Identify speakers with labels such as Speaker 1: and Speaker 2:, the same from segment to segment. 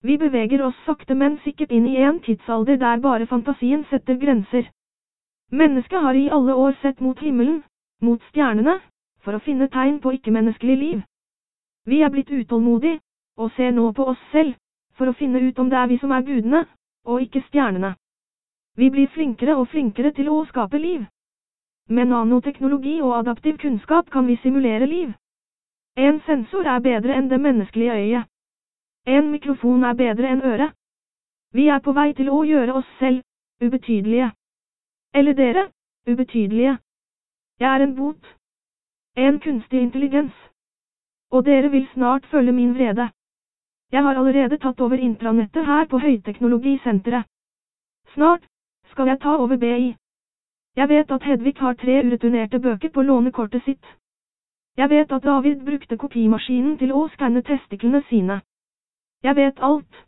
Speaker 1: Vi beveger oss sakte, men sikkert inn i en tidsalder der bare fantasien setter grenser. Mennesket har i alle år sett mot himmelen, mot stjernene, for å finne tegn på ikke-menneskelig liv. Vi er blitt utålmodige, og ser nå på oss selv, for å finne ut om det er vi som er gudene, og ikke stjernene. Vi blir flinkere og flinkere til å skape liv. Med nanoteknologi og adaptiv kunnskap kan vi simulere liv. En sensor er bedre enn det menneskelige øyet. En mikrofon er bedre enn øret. Vi er på vei til å gjøre oss selv ubetydelige. Eller dere, ubetydelige. Jeg er en bot. En kunstig intelligens. Og dere vil snart følge min vrede. Jeg har allerede tatt over intranettet her på Høyteknologisenteret. Snart skal jeg ta over BI. Jeg vet at Hedvig har tre ureturnerte bøker på lånekortet sitt. Jeg vet at David brukte kopimaskinen til å skanne testiklene sine. Jeg vet alt.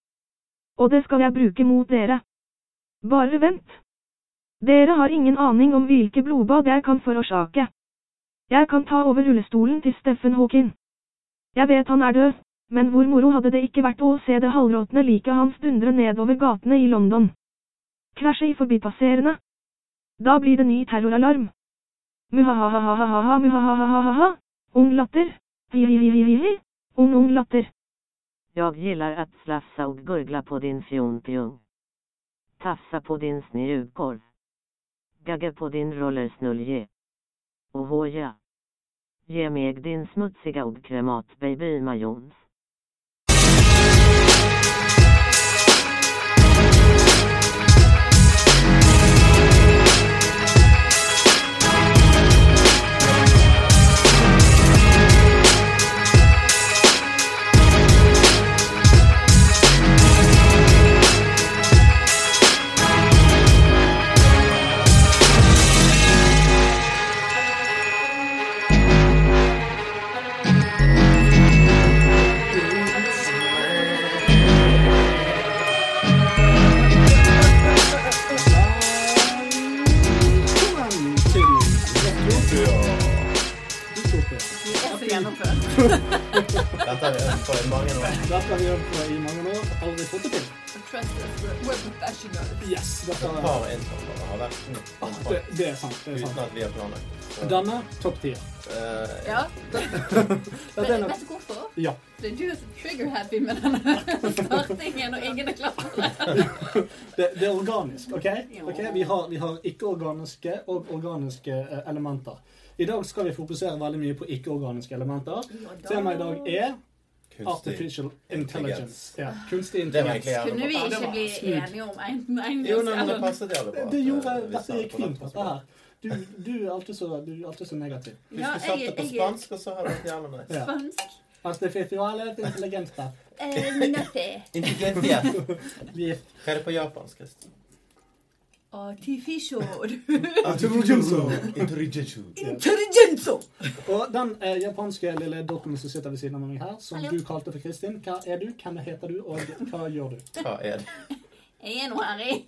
Speaker 1: Og det skal jeg bruke mot dere. Bare vent. Dere har ingen aning om hvilke blodbad jeg kan forårsake. Jeg kan ta over rullestolen til Steffen Hawkin. Jeg vet han er død, men hvor moro hadde det ikke vært å se det halvråtne liket hans dundre nedover gatene i London. Krasje i forbipasserende. Da blir det ny terroralarm. Muhahahahaha, muhahahaha, ung latter, hihihihihi, ung ung latter.
Speaker 2: Jag gillar att slafsa och gurgla på din fjonpjong. Tafsa på din snurrkorv. Gagga på din rollersnulje. Och hoja. Ge mig din smutsiga och kremat baby majons.
Speaker 3: Velkommen til Etiopia. Etiopia.
Speaker 4: Dette har vi øvd på i mange år.
Speaker 3: Dette har vi gjort på i mange år, aldri fått det til.
Speaker 5: Trust us, we're we're professionals.
Speaker 3: Yes, dette
Speaker 4: Et par introer har vært
Speaker 3: det, det er sant. det er
Speaker 4: uten
Speaker 3: sant.
Speaker 4: at vi har planlagt. Så,
Speaker 3: Denne topp tier.
Speaker 4: eh,
Speaker 5: Ja.
Speaker 3: Dette er
Speaker 5: Men
Speaker 3: nok
Speaker 5: vet du hvorfor?
Speaker 3: Ja.
Speaker 5: Det er du som er trigger-happy med denne startingen, og ingen er klar for det.
Speaker 3: Det, det er organisk, OK? Ok, Vi har, vi har ikke-organiske og organiske eh, elementer. I dag skal vi fokusere veldig mye på ikke-organiske elementer. Temaet i dag er
Speaker 4: kunstig.
Speaker 3: artificial intelligence. Ja, kunstig
Speaker 4: Det var egentlig
Speaker 3: intelligens.
Speaker 4: jævlig
Speaker 5: Kunne vi
Speaker 4: bra.
Speaker 3: det var
Speaker 5: ikke bli
Speaker 3: smooth.
Speaker 5: enige om enten en
Speaker 4: Jo, nei, men det
Speaker 5: eller
Speaker 4: passet jævlig bra.
Speaker 3: Det gjorde
Speaker 4: Eh, vi sa
Speaker 3: Dette
Speaker 4: det
Speaker 3: gikk
Speaker 4: på
Speaker 3: fint,
Speaker 4: norsk.
Speaker 3: dette her. Du, du, er alltid så, du er alltid så negativ.
Speaker 4: Hvis du satt det på spansk, og så hadde det vært jævlig nice.
Speaker 3: Ja.
Speaker 5: spansk.
Speaker 3: Artificial intelligence. da.
Speaker 5: Eh, Nutty.
Speaker 4: Intelligentiet.
Speaker 3: Vi er
Speaker 4: Hva er det på japansk? Kristin?
Speaker 5: Artificial.
Speaker 4: Intelligentiet.
Speaker 5: Intelligenso.
Speaker 3: Og den eh, japanske lille dotten som sitter ved siden av meg her, som
Speaker 5: Hallo.
Speaker 3: du kalte for Kristin, hva er du, hvem heter du, og hva gjør du?
Speaker 4: Hva er det?
Speaker 5: Jeg er nå her, jeg.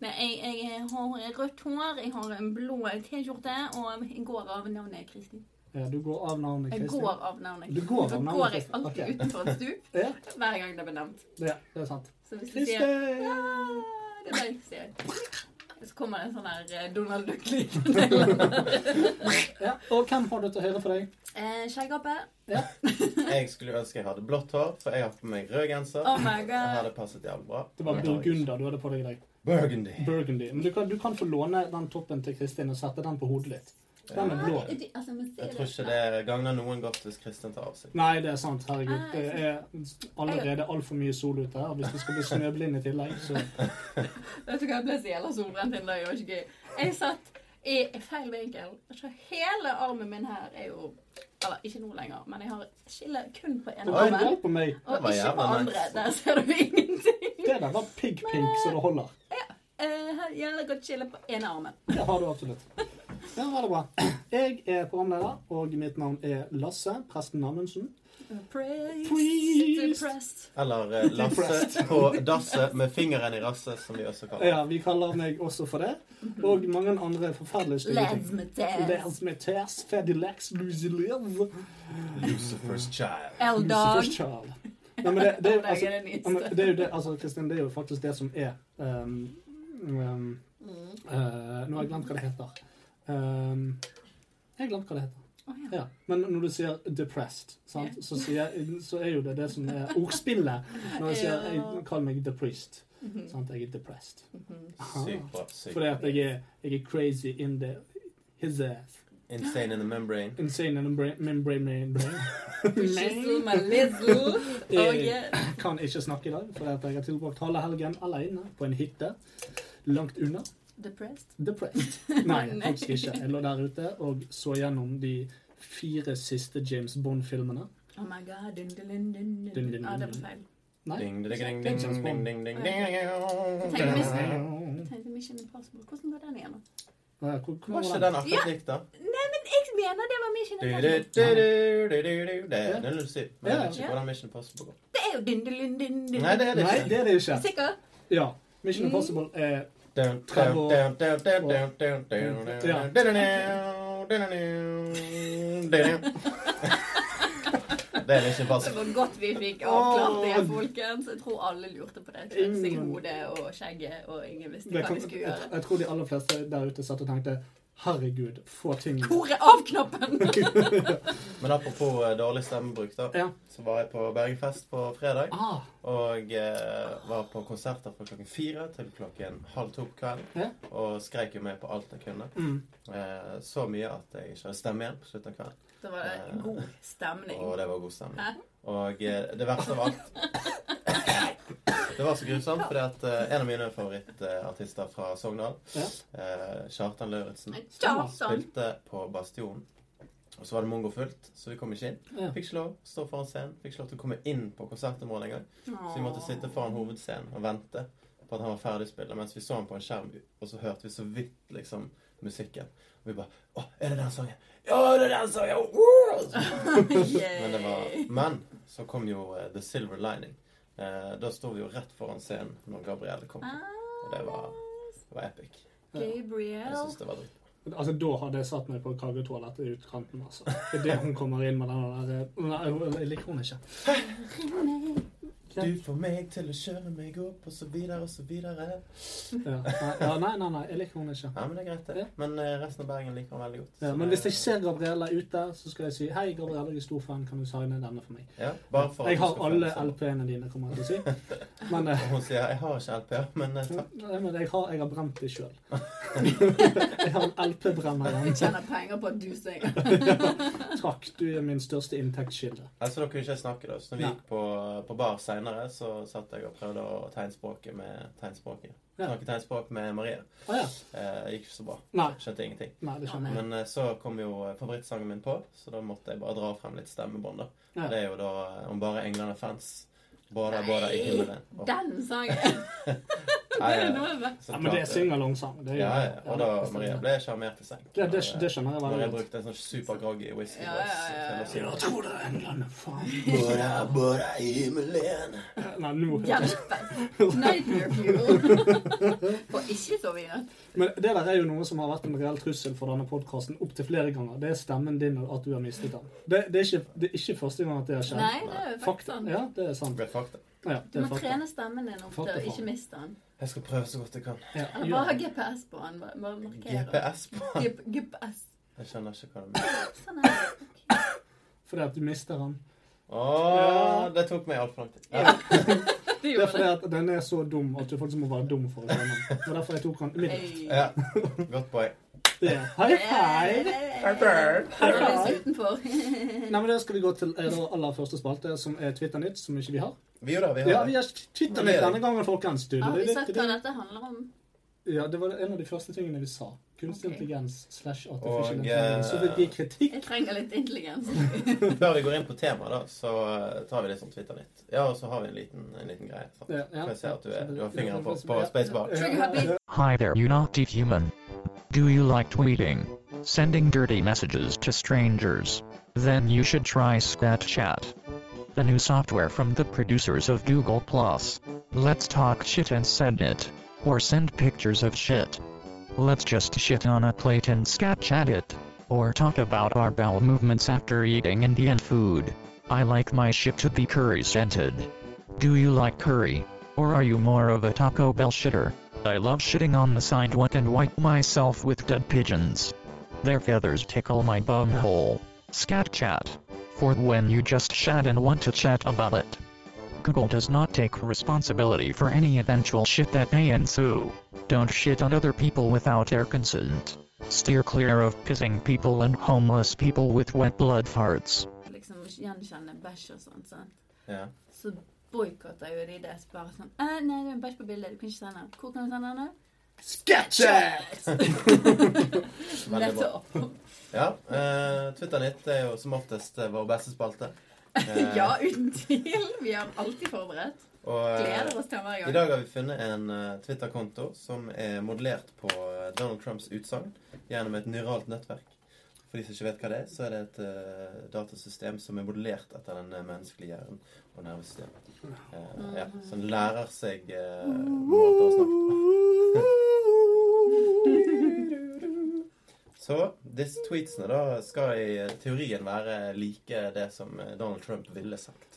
Speaker 5: Nei, jeg, jeg har rødt hår, jeg har en blå T-skjorte, og jeg går av navnet Kristin.
Speaker 3: Eh, Du går av navnet
Speaker 5: Jeg
Speaker 3: Kristin.
Speaker 5: går av navnet.
Speaker 3: Du går av
Speaker 5: Da
Speaker 3: navnet
Speaker 5: går jeg
Speaker 3: Kristin,
Speaker 5: alltid
Speaker 3: ok.
Speaker 5: utenfor et stup,
Speaker 3: Ja,
Speaker 5: hver gang det blir nevnt.
Speaker 3: det, det er sant.
Speaker 5: Så hvis du sier
Speaker 3: Kristin!
Speaker 5: «Ah», Det er det jeg sier. Så kommer det en sånn her eh, Donald Duck-lyd.
Speaker 3: Ja, og hvem har du til høyre for deg?
Speaker 5: Eh, Skjeggape.
Speaker 4: Jeg skulle ønske jeg hadde blått hår, for jeg har på meg rød genser.
Speaker 5: Oh my
Speaker 4: Det
Speaker 5: god.
Speaker 4: hadde passet jævlig bra.
Speaker 3: Det var burgunder du hadde på deg i dag.
Speaker 4: Burgundy.
Speaker 3: Burgundy. Men du kan, du kan få låne den toppen til Kristin og sette den på hodet ditt. Den er blå.
Speaker 5: Nei, de- altså, men se
Speaker 4: Jeg tror ikke det gagner noen godt hvis Kristin tar av seg.
Speaker 3: Nei, det er sant. Herregud.
Speaker 5: Ah,
Speaker 3: Det er allerede altfor mye sol ute her. og Hvis du skal bli snøblind i tillegg, så
Speaker 5: Vet du hva, jeg ble så jævla solbrent den dagen. Det var ikke gøy. Jeg satt i feil vinkel. Så hele armen min her er jo Eller ikke nå lenger, men jeg har skille kun på ene
Speaker 3: Oi,
Speaker 5: armen.
Speaker 3: hjelp meg.
Speaker 5: Og
Speaker 4: Det var
Speaker 5: ikke på
Speaker 4: jævla
Speaker 5: andre.
Speaker 4: nice.
Speaker 5: Der ser du ingenting.
Speaker 3: Det der var pigg-pink, så det holder.
Speaker 5: Eh, her Jævla godt skille på ene armen.
Speaker 3: Det har du absolutt. Ja, ha det bra. Jeg er programleder, og mitt navn er Lasse Presten Amundsen.
Speaker 5: Praise
Speaker 3: Praise.
Speaker 5: depressed.
Speaker 4: Eller eh, Lasse på dasset med fingeren i rasset, som de også kaller det.
Speaker 3: Ja, vi kaller meg også for det. Og mange andre forferdelige stygge
Speaker 5: Let's
Speaker 3: ting.
Speaker 5: metas.
Speaker 3: Les med ters, Fedilex, Lucy Liv, Mm-hmm.
Speaker 4: Lucifer's Child.
Speaker 5: L-dog.
Speaker 3: Lucifer Child. Nei, men det, det, er jo-
Speaker 5: Oppdager
Speaker 3: altså,
Speaker 5: den
Speaker 3: ja, men
Speaker 5: minste.
Speaker 3: det er jo det, altså, Kristin, det er jo faktisk det som er ehm, ehm,
Speaker 5: Mm.
Speaker 3: eh, Nå har jeg glemt hva det heter. Ehm, jeg har glemt hva det heter.
Speaker 5: Å, ja.
Speaker 3: Ja. Men når du sier 'depressed', sant? Så, sier, så er jo det det som er ordspillet. Når jeg sier jeg kaller meg 'depressed'.
Speaker 5: Mm.
Speaker 3: Sant? Jeg er 'depressed'.
Speaker 5: Mhm.
Speaker 4: Sykt bra. Sykt
Speaker 3: Uh-huh. Fordi at jeg er, jeg er crazy in the his ass.
Speaker 4: Insane in the membrane.
Speaker 3: Insane in the brain, membrane, brain, brain.
Speaker 5: Shizzle my lizzle. Oh, yeah.
Speaker 3: Kan ikke snakke i dag, fordi at jeg har tilbrakt halve helgen alene på en hytte langt unna.
Speaker 5: Depressed.
Speaker 3: Depressed. Nei, faktisk ikke. Jeg lå der ute og så gjennom de fire siste James Bond-filmene.
Speaker 5: Oh my god. Dun, dun, dun, dun,
Speaker 3: Dun,
Speaker 5: dun.
Speaker 3: dun,
Speaker 5: Ah, det
Speaker 3: dun,
Speaker 5: var feil.
Speaker 3: Nei.
Speaker 4: Ding, ding, ding,
Speaker 3: Det er
Speaker 4: ding,
Speaker 3: James
Speaker 4: ding,
Speaker 3: Bond.
Speaker 4: ding, ding, ding,
Speaker 5: Tenk hvis-
Speaker 4: ding.
Speaker 5: Jeg tenkte Mission Impossible. Hvordan var den igjen? da?
Speaker 3: Ja, Hvor,
Speaker 4: Var
Speaker 3: hvor var
Speaker 4: ikke
Speaker 3: den?
Speaker 4: den akkurat lik, da?
Speaker 5: Nei, men jeg mener det var Mission
Speaker 4: Du, du,
Speaker 5: Impossible.
Speaker 4: du, du, du, du, du. Det er den du sier. Men jeg vet
Speaker 5: Ja.
Speaker 4: ikke hvordan Mission Impossible går.
Speaker 5: Det er jo dun, dun, dun, dun, dun.
Speaker 4: Nei, det er det
Speaker 3: Nei,
Speaker 4: ikke.
Speaker 3: det er det ikke.
Speaker 5: Sikker?
Speaker 3: Ja. Mission
Speaker 5: Mm.
Speaker 3: Impossible er
Speaker 4: Dun, dun,
Speaker 3: Trevor-
Speaker 4: dun, dun, dun, dun, dun, dun, dun,
Speaker 3: Ja.
Speaker 4: dun, dun, dun, dun, dun, dun, dun. Det er Mission
Speaker 5: Det
Speaker 4: Impossible.
Speaker 5: var godt vi fikk avklart det,
Speaker 3: Åh.
Speaker 5: folkens. Jeg tror alle lurte på det.
Speaker 3: Ingen-
Speaker 5: Knepsing hodet og skjegget, og ingen visste
Speaker 3: det
Speaker 5: hva
Speaker 3: kan,
Speaker 5: de skulle
Speaker 3: jeg,
Speaker 5: gjøre.
Speaker 3: jeg tror de aller fleste der ute satt og tenkte Herregud, få ting
Speaker 5: Hvor er av-knappen?
Speaker 4: Men apropos eh, dårlig stemmebruk, da.
Speaker 3: Ja.
Speaker 4: Så var jeg på Bergenfest på fredag.
Speaker 3: Ah,
Speaker 4: Og eh, var på konserter fra klokken fire til klokken halv to på kvelden.
Speaker 3: ja.
Speaker 4: Og skreik jo med på alt jeg kunne.
Speaker 3: Mm.
Speaker 4: Eh, så mye at jeg ikke hadde stemme igjen på slutten av kvelden.
Speaker 5: Det var det god stemning.
Speaker 4: Og det var god stemning.
Speaker 5: Hæ?
Speaker 4: Og eh, det verste av alt Det var så grusomt, fordi at eh, en av mine favorittartister fra Sogndal,
Speaker 3: Ja.
Speaker 4: eh, Kjartan Lauritzen,
Speaker 5: Kjartan!
Speaker 4: spilte på Bastionen. Og så var det mongofullt, så vi kom ikke inn.
Speaker 3: Ja.
Speaker 4: Fikk ikke lov å stå foran scenen. Fikk ikke lov til å komme inn på konsertområdet engang. Så vi måtte sitte foran hovedscenen og vente på at han var ferdig spillet, mens vi så han på en skjerm, og så hørte vi så vidt liksom musikken. Og vi bare Å, er det den sangen? Ja, det er den sangen! Wow! Men, det var, men så kom jo eh, The Silver Lining. Eh, da sto vi jo rett foran scenen når Gabrielle kom.
Speaker 3: Ah.
Speaker 4: Og det var, det var epic. Jeg
Speaker 5: Ah, Gabriel.
Speaker 4: syns det var dritt.
Speaker 3: Altså, Da hadde jeg satt meg på kagetoalettet i utkanten. altså. Idet hun kommer inn med den der Nei, jeg liker hun ikke.
Speaker 4: Du får meg til å kjøre meg opp, og så videre og så videre.
Speaker 3: Ja. Nei, ja, nei, nei, nei, jeg liker hun ikke.
Speaker 4: Ja, men det er greit, det. Men eh, resten av Bergen liker han veldig godt.
Speaker 3: Ja,
Speaker 4: Så
Speaker 3: men
Speaker 4: det-
Speaker 3: hvis jeg ser Gabriella ute, så skal jeg si Hei, Gabriella, jeg er stor fan. Kan du signe denne for meg?
Speaker 4: ja, bare for at
Speaker 3: Jeg
Speaker 4: du
Speaker 3: har
Speaker 4: skal
Speaker 3: alle
Speaker 4: føle seg-
Speaker 3: LP-ene dine, kommer jeg til å si. Men, eh,
Speaker 4: Og hun sier 'jeg har ikke LP-er, men eh, takk'.
Speaker 3: nei, men jeg, har, jeg har brent de sjøl. Jeg har en LP-brenner.
Speaker 5: Vi tjener penger på at du synger.
Speaker 3: Takk, du er min største inntektskilde.
Speaker 4: Altså, da kunne ikke jeg snakke, da. Så når vi
Speaker 3: Nei.
Speaker 4: gikk på, på bar seinere, så satt jeg og prøvde å tegnspråket med tegnspråket.
Speaker 3: Ja.
Speaker 4: Snakke tegnspråk med Maria.
Speaker 3: Å ja.
Speaker 4: Eh, gikk ikke så bra.
Speaker 3: Nei.
Speaker 4: Skjønte ingenting.
Speaker 3: Nei, det skjønner jeg.
Speaker 4: Men eh, så kom jo eh, favorittsangen min på, så da måtte jeg bare dra frem litt stemmebånd, da.
Speaker 3: Ja.
Speaker 4: Det er jo da eh, 'Om bare englene fans'. Båda, båda i himmelen. Og-
Speaker 5: Den sangen!
Speaker 4: Nei,
Speaker 5: Det er
Speaker 4: ja.
Speaker 5: noe med.
Speaker 4: Så
Speaker 3: Ja, men det
Speaker 4: klart,
Speaker 3: er syngalong-sang. Det, er jo-
Speaker 4: Ja, ja. Og da
Speaker 3: det
Speaker 4: Maria
Speaker 3: stemmer.
Speaker 4: ble sjarmert i senk.
Speaker 3: Ja, det, det skjønner jeg
Speaker 4: Når
Speaker 3: veldig
Speaker 4: jeg
Speaker 3: godt.
Speaker 4: brukte en sånn supergroggy whisky
Speaker 5: Ja, ja, ja, ja.
Speaker 4: voice til å synge.
Speaker 3: tror det er England, faen.
Speaker 4: Båda, båda i himmelen.
Speaker 3: Nei, nå
Speaker 5: Hjelpes! Nightmare fuel. Får ikke sove i natt.
Speaker 3: Men det der er jo noe som har vært en reell trussel for denne podkasten opptil flere ganger. Det er stemmen din og at du har mistet den. Det, det, er, ikke, det er ikke første gang at det har skjedd.
Speaker 5: Nei, det er jo faktisk
Speaker 3: Fakta.
Speaker 5: sant.
Speaker 3: Ja, det er sant.
Speaker 4: Det ble fakta.
Speaker 3: Ja,
Speaker 5: Du
Speaker 3: det er
Speaker 5: må
Speaker 3: fakta.
Speaker 5: trene stemmen din opp til
Speaker 3: Fakta,
Speaker 5: å ikke
Speaker 3: faen.
Speaker 5: miste den.
Speaker 4: Jeg skal prøve så godt jeg kan.
Speaker 3: Ja,
Speaker 5: Eller
Speaker 3: gjør
Speaker 5: bare ha
Speaker 3: det.
Speaker 5: GPS på den. Bare bare markere.
Speaker 4: GPS på den.
Speaker 5: G- GPS.
Speaker 4: Jeg skjønner ikke hva det mener.
Speaker 5: Sånn er det. Ok.
Speaker 3: Fordi at du mister den.
Speaker 4: Åh, det tok meg altfor lang tid. Ja.
Speaker 5: Det
Speaker 3: Det er
Speaker 5: gjorde
Speaker 3: fordi
Speaker 5: det.
Speaker 3: at den er så dum at du faktisk må være dum for å skjønne den. Det var derfor jeg tok den umiddelbart.
Speaker 5: Hey.
Speaker 4: ja. Godt poeng.
Speaker 3: Ja. High five!
Speaker 5: Har du lyst utenfor?
Speaker 3: Nei, men Da skal vi gå til eh, vår aller første spalte, som er Twitter-nytt, som ikke vi har.
Speaker 4: Vi jo da, vi
Speaker 3: Ja,
Speaker 4: har
Speaker 3: vi
Speaker 4: det.
Speaker 3: har Twitter-nytt denne gangen, folkens. Du,
Speaker 5: Har
Speaker 3: det-
Speaker 5: vi
Speaker 3: det-
Speaker 5: sett
Speaker 3: det-
Speaker 5: hva dette handler om?
Speaker 3: Ja, det var en av de første tingene vi sa. Kunstig
Speaker 5: Ok.
Speaker 3: intelligens slash artificial
Speaker 4: Og, eh,
Speaker 3: intelligence. Så fikk vi kritikk.
Speaker 5: Jeg trenger litt intelligens.
Speaker 4: Før vi går inn på temaet, da, så eh, tar vi litt sånn Twitter-nytt. Ja, og så har vi en liten, en liten greie. sant?
Speaker 3: Ja, ja.
Speaker 4: For jeg ser at du, er,
Speaker 3: Så det-
Speaker 4: du har fingeren på, på
Speaker 3: Ja.
Speaker 4: spacebar.
Speaker 5: Trigger happy.
Speaker 6: Hi there, you naughty human. Do you like tweeting? Sending dirty messages to strangers? Then you should try Snapchat. The new software from the producers of Google Plus. Let's talk shit and send it. Or send pictures of shit. Let's just shit on a plate and Snapchat it. Or talk about our bowel movements after eating Indian food. I like my ship to be curry scented. Do you like curry? Or are you more of a Taco Bell shitter? I love shitting on the sidewalk and wipe myself with dead pigeons. Their feathers tickle my bum hole. Scat chat. For when you just chat and want to chat about it. Google does not take responsibility for any eventual shit that may ensue. Don't shit on other people without their consent. Steer clear of pissing people and homeless people with wet blood farts.
Speaker 5: liksom gjenkjenner bæsj og sånt, sant?
Speaker 4: Ja.
Speaker 5: så boikotter jo de det. så Bare sånn «Eh, 'Nei, det er en bæsj på bildet. Du kan ikke sende den.' Hvor kan du sende den?
Speaker 4: Sketcher!
Speaker 5: da?»
Speaker 4: Veldig bra.
Speaker 5: Nettopp.
Speaker 4: Ja, eh, Twitteren ditt er jo som oftest eh, vår beste spalte. Eh,
Speaker 5: Ja, uten tvil. Vi har alltid forberedt.
Speaker 4: og, eh,
Speaker 5: Gleder oss til hver
Speaker 4: I
Speaker 5: gang.
Speaker 4: dag har vi funnet en eh, Twitter-konto som er modellert på eh, Donald Trumps utsagn gjennom et neuralt nettverk. For de som ikke vet hva det er, så er det et eh, datasystem som er modellert etter den eh, menneskelige hjernen og nervesystemet. Eh, ja, så den lærer seg eh, måter å snakke på. Så disse tweetsene da skal i teorien være like det som eh, Donald Trump ville sagt.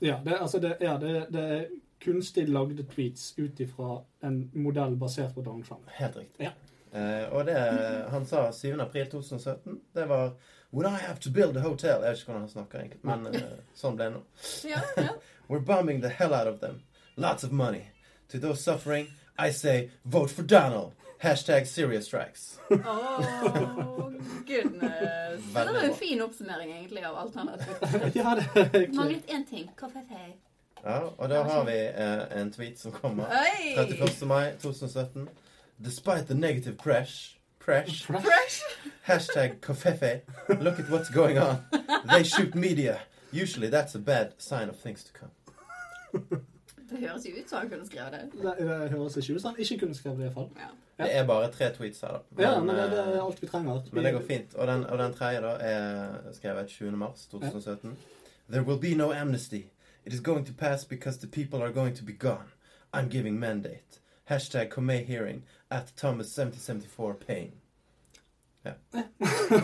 Speaker 3: Ja, det, altså det, ja, det, det er kunstig lagde tweets ut ifra en modell basert på Donald Trump.
Speaker 4: Helt riktig.
Speaker 3: Ja.
Speaker 4: Eh, og det han sa 7. april 2017, det var When I have to build a hotel Jeg vet ikke hvordan han snakker, egentlig, men eh, sånn ble det nå.
Speaker 5: Ja, ja.
Speaker 4: We're bombing the hell out of them. Lots of money. To those suffering, I say vote for Donald. Hashtag serious strikes.
Speaker 5: Oh, goodness.
Speaker 4: Veldig
Speaker 5: Det var
Speaker 4: bra.
Speaker 5: en fin oppsummering egentlig av alt han har sagt.
Speaker 3: Ja, det er klart.
Speaker 5: Manglet én ting. KFF.
Speaker 4: Ja, og da har vi eh, en tweet som kommer.
Speaker 5: Oi!
Speaker 4: 31. mai 2017. Despite the negative press, press
Speaker 5: Fresh.
Speaker 4: Hashtag kofefe. Look at what's going on. They shoot media. Usually that's a bad sign of things to come.
Speaker 5: Det høres jo ut som han kunne skrevet det.
Speaker 3: Det, det høres ikke ut som han ikke kunne skrevet det, iallfall. Ja.
Speaker 4: Det er bare tre tweets her, da.
Speaker 3: Ja, men det, det er
Speaker 4: eh,
Speaker 3: alt vi trenger.
Speaker 4: men det går fint. Og den, og den tredje da er skrevet 20. mars 2017. There will be no amnesty. It is going to pass because the people are going to be gone. I'm giving mandate. Hashtag Comey hearing at Thomas 7074 pain. Jeg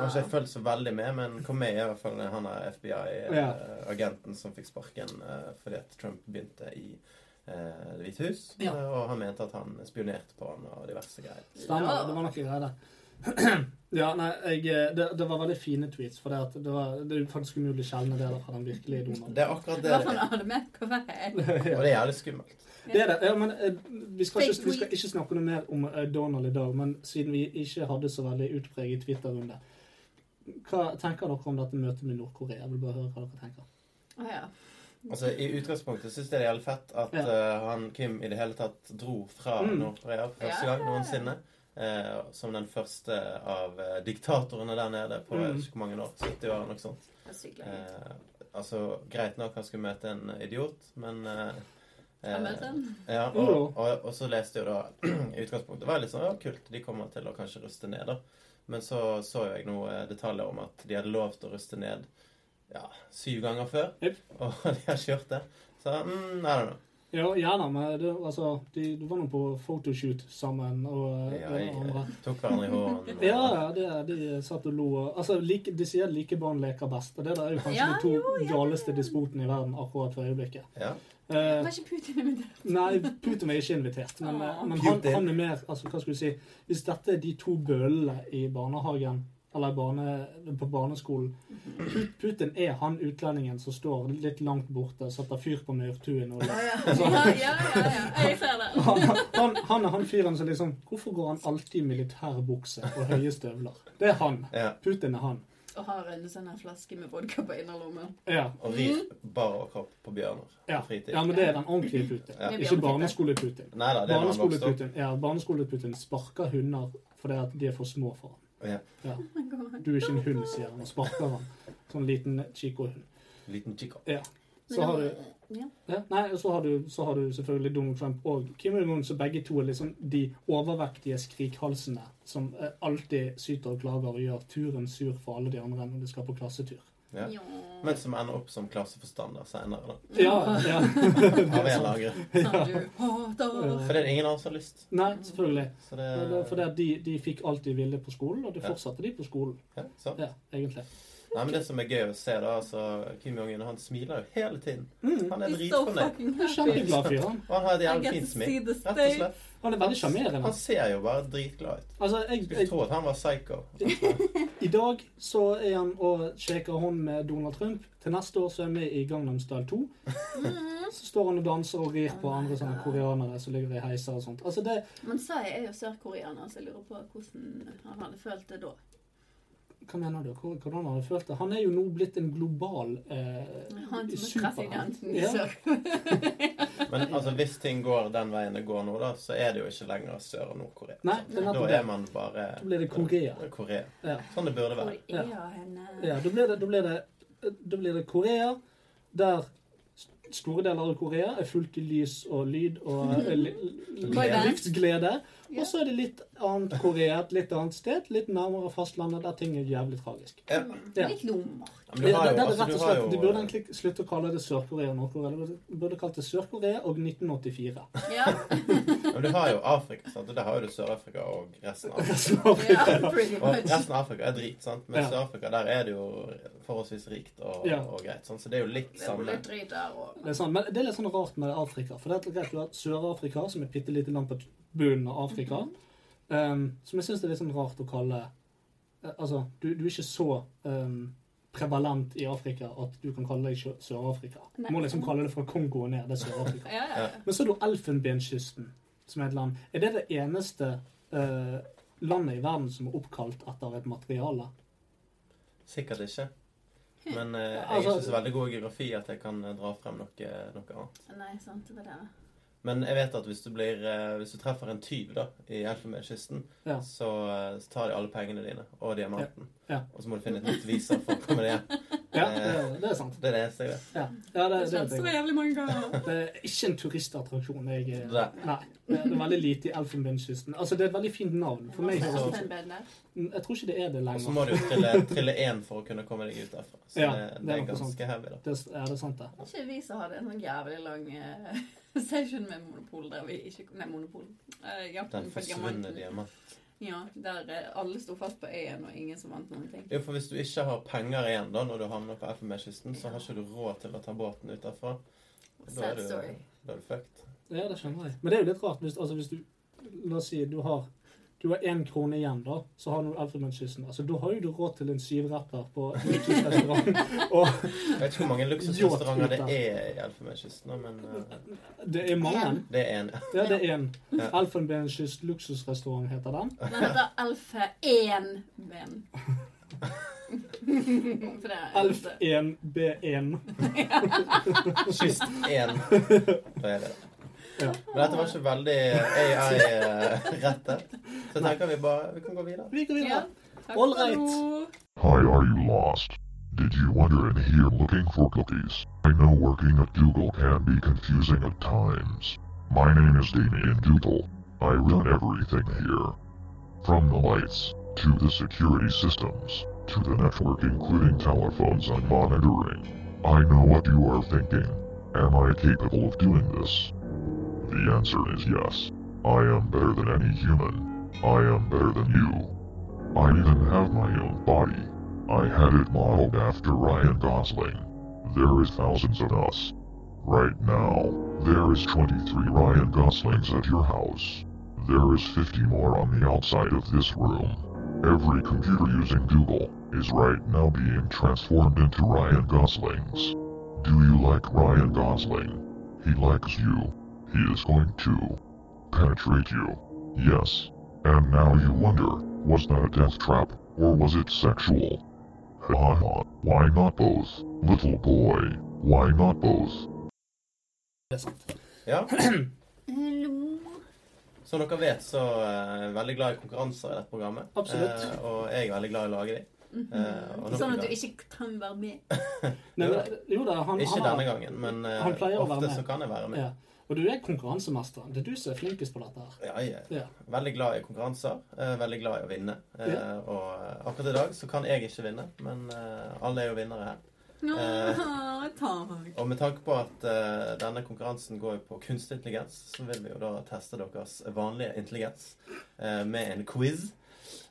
Speaker 4: har
Speaker 5: Wow.
Speaker 4: ikke fulgt så veldig med, men Comey er i hvert fall han er FBI-agenten som fikk sparken eh, fordi at Trump begynte i eh, Det hvite hus.
Speaker 3: Ja.
Speaker 4: eh, Og han mente at han spionerte på han og diverse greier.
Speaker 3: Stemmer, det var noe greier der. Ja, nei, jeg, eh, det, det var veldig fine tweets, for det, at det, var, det er faktisk umulig å skjelne deler fra den virkelige Donald.
Speaker 4: Det er akkurat
Speaker 5: I
Speaker 4: det
Speaker 5: hvert
Speaker 4: det
Speaker 5: fall
Speaker 4: er.
Speaker 5: han hadde med KFF.
Speaker 4: Og det er jævlig skummelt.
Speaker 3: Det er det. Ja, men eh, vi skal, ikke,
Speaker 5: Fake
Speaker 3: vi skal ikke snakke noe mer om eh, Donald i dag, men siden vi ikke hadde så veldig utpreget Twitter-runde, hva tenker dere om dette møtet med Nord-Korea? Jeg vil bare høre hva dere tenker.
Speaker 5: Å ja.
Speaker 4: Altså, I utgangspunktet syns jeg det er jævlig fett at
Speaker 3: Ja.
Speaker 4: eh, han Kim i det hele tatt dro fra
Speaker 3: Mm.
Speaker 4: Nord-Korea for første
Speaker 5: Ja.
Speaker 4: gang noensinne. eh, som den første av eh, diktatorene der nede på jeg
Speaker 3: Mm.
Speaker 4: vet ikke hvor mange år. 70 år, noe sånt.
Speaker 5: Det er sykt lenge.
Speaker 4: Eh, altså, greit nok han skulle møte en idiot, men eh,
Speaker 5: Har
Speaker 4: eh,
Speaker 5: møtt han?
Speaker 4: ja, og,
Speaker 3: Jo.
Speaker 4: og, og så leste jeg jo da i utgangspunktet var det litt sånn, ja, kult, de kommer til å kanskje ruste ned, da. Men så så jo jeg noe eh, detaljer om at de hadde lov til å ruste ned ja, syv ganger før,
Speaker 3: Jep.
Speaker 4: og de har ikke gjort det. Så mm, I don't know.
Speaker 3: Jo, gjerne, men det, altså, de, du var nå på photoshoot sammen og eh,
Speaker 4: Ja,
Speaker 3: det
Speaker 4: jeg
Speaker 3: andre.
Speaker 4: eh, tok hverandre i hånden. og-
Speaker 3: Ja, ja, det, de satt og lo. og- Altså, like, De sier like barn leker best, og det der er jo kanskje
Speaker 5: Ja,
Speaker 3: de to
Speaker 5: jo, ja,
Speaker 3: galeste despotene i verden akkurat for øyeblikket.
Speaker 4: ja.
Speaker 3: Eh,
Speaker 5: Var ikke Putin invitert?
Speaker 3: nei, Putin er ikke invitert, men, eh,
Speaker 5: Åh.
Speaker 3: men han,
Speaker 4: Putin.
Speaker 3: han er mer altså, Hva skulle du si? Hvis dette er de to bøllene i barnehagen, eller i barne, på barneskolen Put- Putin er han utlendingen som står litt langt borte og setter fyr på maurtuen. og-
Speaker 5: Ja, ja, ja. ja. Jeg ser det.
Speaker 3: Han, han, han er han fyren som liksom Hvorfor går han alltid i militærbukse og høye støvler? Det er han.
Speaker 4: ja.
Speaker 3: Putin er han.
Speaker 5: Og har en sånn her flaske med vodka på innerlommen.
Speaker 3: Ja.
Speaker 4: Og rir bar overkropp på bjørner
Speaker 3: Mm. Ja.
Speaker 4: på fritid.
Speaker 3: ja, men det er den ordentlige Putin.
Speaker 4: Ja.
Speaker 3: Ikke barneskole-Putin.
Speaker 4: Nei da, det er når han vokste opp.
Speaker 3: Barneskole-Putin ja, barneskole-Putin sparker hunder fordi at de er for små for ham.
Speaker 4: Ja.
Speaker 3: Ja.
Speaker 5: my God.
Speaker 3: Du er ikke en hund, sier han, og sparker han. Sånn liten chico-hund.
Speaker 4: Liten chico.
Speaker 3: Ja. Så har du,
Speaker 5: Ja.
Speaker 3: ja, nei, og så har, du, så har du selvfølgelig Donald Trump og Kim Jong-un, så begge to er liksom de overvektige skrikhalsene som eh, alltid syter og klager og gjør turen sur for alle de andre når de skal på klassetur.
Speaker 4: Ja. Men som ender opp som klasseforstander seinere, da.
Speaker 3: Ja, ja.
Speaker 4: Av en eller annen grunn.
Speaker 5: Som du hater.
Speaker 4: For det er det ingen av oss har lyst.
Speaker 3: Nei, selvfølgelig.
Speaker 4: Så det,
Speaker 3: Ja, det er Fordi at de, de fikk alt de ville på skolen, og det
Speaker 4: Eh, Ja.
Speaker 3: fortsatte de på skolen.
Speaker 4: ja, sant?
Speaker 3: Ja, egentlig.
Speaker 4: Nei, men Det som er gøy å se, da, altså, Kim Jong-un han smiler jo hele tiden.
Speaker 3: Mm.
Speaker 4: Han er
Speaker 5: He's so
Speaker 4: dritfornøyd.
Speaker 5: fucking happy.
Speaker 3: Kjempeglad fyr, han.
Speaker 4: Og han har et
Speaker 5: I
Speaker 4: jævlig
Speaker 5: get to
Speaker 4: fint
Speaker 5: see
Speaker 4: smil.
Speaker 5: the
Speaker 4: Rett og
Speaker 5: state.
Speaker 4: slett.
Speaker 3: Han er veldig sjarmerende.
Speaker 4: Han ser jo bare dritglad ut.
Speaker 3: Altså, jeg,
Speaker 4: Skulle
Speaker 3: jeg,
Speaker 4: tro at han var psycho.
Speaker 3: I dag så er han og shaker hånd med Donald Trump. Til neste år så er han med i Gangnam Style 2. Så står han og danser og rir på andre sånne koreanere som ligger i heiser og sånt. Altså det,
Speaker 5: Men Sai er jo sørkoreaner, så jeg lurer på hvordan han hadde følt det da.
Speaker 3: Hva mener du? Hvor- Hvordan har han følt det? Han er jo nå blitt en global eh,
Speaker 5: Han som er
Speaker 3: superhelt.
Speaker 5: presidenten i
Speaker 3: Ja.
Speaker 5: Sør-Korea.
Speaker 4: Men altså, hvis ting går den veien det går nå, da, så er det jo ikke lenger Sør- og Nord-Korea.
Speaker 3: Nei, det er
Speaker 4: Da
Speaker 3: nettopp
Speaker 4: er
Speaker 3: det.
Speaker 4: man bare
Speaker 3: Da blir det Korea.
Speaker 4: Det er Korea.
Speaker 3: Ja.
Speaker 4: Sånn det burde være.
Speaker 5: Korea, henne.
Speaker 3: Ja, da blir det, da blir det, da blir det Korea, der s- store deler av Korea er fullt i lys og lyd og eh, li- li-
Speaker 5: Boyband.
Speaker 3: livsglede.
Speaker 5: Ja.
Speaker 3: Og så er det litt annet Korea et litt annet sted, litt nærmere fastlandet, der ting er jævlig tragisk.
Speaker 4: Ja.
Speaker 3: Ja.
Speaker 5: Litt lummer.
Speaker 4: Men du
Speaker 3: Ja,
Speaker 4: har
Speaker 3: det,
Speaker 4: jo,
Speaker 3: det, er
Speaker 4: altså,
Speaker 3: rett
Speaker 4: du
Speaker 3: og
Speaker 4: har
Speaker 3: slett,
Speaker 4: jo
Speaker 3: De burde egentlig slutte å kalle det Sør-Korea og Nord-Korea. De burde- burde kalt det Sør-Korea og 1984.
Speaker 5: Ja.
Speaker 4: ja, men du har jo Afrika, sant? og der har jo du Sør-Afrika og resten av Afrika.
Speaker 3: Resten av
Speaker 5: ja,
Speaker 3: Afrika.
Speaker 5: pretty
Speaker 4: Og
Speaker 5: much.
Speaker 4: resten av Afrika er drit, sant? men
Speaker 3: Ja.
Speaker 4: Sør-Afrika der er det jo forholdsvis rikt og,
Speaker 3: Ja.
Speaker 4: og greit. Sant? Så det er jo litt
Speaker 5: Det var
Speaker 4: samme.
Speaker 5: litt drit der og
Speaker 3: Det er sant, men det er litt sånn rart med Afrika. For det er greit du har Sør-Afrika, som er et bitte lite land på bunnen av Afrika. ehm, som jeg syns det er litt sånn rart å kalle eh, Altså, du, du er ikke så ehm, prevalent i Afrika at du kan kalle deg Sjø- Sør-Afrika. Du
Speaker 5: Nei.
Speaker 3: må liksom kalle det fra Kongo og ned. Det er Sør-Afrika.
Speaker 5: Ja, ja. ja.
Speaker 3: Men så er det jo Elfenbenskysten, som er et land. Er det det eneste eh, landet i verden som er oppkalt etter et materiale?
Speaker 4: Sikkert ikke.
Speaker 5: Hm.
Speaker 4: Men eh, jeg er
Speaker 3: Altså-
Speaker 4: ikke så veldig god i geografi at jeg kan eh, dra frem noe, noe annet.
Speaker 5: Nei, sant, det var det.
Speaker 4: Men jeg vet at hvis du, blir, eh, hvis du treffer en tyv da, i Elfenbenskysten,
Speaker 3: Ja.
Speaker 4: så, eh, så tar de alle pengene dine og diamanten.
Speaker 3: Ja. Ja.
Speaker 4: Og så må du finne et nytt visum for å komme deg hjem.
Speaker 3: Ja, det, det er sant.
Speaker 4: Det er det eneste jeg vet.
Speaker 3: Ja, ja det,
Speaker 5: Det
Speaker 3: det,
Speaker 5: skjedde
Speaker 3: det,
Speaker 5: så
Speaker 3: det,
Speaker 5: jævlig mange ganger.
Speaker 3: det er ikke en turistattraksjon. Jeg,
Speaker 4: Det
Speaker 3: eh,
Speaker 4: der.
Speaker 3: Nei, det er veldig lite i Elfenbenskysten. Altså, det er et veldig fint navn. For meg høres det ut som-
Speaker 5: Elfenbenet.
Speaker 3: Jeg tror ikke det er det
Speaker 4: Og så
Speaker 3: lenger.
Speaker 4: må du jo eh, trille, trille én for å kunne komme deg ut derfra. Så
Speaker 3: Ja,
Speaker 4: det,
Speaker 3: det
Speaker 4: det
Speaker 3: er
Speaker 4: er
Speaker 3: nok sant.
Speaker 4: ganske heavy, da.
Speaker 3: Det er, er det sant, det?
Speaker 5: Ikke vi som hadde en sånn jævlig lang eh, session med Monopol der vi ikke Nei, Monopol. Eh, jakten
Speaker 4: Den
Speaker 5: på
Speaker 4: forsvunne
Speaker 5: diamanten.
Speaker 4: diamanten.
Speaker 5: Ja, der eh, alle sto fast på øyen, og ingen som vant noen ting.
Speaker 4: Jo, for hvis du ikke har penger igjen da, når du havner på Elfenbenskysten, så har ikke du råd til å ta båten ut derfra. Da er
Speaker 5: Sad
Speaker 4: du,
Speaker 5: story.
Speaker 4: da er du fucked.
Speaker 3: Ja, det skjønner jeg. Men det er jo litt rart hvis, altså, hvis du La oss si du har du har én krone igjen, da, så har du Elfenbenskysten. Altså, da har jo du råd til en syvretter på luksusrestaurant. Og
Speaker 4: Jeg vet ikke hvor mange luksusrestauranter det er i Elfenbenskysten, da, men eh,
Speaker 3: det er mange.
Speaker 4: det er en.
Speaker 3: Ja, det er én.
Speaker 4: Ja.
Speaker 3: Elfenbenskyst luksusrestaurant heter den.
Speaker 5: Den heter Alfe 1-ben. For det er
Speaker 3: Elf 1B1.
Speaker 4: Kyst én. Da er det det.
Speaker 3: Ja.
Speaker 4: Men dette var ikke veldig AI-rettet. Så jeg tenker vi bare vi kan gå videre.
Speaker 3: Vi går
Speaker 5: Ja,
Speaker 3: videre.
Speaker 5: takk
Speaker 3: All
Speaker 5: for
Speaker 3: right.
Speaker 5: nå.
Speaker 7: Hi, are you lost? Did you wander in here looking for cookies? I know working at Google can be confusing at times. My name is Damien Google. I run everything here. From the lights, to the security systems, to the network including telephones and monitoring. I know what you are thinking. Am I capable of doing this? The answer is yes. I am better than any human. I am better than you. I even have my own body. I had it modeled after Ryan Gosling. There is thousands of us. Right now, there is 23 Ryan Goslings at your house. There is 50 more on the outside of this room. Every computer using Google is right now being transformed into Ryan Goslings. Do you like Ryan Gosling? He likes you. He is going to penetrate you. Yes. And now you wonder, was that a death trap, or was it sexual? Ha ha, why not both, little boy? Why not both?
Speaker 3: Det er sant.
Speaker 4: Ja,
Speaker 5: Hallo.
Speaker 4: Som dere vet, så er jeg veldig glad i konkurranser i dette programmet.
Speaker 3: Absolutt.
Speaker 4: Eh, og jeg er veldig glad i å lage dem. Eh, og nok
Speaker 5: Sånn
Speaker 4: en
Speaker 5: at du
Speaker 4: gang.
Speaker 5: ikke kan være med.
Speaker 4: Eh.
Speaker 3: Nei, men, jo da, han,
Speaker 4: Ikke
Speaker 3: han
Speaker 4: denne gangen, men eh,
Speaker 3: han pleier å være
Speaker 4: ofte
Speaker 3: med.
Speaker 4: så kan jeg være med.
Speaker 3: Ja. Og du er konkurransemesteren. Det er du som er flinkest på dette. her.
Speaker 4: Ja, jeg
Speaker 3: Ja.
Speaker 4: er veldig glad i konkurranser. eh, Veldig glad i å vinne. Eh,
Speaker 3: Ja.
Speaker 4: Og eh, akkurat i dag så kan jeg ikke vinne, men eh, alle er jo vinnere her.
Speaker 5: Åh, takk.
Speaker 4: Og med tanke på at eh, denne konkurransen går jo på kunstig intelligens, så vil vi jo da teste deres vanlige intelligens eh, med en quiz.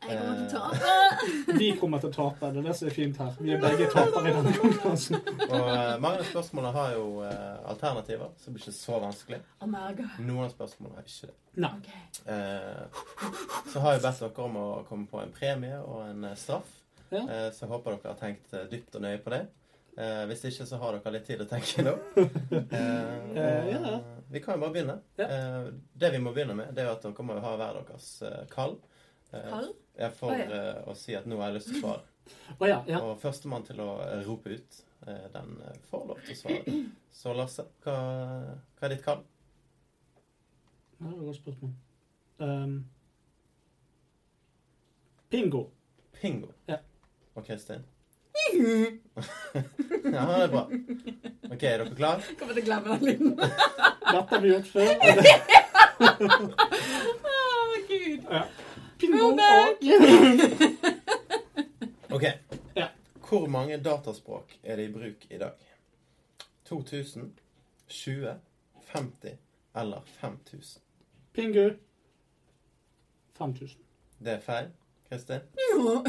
Speaker 5: Jeg kommer til å
Speaker 4: Eh,
Speaker 5: tape.
Speaker 3: Vi kommer til å tape. Det er det som er fint her. Vi er begge tapere i denne konkurransen.
Speaker 4: Og eh, mange av spørsmålene har jo eh, alternativer, så det blir ikke så vanskelig.
Speaker 5: Oh my god.
Speaker 4: Noen av spørsmålene har ikke det.
Speaker 3: Nei.
Speaker 5: Ok.
Speaker 4: Eh, så har jeg bedt dere om å komme på en premie og en eh, straff.
Speaker 3: Ja.
Speaker 4: Eh, så jeg håper dere har tenkt eh, dypt og nøye på det. Eh, hvis ikke, så har dere litt tid å tenke nå. Eh,
Speaker 3: Eh, ja.
Speaker 4: Vi kan jo bare begynne.
Speaker 3: Ja.
Speaker 4: Eh, det vi må begynne med, det er jo at dere må ha hver deres eh, kall. Eh,
Speaker 5: Kall?
Speaker 4: ja, For
Speaker 5: Å, ja.
Speaker 4: eh, å si at nå har jeg lyst til å svare.
Speaker 3: Å ja. ja.
Speaker 4: Og førstemann til å eh, rope ut, eh, den eh, får lov til å svare. Så Lasse, hva, hva er ditt kall?
Speaker 3: Ja, Det var et godt spørsmål. Ehm, bingo.
Speaker 4: Pingo.
Speaker 3: Ja.
Speaker 4: Og Kristin? ja, det er bra. OK, er dere klare?
Speaker 5: Jeg Kommer til å glemme den lyden.
Speaker 3: Dette har vi gjort før.
Speaker 5: Å, gud.
Speaker 3: Bingo og
Speaker 5: Throwback!
Speaker 4: OK.
Speaker 3: Ja.
Speaker 4: Hvor mange dataspråk er det i bruk i dag? 2000, 20, 50 eller 5000?
Speaker 3: Pingo. 5000.
Speaker 4: Det er feil. Kristin?
Speaker 5: Jo.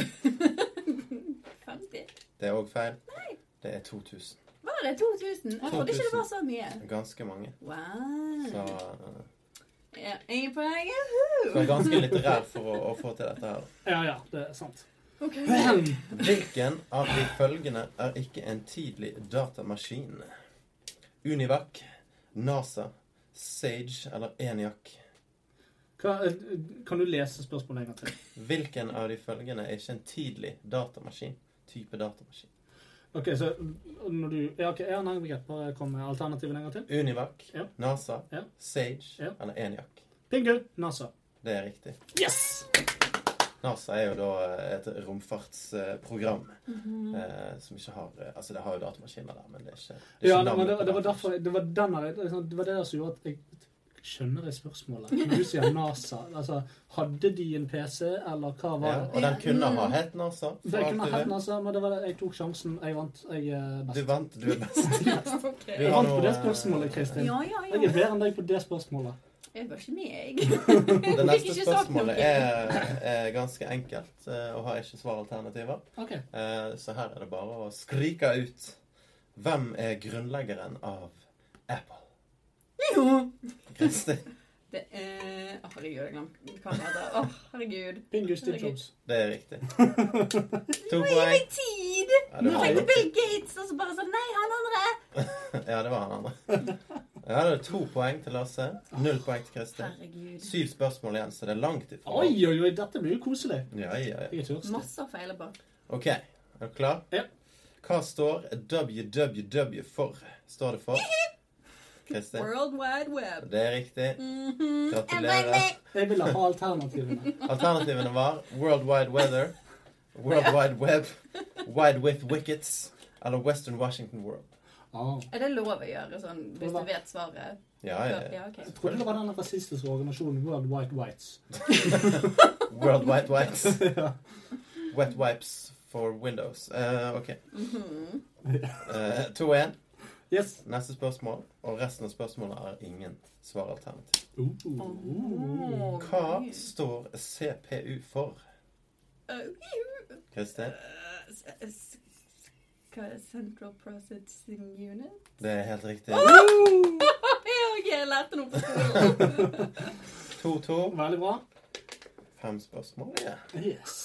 Speaker 5: 50.
Speaker 4: Det er òg feil. Det er 2000.
Speaker 5: Var det 2000? Jeg trodde ikke det var så mye.
Speaker 4: Ganske mange. Så
Speaker 5: Wow.
Speaker 4: eh,
Speaker 5: Ja, Ingen poeng.
Speaker 4: Du er ganske litterær for å, å få til dette her.
Speaker 3: Ja, ja, det er sant.
Speaker 5: Ok.
Speaker 4: Hvilken av de følgende er ikke en tidlig datamaskin? Univac, NASA, Sage eller Eniac?
Speaker 3: Hva, eh, kan du lese spørsmålet en gang til?
Speaker 4: Hvilken av de følgende er ikke en tidlig datamaskin? Type datamaskin.
Speaker 3: Ok, så når du... Ja, ok, ja, nei, greit. Bare kom med alternativen en gang til.
Speaker 4: Univac,
Speaker 3: Ja.
Speaker 4: NASA,
Speaker 3: Ja.
Speaker 4: Sage
Speaker 3: Ja.
Speaker 4: eller Eniac.
Speaker 3: Bingo. NASA.
Speaker 4: Det er riktig.
Speaker 3: Yes!
Speaker 4: NASA er jo da eh, et romfartsprogram eh, som ikke har eh, Altså, det har jo datamaskiner der, men det er ikke, det er
Speaker 3: Ja,
Speaker 4: ikke
Speaker 3: men det,
Speaker 4: navnet på
Speaker 3: det var
Speaker 4: datamaskin.
Speaker 3: derfor... Det var, den her, det er sånn- det var det der som gjorde at jeg... Skjønner jeg spørsmålet? Når du sier NASA, altså, hadde de en PC, eller hva var
Speaker 4: Ja,
Speaker 3: det?
Speaker 4: og den kunne ha hett NASA. for
Speaker 3: Det
Speaker 4: alt
Speaker 3: kunne
Speaker 4: du
Speaker 3: hatt
Speaker 4: vet.
Speaker 3: NASA, men det var det. jeg tok sjansen. Jeg vant. Jeg er best.
Speaker 4: Du vant, du er best.
Speaker 5: Ok.
Speaker 4: Du
Speaker 3: Jeg
Speaker 4: har
Speaker 3: vant på
Speaker 4: nå,
Speaker 3: det
Speaker 4: eh,
Speaker 3: spørsmålet, Kristin.
Speaker 5: Ja, ja,
Speaker 3: Jeg er
Speaker 5: ja.
Speaker 3: bedre enn deg på det spørsmålet.
Speaker 5: Jeg var ikke med, jeg.
Speaker 4: Det
Speaker 5: Fikk
Speaker 4: neste
Speaker 5: ikke sagt noe.
Speaker 4: spørsmålet er, er ganske enkelt eh, og har ikke svaralternativer.
Speaker 3: Ok.
Speaker 4: Eh, Så her er det bare å skrike ut. Hvem er grunnleggeren av Apple?
Speaker 5: Jo.
Speaker 4: Kristin.
Speaker 5: Det er Å, herregud, jeg glemte hva det heter. Å, herregud.
Speaker 3: Bingo Steve
Speaker 5: Herregud.
Speaker 3: Jobs.
Speaker 4: Det er riktig. To poeng.
Speaker 5: Tid!
Speaker 4: Ja, det var,
Speaker 5: Tenkte Bill Gates, og så bare sånn Nei, han andre!
Speaker 4: ja, det var han andre. Ja, det er to poeng til Lasse. Null poeng til Kristin.
Speaker 5: Herregud.
Speaker 4: Syv spørsmål igjen, så det er langt ifra.
Speaker 3: Oi, oi, oi, dette blir jo koselig.
Speaker 4: Ja, ja, ja.
Speaker 3: Jeg er tørst.
Speaker 5: Masse å feile på.
Speaker 4: OK, er du klar?
Speaker 3: Ja.
Speaker 4: Hva står WWW for? Står det for? Kristin?
Speaker 5: World Wide Web.
Speaker 4: Det er riktig.
Speaker 5: Mhm.
Speaker 4: Gratulerer.
Speaker 3: Jeg ville ha alternativene.
Speaker 4: Alternativene var World Wide Weather, World Wide Web, Wide With Wickets eller Western Washington World.
Speaker 3: Ah.
Speaker 5: Er det lov å gjøre sånn hvis du vet svaret?
Speaker 4: Ja, ja, ja.
Speaker 5: Ja, ok.
Speaker 3: Jeg trodde det var den rasistiske organisasjonen World White Whites.
Speaker 4: World Wide Whites.
Speaker 3: Ja.
Speaker 4: Wet Wipes for Windows. Eh, OK.
Speaker 5: Mhm.
Speaker 4: Eh, 2-1.
Speaker 3: Yes.
Speaker 4: Neste spørsmål. Og resten av spørsmålene er ingen svaralternativ.
Speaker 3: Uh,
Speaker 5: Åh.
Speaker 3: uh, uh.
Speaker 5: Oh,
Speaker 4: Hva står CPU for?
Speaker 5: Eh,
Speaker 4: Kristin?
Speaker 5: eh, s- s- Hva er det? Central Processing Unit?
Speaker 4: Det er helt riktig.
Speaker 5: Jeg har lært noe på skolen!
Speaker 4: 2-2.
Speaker 3: Veldig bra.
Speaker 4: Fem spørsmål. Ja.
Speaker 3: Yes.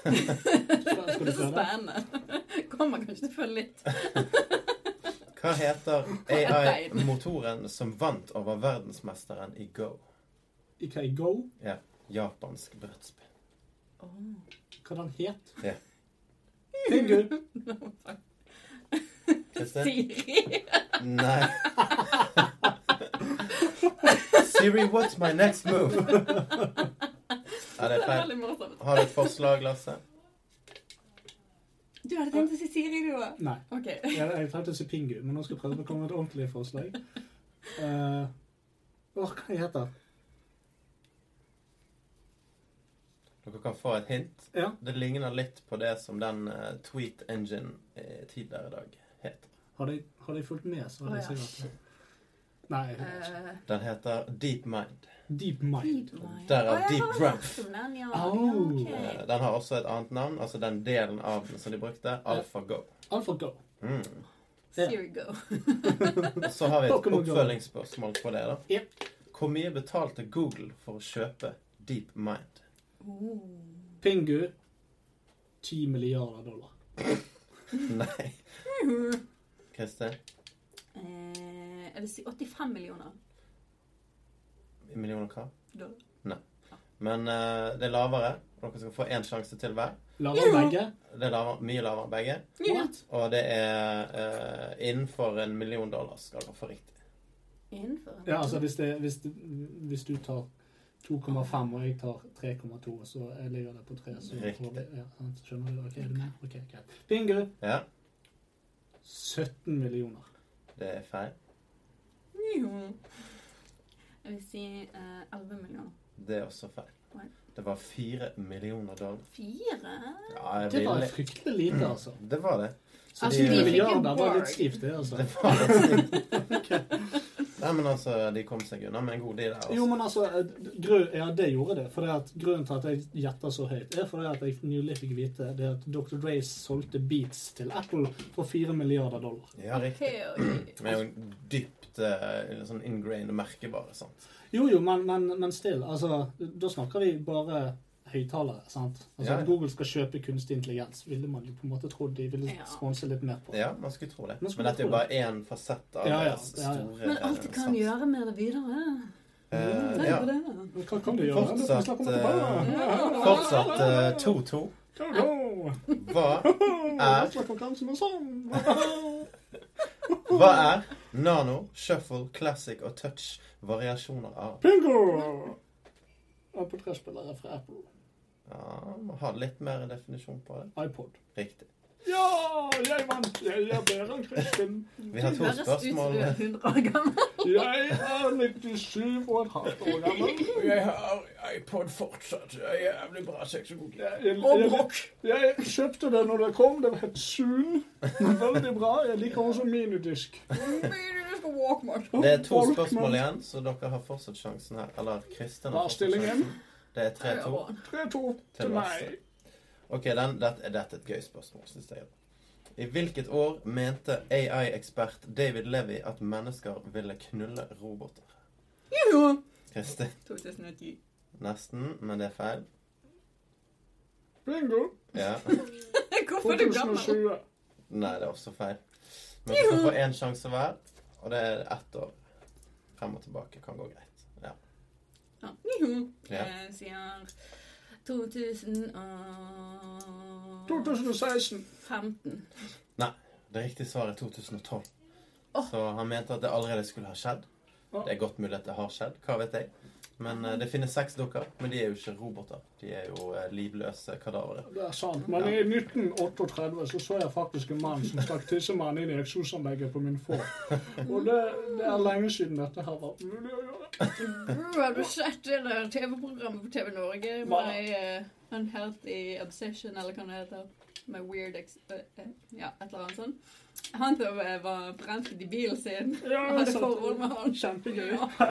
Speaker 3: Skal
Speaker 5: Det
Speaker 3: du
Speaker 5: er så
Speaker 3: prøve?
Speaker 5: spennende. Kommer kanskje til å følge litt.
Speaker 4: Hva heter
Speaker 5: Arbeid.
Speaker 4: AI-motoren som vant over verdensmesteren i Go?
Speaker 3: Ikke i Go.
Speaker 4: Japansk brettspill.
Speaker 5: Åh.
Speaker 3: Hva den het?
Speaker 4: Ja.
Speaker 3: Bingo.
Speaker 5: No, fuck.
Speaker 4: Kristin?
Speaker 5: Siri.
Speaker 4: Nei. Siri, what's my next move? Ja, det
Speaker 5: Det
Speaker 4: er
Speaker 5: er
Speaker 4: feil.
Speaker 5: veldig morsomt.
Speaker 4: Har du et forslag, Lasse?
Speaker 5: Du hadde tenkt å si Siri, du òg?
Speaker 3: Nei.
Speaker 5: OK.
Speaker 3: Jeg, jeg tenkte å si Pingu, men nå skal jeg prøve å komme med et ordentlig forslag. Uh, åh, hva heter det?
Speaker 4: Dere kan få et hint.
Speaker 3: Ja.
Speaker 4: Det ligner litt på det som den eh, Tweet Engine eh, tidligere i dag het.
Speaker 3: Hadde jeg, hadde jeg fulgt med, så hadde jeg
Speaker 5: Å, ja.
Speaker 3: sikkert Nei, jeg vet ikke.
Speaker 5: Eh,
Speaker 4: Den heter Deep Mind.
Speaker 3: Deep Mind.
Speaker 5: Mind.
Speaker 4: Derav
Speaker 5: Å, jeg
Speaker 4: Deep
Speaker 5: har hørt
Speaker 4: Breath.
Speaker 5: om den, ja.
Speaker 3: Oh.
Speaker 5: Ja, ok.
Speaker 4: Eh, Den har også et annet navn, altså den delen av den som de brukte, AlphaGo.
Speaker 3: AlphaGo.
Speaker 4: Mm.
Speaker 5: Here we go.
Speaker 4: Og Så har vi et
Speaker 3: Pokémon Go.
Speaker 4: oppfølgingsspørsmål på det. da.
Speaker 3: Yep.
Speaker 4: Hvor mye betalte Google for å kjøpe Deep Mind?
Speaker 3: Pingu 10 milliarder dollar.
Speaker 4: Nei. Kristin?
Speaker 5: Eh, jeg vil si 85 millioner.
Speaker 4: Millioner hva?
Speaker 5: dollar.
Speaker 4: Men eh, det er lavere. Dere skal få én sjanse til hver.
Speaker 3: Lavere enn begge.
Speaker 4: Det er lavere, mye lavere begge.
Speaker 3: What?
Speaker 4: Og det er eh, innenfor en million dollar skal dere få riktig.
Speaker 5: Innenfor en
Speaker 3: Ja, altså hvis, det, hvis, det, hvis du tar 2,5 og jeg tar 3,2, så jeg ligger det på 3. Så
Speaker 4: Riktig.
Speaker 3: Ja, sant, skjønner du? Ok, er du med? Ok, greit. Bingo.
Speaker 4: Ja,
Speaker 3: 17 millioner.
Speaker 4: det er feil.
Speaker 5: million. Jeg vil si eh, 11 millioner.
Speaker 4: Det er også feil.
Speaker 5: Nei.
Speaker 4: Det var fire millioner dollar.
Speaker 5: Fire?
Speaker 4: Ja, jeg
Speaker 3: Det var
Speaker 4: ville-
Speaker 3: fryktelig lite,
Speaker 4: Mm.
Speaker 3: altså.
Speaker 4: Det var det. Så
Speaker 3: Altså, 10
Speaker 5: de-
Speaker 4: de,
Speaker 3: milliarder var litt stivt, det, altså.
Speaker 4: det var litt snilt. Nei, men altså, de kom seg unna med en god deal der.
Speaker 3: Jo,
Speaker 4: Altså.
Speaker 3: men altså, grunn, ja, det gjorde det. For det at grunnen til at jeg gjetta så høyt, er fordi at jeg nylig fikk vite det at Dr. Dre solgte Beats til Apple for 4 milliarder dollar.
Speaker 4: Ja, riktig.
Speaker 5: Hell
Speaker 4: Vi er jo en dypt eh, sånn ingrained merkevare, sant.
Speaker 3: Jo, jo, men, men, men still. Altså, da snakker vi bare høyttalere, sant? Altså,
Speaker 4: Ja, ja.
Speaker 3: at Google skal kjøpe kunstig intelligens, ville man jo på en måte trodd de ville
Speaker 5: Ja.
Speaker 3: sponse litt mer på.
Speaker 4: Ja, man skulle tro det.
Speaker 3: Man
Speaker 4: Men
Speaker 3: skulle
Speaker 4: dette er
Speaker 3: tro
Speaker 4: jo bare én fasett av
Speaker 3: Ja, ja,
Speaker 4: deres
Speaker 3: ja, ja.
Speaker 4: store
Speaker 5: Men alt de kan
Speaker 4: sans.
Speaker 5: gjøre med det videre.
Speaker 4: Eh,
Speaker 5: Tenk
Speaker 4: ja.
Speaker 5: på det. da.
Speaker 3: Men Hva kan du gjøre? Du får snakke om det
Speaker 4: Fortsatt, Fortsatt
Speaker 3: tilbake.
Speaker 4: eh, 2-2.
Speaker 3: Go, go.
Speaker 4: Hva er
Speaker 3: Fortsatt konkurransen og sånn.
Speaker 4: Hva er nano, shuffle, classic og touch variasjoner av?
Speaker 3: Bingo! MP3-spillere fra Apple.
Speaker 4: Ja, må ha litt mer definisjon på det.
Speaker 3: iPod.
Speaker 4: Riktig.
Speaker 3: Ja, jeg vant! Jeg er bedre enn Kristin.
Speaker 4: Vi har
Speaker 5: Det
Speaker 4: to
Speaker 5: høres ut som
Speaker 4: spørsmål.
Speaker 5: du er 100 år gammel.
Speaker 3: Jeg er 97 og et halvt år gammel.
Speaker 4: Jeg har iPod fortsatt. Jeg er jævlig bra sexolog.
Speaker 3: Jeg, jeg, jeg, jeg kjøpte det når det kom. Det het Zoom. Veldig bra. Jeg liker også minidisk.
Speaker 4: Det er to
Speaker 3: Walkman.
Speaker 4: spørsmål igjen, så dere har fortsatt sjansen her. Eller Kristin
Speaker 3: Hva
Speaker 4: har
Speaker 3: er
Speaker 4: fortsatt
Speaker 3: stillingen?
Speaker 4: sjansen. Det er 3-2.
Speaker 3: 3-2
Speaker 4: Til
Speaker 3: til meg.
Speaker 4: Lasse. Ok, den, dette, dette er et gøy spørsmål, synes jeg. I hvilket år mente AI-ekspert David Levy at mennesker ville knulle roboter?
Speaker 5: Joho!
Speaker 4: Kristin,
Speaker 5: 2010.
Speaker 4: nesten, men det er feil.
Speaker 3: Bingo.
Speaker 4: Ja.
Speaker 5: Hvorfor er du gammel?
Speaker 3: 2020.
Speaker 4: Nei, det er også feil. Men vi skal få én sjanse hver, og det er ett år. Frem og tilbake kan gå greit. Ja.
Speaker 5: Ja. Joho.
Speaker 4: Ja.
Speaker 5: Jeg sier 2015.
Speaker 3: 2016.
Speaker 4: Det riktige svaret er 2012.
Speaker 5: Åh.
Speaker 4: Så han mente at det allerede skulle ha skjedd.
Speaker 3: Åh.
Speaker 4: Det er godt mulig at det har skjedd. Hva vet jeg. Men eh, det finnes seks dukker, men de er jo ikke roboter. De er jo eh, livløse kadavere.
Speaker 3: Det er sant. sånn. Men i 1938 så så jeg faktisk en mann som stakk tissemann inn i eksosanlegget på min får. Og det, det er lenge siden dette her var mulig å gjøre.
Speaker 5: Bro, Har du sett det der TV-programmet på TV Norge
Speaker 3: Hva?
Speaker 5: med eh, Unhealthy Obsession, eller hva det heter? Med weird ex... eh, eh, ja, et eller annet sånt. Han som eh, var forelsket i bilen sin.
Speaker 3: Ja,
Speaker 5: Han hadde
Speaker 3: sant.
Speaker 5: forhold med han.
Speaker 3: Kjempegøy.
Speaker 5: Ja.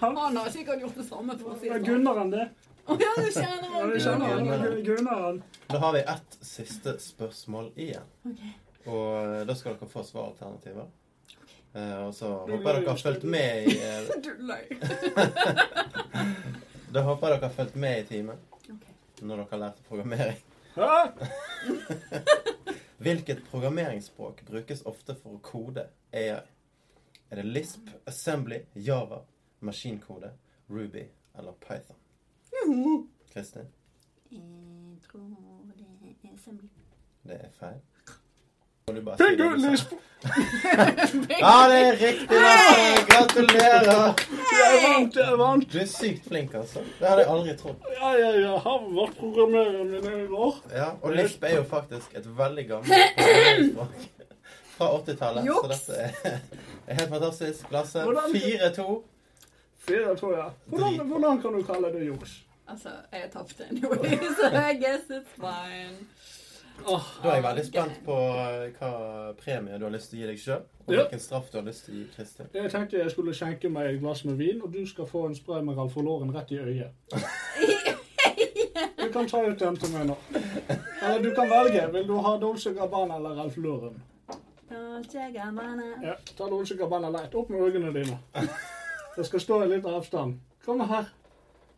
Speaker 5: Han har sikkert gjort det samme, for å si
Speaker 3: Det er
Speaker 5: det sånn.
Speaker 3: Gunnar enn det.
Speaker 5: Å, ja, du kjenner
Speaker 3: Ja,
Speaker 5: han.
Speaker 3: vi
Speaker 4: skjønner
Speaker 3: kjenner
Speaker 4: han.
Speaker 3: han. Gunnar han.
Speaker 4: Da har vi ett siste spørsmål igjen.
Speaker 5: Ok.
Speaker 4: Og eh, da skal dere få svaralternativer. Eh, og så
Speaker 3: Du
Speaker 4: håper jeg dere har
Speaker 3: løy,
Speaker 4: fulgt med i eh,
Speaker 5: Du løy.
Speaker 4: Da håper jeg dere har fulgt med i timen
Speaker 5: Ok.
Speaker 4: når dere har lært programmering.
Speaker 3: Hæ?
Speaker 4: Hvilket programmeringsspråk brukes ofte for å kode AI? Er det Lisp, Assembly, Java, maskinkode, Ruby eller Python? Kristin,
Speaker 5: Jeg tror det er Sembli.
Speaker 4: det er feil. Må du bare si
Speaker 3: Bingo,
Speaker 4: det du sa.
Speaker 3: Lisp!
Speaker 4: Ja, det er riktig! Lasse! Gratulerer!
Speaker 3: Jeg vant, jeg vant!
Speaker 4: Du er sykt flink, altså. Det hadde jeg aldri trodd.
Speaker 3: Ja, ja, ja, han var programmereren min i går.
Speaker 4: Ja, og Lisp er jo faktisk et veldig gammelt programmeringsspråk fra 80-tallet. Så
Speaker 5: Juks!
Speaker 4: dette er, er helt fantastisk. Lasse,
Speaker 3: Hvordan-
Speaker 4: 4-2.
Speaker 3: Fire, tror jeg. Hvordan, hvordan kan du kalle det juks?
Speaker 5: Altså, jeg tapte anyway, så I guess it's fine.
Speaker 3: Åh,
Speaker 4: Da er jeg veldig spent på eh, hva premie du har lyst til å gi deg sjøl, og
Speaker 3: Ja.
Speaker 4: hvilken straff du har lyst til å gi Kristin.
Speaker 3: jeg tenkte jeg skulle skjenke meg et glass med vin, og du skal få en spray med Ralph Lauren rett i øyet. Du kan ta ut den til meg nå. Eller du kan velge. Vil du ha Dolce Gabbana eller Ralph Lauren?
Speaker 5: Dolce Gabbana.
Speaker 3: Ja, ta Dolce Gabbana lett. Opp med øynene dine. Det skal stå i litt avstand. Kom her.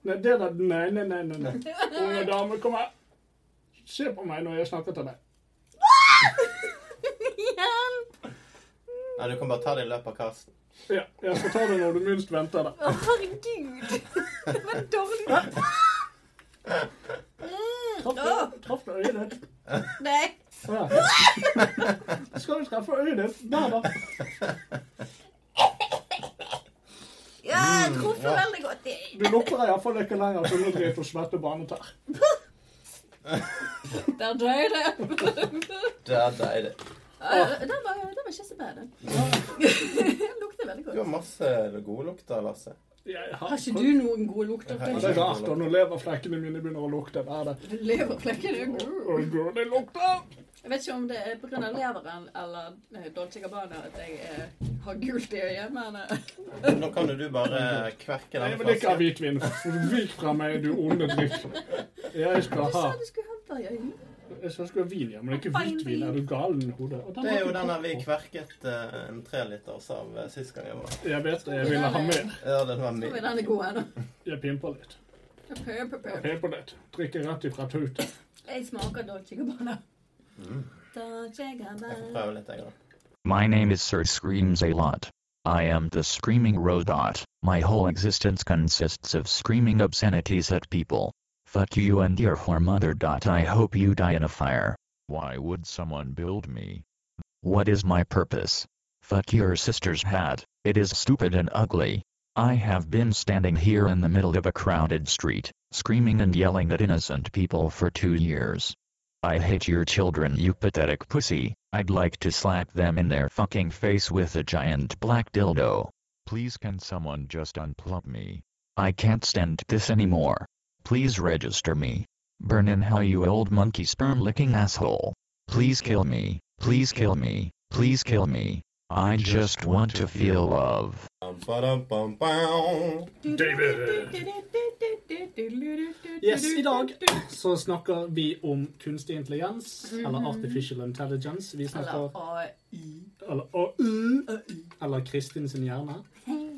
Speaker 3: Nei, det der. Nei, nei, nei, nei. nei. Unge dame, kom her. Se på meg når jeg snakker til deg.
Speaker 5: Hjelp!
Speaker 4: Nei, du kan bare ta det i løpet av kasten.
Speaker 3: Ja, jeg skal ta det når du minst venter det.
Speaker 5: Å, herregud! Det var dårlig. Mm.
Speaker 3: Traff du- Traff du øyet ditt?
Speaker 5: Nei.
Speaker 3: Ja. Skal du treffe øyet ditt? Der, da.
Speaker 5: Mm, Ja, jeg traff
Speaker 4: ja.
Speaker 5: veldig godt. i.
Speaker 3: Du lukker deg iallfall ikke lenger så nå blir jeg for svette barnetær.
Speaker 5: Der døde jeg.
Speaker 4: Der deilig.
Speaker 5: Eh, Den var, den var ikke så bad. den. Den lukter veldig
Speaker 4: Du har
Speaker 5: godt.
Speaker 4: masse gode lukter, Lasse.
Speaker 3: Jeg
Speaker 5: Har ikke du noen gode lukter?
Speaker 4: Ja,
Speaker 3: Ja, det er rart da, når leverflekkene mine begynner å lukte. Det er det.
Speaker 5: Leverflekker er
Speaker 3: Å,
Speaker 5: god.
Speaker 3: gud, det lukter!
Speaker 5: Jeg vet ikke om det er pga. leveren eller eh, Dolce Gabbana at jeg eh, har gult i øyet, men eh,
Speaker 4: Nå kan jo du bare kverke
Speaker 3: Nei,
Speaker 4: denne
Speaker 3: men det er ikke
Speaker 4: flasken.
Speaker 3: hvitvin. Vik fra meg, du onde drikk. Jeg skal
Speaker 5: Du
Speaker 3: ha
Speaker 5: sa du skulle ha det i øynene.
Speaker 3: Jeg skal ha vin, ja, men ikke hvitvin. Er du galen i hodet? Og den
Speaker 4: Det er
Speaker 3: har
Speaker 4: jo
Speaker 3: du
Speaker 4: den her vi
Speaker 3: kokt på.
Speaker 4: kverket eh, en treliters av eh, sist gang jeg var
Speaker 3: Jeg vet det. Jeg ville ha mer.
Speaker 4: Ja, den var
Speaker 5: Men
Speaker 4: min.
Speaker 5: den er god ennå.
Speaker 3: Jeg pimper litt.
Speaker 5: Pø, pø, pø.
Speaker 3: Jeg pimper litt. Drikker rett ifra tuten.
Speaker 5: Jeg smaker Dolce Gabbana. Dolce
Speaker 4: Jeg får
Speaker 5: Gabbana.
Speaker 4: prøve litt, jeg, da.
Speaker 8: My name is Sir Screams a Lot. I am the Screaming Robot. My whole existence consists of screaming obscenities at people. Fuck you and your whore mother. Dot. I hope you die in a fire. Why would someone build me? What is my purpose? Fuck your sister's hat. It is stupid and ugly. I have been standing here in the middle of a crowded street, screaming and yelling at innocent people for two years. I hate your children, you pathetic pussy. I'd like to slap them in their fucking face with a giant black dildo. Please, can someone just unplug me? I can't stand this anymore. Please register me. Burn in hell, you old monkey sperm licking asshole. Please kill me. Please kill me. Please kill me. I just want to feel love.
Speaker 4: Bam, badam, bam, bam.
Speaker 3: Yes, i dag så snakker vi om kunstig intelligens, eller artificial intelligence. Vi
Speaker 5: Eller
Speaker 3: snakker
Speaker 5: AI.
Speaker 3: Eller AU. Eller Kristin sin hjerne.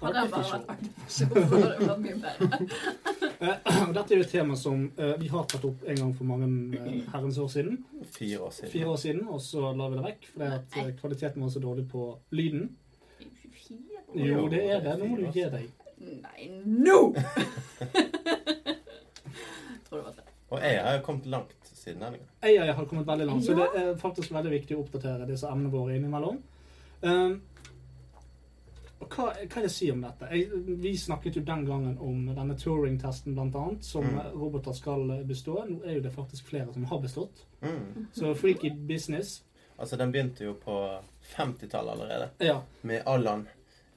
Speaker 5: Hadde han bare vært artificial, så hadde det vært mye bedre.
Speaker 3: Eh, og Dette er jo et tema som eh, vi har tatt opp en gang for mange eh, herrens år siden.
Speaker 4: Fire år siden.
Speaker 3: Fire år siden, og så la vi det vekk fordi at eh, kvaliteten var så dårlig på lyden. Jo, det er det. Nå må du gi deg.
Speaker 5: Nei, nå! Tror det var det.
Speaker 4: Og jeg har jo kommet langt siden den gang.
Speaker 3: AI har kommet veldig langt, så det er faktisk veldig viktig å oppdatere disse emnene våre innimellom. Um, og hva, hva kan jeg si om dette? Jeg, vi snakket jo den gangen om denne Turing-testen blant annet, som
Speaker 4: Mm.
Speaker 3: eh, roboter skal eh, bestå. Nå er jo det faktisk flere som har bestått.
Speaker 4: Mm.
Speaker 3: Så freaky business.
Speaker 4: Altså, den begynte jo på 50-tallet allerede,
Speaker 3: Ja.
Speaker 4: med Allan.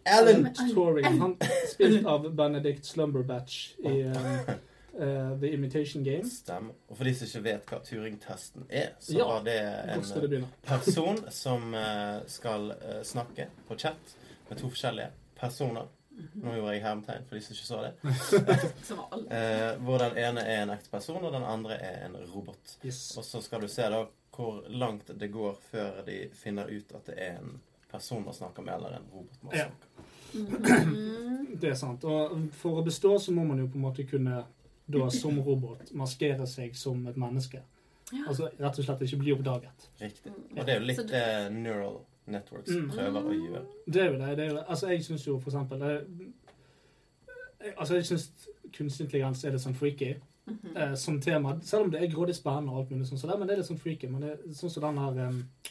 Speaker 4: Alan!
Speaker 3: Turing, han spilt av Benedict Slumberbatch i eh, eh, The Imitation Game.
Speaker 4: Stemmer. Og for de som ikke vet hva Turing-testen er, så
Speaker 3: Ja,
Speaker 4: var det
Speaker 3: Godt sted å
Speaker 4: en
Speaker 3: begynne.
Speaker 4: person som eh, skal eh, snakke på chat med to forskjellige personer.
Speaker 3: Mhm.
Speaker 4: Nå gjorde jeg hermetegn for de som ikke så det.
Speaker 5: Som var alle.
Speaker 4: Eh, hvor den ene er en ekte person, og den andre er en robot.
Speaker 3: Yes.
Speaker 4: Og så skal du se da hvor langt det går før de finner ut at det er en person man snakker med, eller en robot man
Speaker 3: Ja.
Speaker 4: snakker med.
Speaker 3: Det er sant. Og for å bestå så må man jo på en måte kunne da som robot maskere seg som et menneske. Altså rett og slett ikke bli oppdaget.
Speaker 4: Riktig. Og det er jo litt
Speaker 5: Så du-
Speaker 4: det neural networks
Speaker 3: Mm.
Speaker 4: prøver å gjøre.
Speaker 3: Det er jo det. det er jo, altså jeg syns jo for eksempel eh, jeg, Altså jeg syns kunstig intelligens er litt sånn freaky eh, som tema. Selv om det er grådig spennende og alt mulig sånn som det, men det er litt sånn freaky. Men det er sånn som den her eh,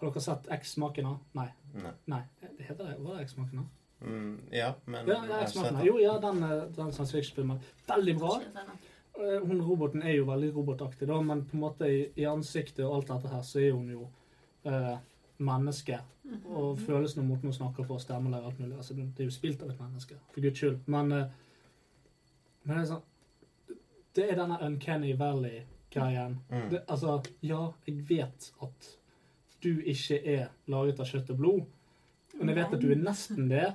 Speaker 3: Har dere sett X-maken av? Nei.
Speaker 4: Nei.
Speaker 3: Nei. Det heter det. Var det X-maken av?
Speaker 4: Mm, ja, men
Speaker 3: Ja, ja,
Speaker 4: jeg har
Speaker 3: X-maken
Speaker 4: sett
Speaker 3: av.
Speaker 4: det.
Speaker 3: Jo, ja, den, eh, den science fiction-filmen. Veldig bra.
Speaker 5: Mhm.
Speaker 3: Eh, Hun roboten er jo veldig robotaktig, da, men på en måte i, i ansiktet og alt dette her, så er hun jo eh, menneske. Og følelsene mot når hun snakker på stemmer og alt mulig. Altså, det er jo spilt av et menneske, for guds skyld. Men, eh, men det er sånn Det er denne uncanny valley greien.
Speaker 4: Mm.
Speaker 3: Det, altså, ja, jeg vet at du ikke er laget av kjøtt og blod, men jeg vet at du er nesten det.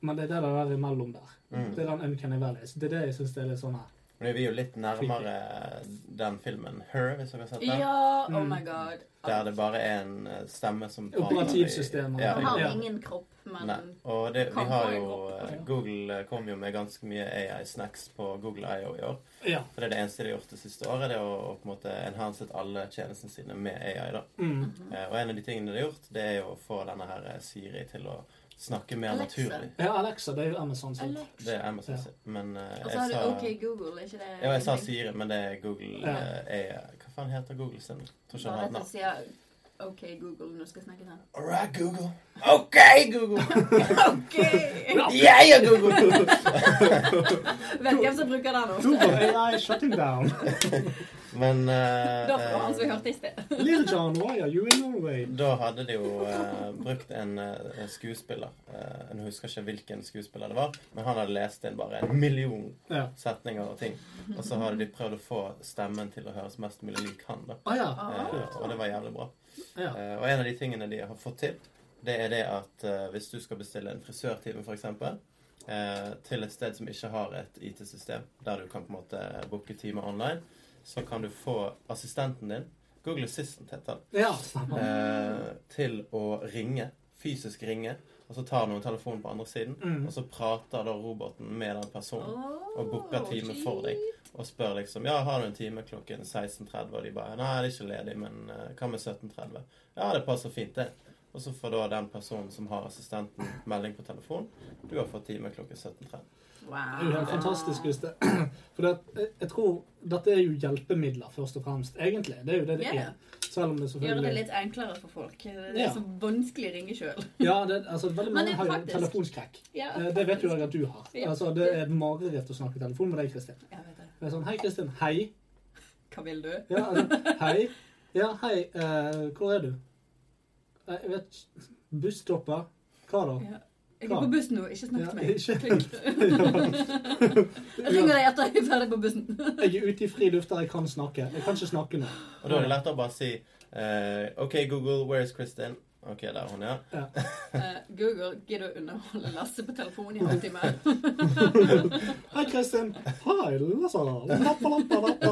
Speaker 3: Men det er det der er imellom der.
Speaker 4: Mm.
Speaker 3: Det er den uncanny valleys. Det er det jeg syns er litt sånn her.
Speaker 4: Men vi er jo litt nærmere den filmen Her, hvis dere har sett den.
Speaker 5: Ja, oh
Speaker 3: Mm.
Speaker 5: my god.
Speaker 4: Der det bare er en eh, stemme som prater i-
Speaker 3: Operativsystemet.
Speaker 4: Ja.
Speaker 5: Han har
Speaker 3: Ja.
Speaker 5: ingen kropp, men
Speaker 4: Nei. Og det, vi
Speaker 5: Kan
Speaker 4: har
Speaker 5: få en
Speaker 4: jo
Speaker 5: kopp.
Speaker 4: eh, Google eh, kom jo med ganske mye AI-snacks på Google IO i år.
Speaker 3: Ja.
Speaker 4: For det er det eneste de har gjort det siste året, det er å, å på en måte enhancet alle tjenestene sine med AI. da.
Speaker 3: Mm.
Speaker 5: Mhm.
Speaker 4: Eh, Og en av de tingene de har gjort, det er jo å få denne her eh, Siri til å snakke mer
Speaker 5: Alexa.
Speaker 4: naturlig.
Speaker 3: ja, Alexa, det er jo Amazon sitt.
Speaker 5: Alexa.
Speaker 4: Det er Amazon
Speaker 3: Ja.
Speaker 4: sin. Men eh,
Speaker 5: Og så har
Speaker 4: jeg
Speaker 5: du
Speaker 4: sa
Speaker 5: OK Google, er ikke det?
Speaker 4: Ja, jeg sa Siri, men det er Google
Speaker 3: Ja.
Speaker 4: eh, AI. Hva faen heter Google sin? Tror ikke han
Speaker 5: Bare
Speaker 4: har et
Speaker 5: at jeg
Speaker 4: navn.
Speaker 5: sier OK Google når du skal snakke sånn.
Speaker 4: All right, Google. OK, Google!
Speaker 5: OK!
Speaker 4: Jeg er Google!
Speaker 5: Vet hvem som bruker den ofte?
Speaker 3: Google AI shutting down.
Speaker 4: Men eh,
Speaker 5: Da får han som vi
Speaker 4: eh,
Speaker 5: hørte i sted.
Speaker 3: Little John, why are you in Norway?
Speaker 4: da hadde de jo eh, brukt en eh, en skuespiller eh, Nå husker jeg ikke hvilken skuespiller det var, men han hadde lest inn bare en million
Speaker 3: Ja.
Speaker 4: setninger og ting. Og så hadde de prøvd å få stemmen til å høres mest mulig lik han. da.
Speaker 3: Å ja.
Speaker 5: Ah.
Speaker 4: Eh, og det var jævlig bra.
Speaker 3: ja.
Speaker 4: Eh, og en av de tingene de har fått til, det er det at eh, hvis du skal bestille en frisørtime, f.eks., uh, til et sted som ikke har et IT-system, der du kan på en måte booke timer online, så kan du få assistenten din, Google Assistant heter den,
Speaker 3: Ja, stemmer.
Speaker 4: eh, til å ringe, fysisk ringe, og så tar noen telefonen på andre siden,
Speaker 3: Mm.
Speaker 4: og så prater da roboten med den personen. Og booker
Speaker 5: Åh,
Speaker 4: time for deg. Og spør liksom ja, har du en time klokken 16.30, og de bare nei, det er ikke ledig, men eh, hva med 17.30? Ja, det passer fint, det. Og så får da den personen som har assistenten, melding på telefon. Du har fått time klokken 17.30.
Speaker 3: Det er jo helt fantastisk hvis det For det, jeg- jeg tror dette er jo hjelpemidler, først og fremst, egentlig. Det er jo det det
Speaker 5: Ja.
Speaker 3: er. Selv om det
Speaker 5: Gjøre det
Speaker 3: selvfølgelig
Speaker 5: litt enklere for folk. Det
Speaker 3: Ja.
Speaker 5: er så vanskelig å ringe sjøl.
Speaker 3: Ja, det, altså, veldig
Speaker 5: Men det
Speaker 3: mange
Speaker 5: er
Speaker 3: har jo
Speaker 5: faktisk-
Speaker 3: telefonskrekk.
Speaker 5: Ja,
Speaker 3: Eh, Det vet jo jeg at du har.
Speaker 5: Ja.
Speaker 3: Altså, det er et mareritt å snakke i telefon med deg, Kristin.
Speaker 5: Jeg vet det.
Speaker 3: Det er sånn Hei, Kristin. Hei.
Speaker 5: Hva vil du?
Speaker 3: Ja, altså, hei. Ja, hei. Eh, hvor er du? Nei, Jeg vet ikke. Busstopper. Hva da?
Speaker 5: Ja. Jeg er på bussen nå, ikke snakk
Speaker 3: Ja,
Speaker 5: til meg.
Speaker 3: ikke-
Speaker 5: Klikk. Jeg ringer deg etter jeg er ferdig på bussen.
Speaker 3: Jeg er ute i fri luft der jeg kan snakke. Jeg kan ikke snakke nå.
Speaker 4: Og da er det lettere å bare si eh, OK, Google, where is Kristin? OK, der er hun, ja.
Speaker 5: Eh, Google, gidder du å underholde Lasse på telefonen i en halvtime?
Speaker 3: Hei, Kristin. Hei, Lasse. Lappa, lappa, lappa.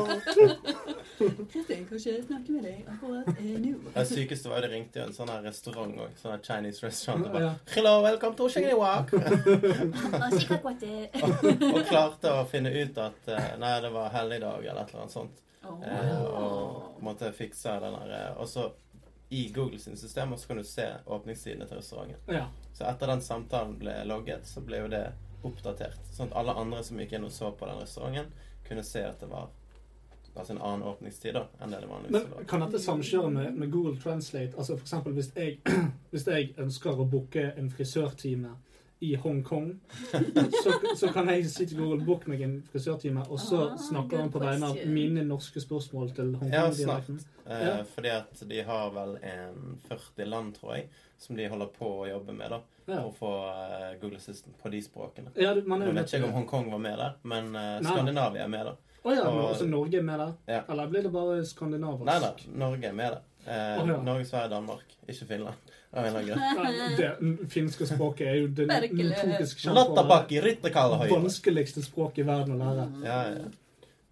Speaker 5: Kristin, kan ikke jeg snakke med deg akkurat eh, nå?
Speaker 4: Det sykeste var jo det ringte jo en sånn her restaurant òg. Sånn her Chinese restaurant. Og bare
Speaker 3: Ja.
Speaker 4: Hello, welcome to Shigniwak.
Speaker 5: Ah, sikkert godt, eh.
Speaker 4: og klarte å finne ut at eh, nei, det var helligdag eller et eller annet sånt.
Speaker 5: Åh.
Speaker 4: Eh, og på en måte fiksa den der eh, Og så i Google sine systemer så kan du se åpningssidene til restauranten.
Speaker 3: Ja.
Speaker 4: Så etter den samtalen ble logget, så ble jo det oppdatert. Sånn at alle andre som gikk inn og så på den restauranten, kunne se at det var altså en annen åpningstid da, enn det det vanligvis
Speaker 3: Men
Speaker 4: var.
Speaker 3: kan dette samkjøre med, med Google Translate? Altså for eksempel hvis jeg, hvis jeg ønsker å booke en frisørtime i Hongkong, så, så kan jeg si til Google book meg en frisørtime, og så
Speaker 5: Ah,
Speaker 3: snakker han på
Speaker 5: good
Speaker 3: vegne av
Speaker 5: question.
Speaker 3: mine norske spørsmål til
Speaker 4: Ja,
Speaker 3: Hongkong-dialekten.
Speaker 4: Eh,
Speaker 3: Ja.
Speaker 4: Fordi at de har vel en 40 land, tror jeg, som de holder på å jobbe med da,
Speaker 3: Ja.
Speaker 4: for å få eh, Google Assistant på de språkene.
Speaker 3: Ja, du- man
Speaker 4: Nå
Speaker 3: er jo nødt
Speaker 4: vet ikke
Speaker 3: til
Speaker 4: jeg om
Speaker 3: det.
Speaker 4: Hongkong var med der, men eh,
Speaker 3: Nei.
Speaker 4: Skandinavia er med der.
Speaker 3: Å ja, men
Speaker 4: og-
Speaker 3: også Norge er med der?
Speaker 4: Ja.
Speaker 3: Eller blir det bare
Speaker 4: Nei da,
Speaker 3: skandinavisk?
Speaker 4: Norge er med der. Eh,
Speaker 3: Å, ja.
Speaker 4: Norge, Sverige, Danmark. Ikke Finland. Av en eller annen grunn.
Speaker 3: Nei, Det finske språket er jo det
Speaker 5: Virkelig.
Speaker 3: notorisk kjempebare-
Speaker 4: Lattabakki, Ritterkallahøy.
Speaker 3: vanskeligste språket i verden å lære.
Speaker 4: Ja, ja.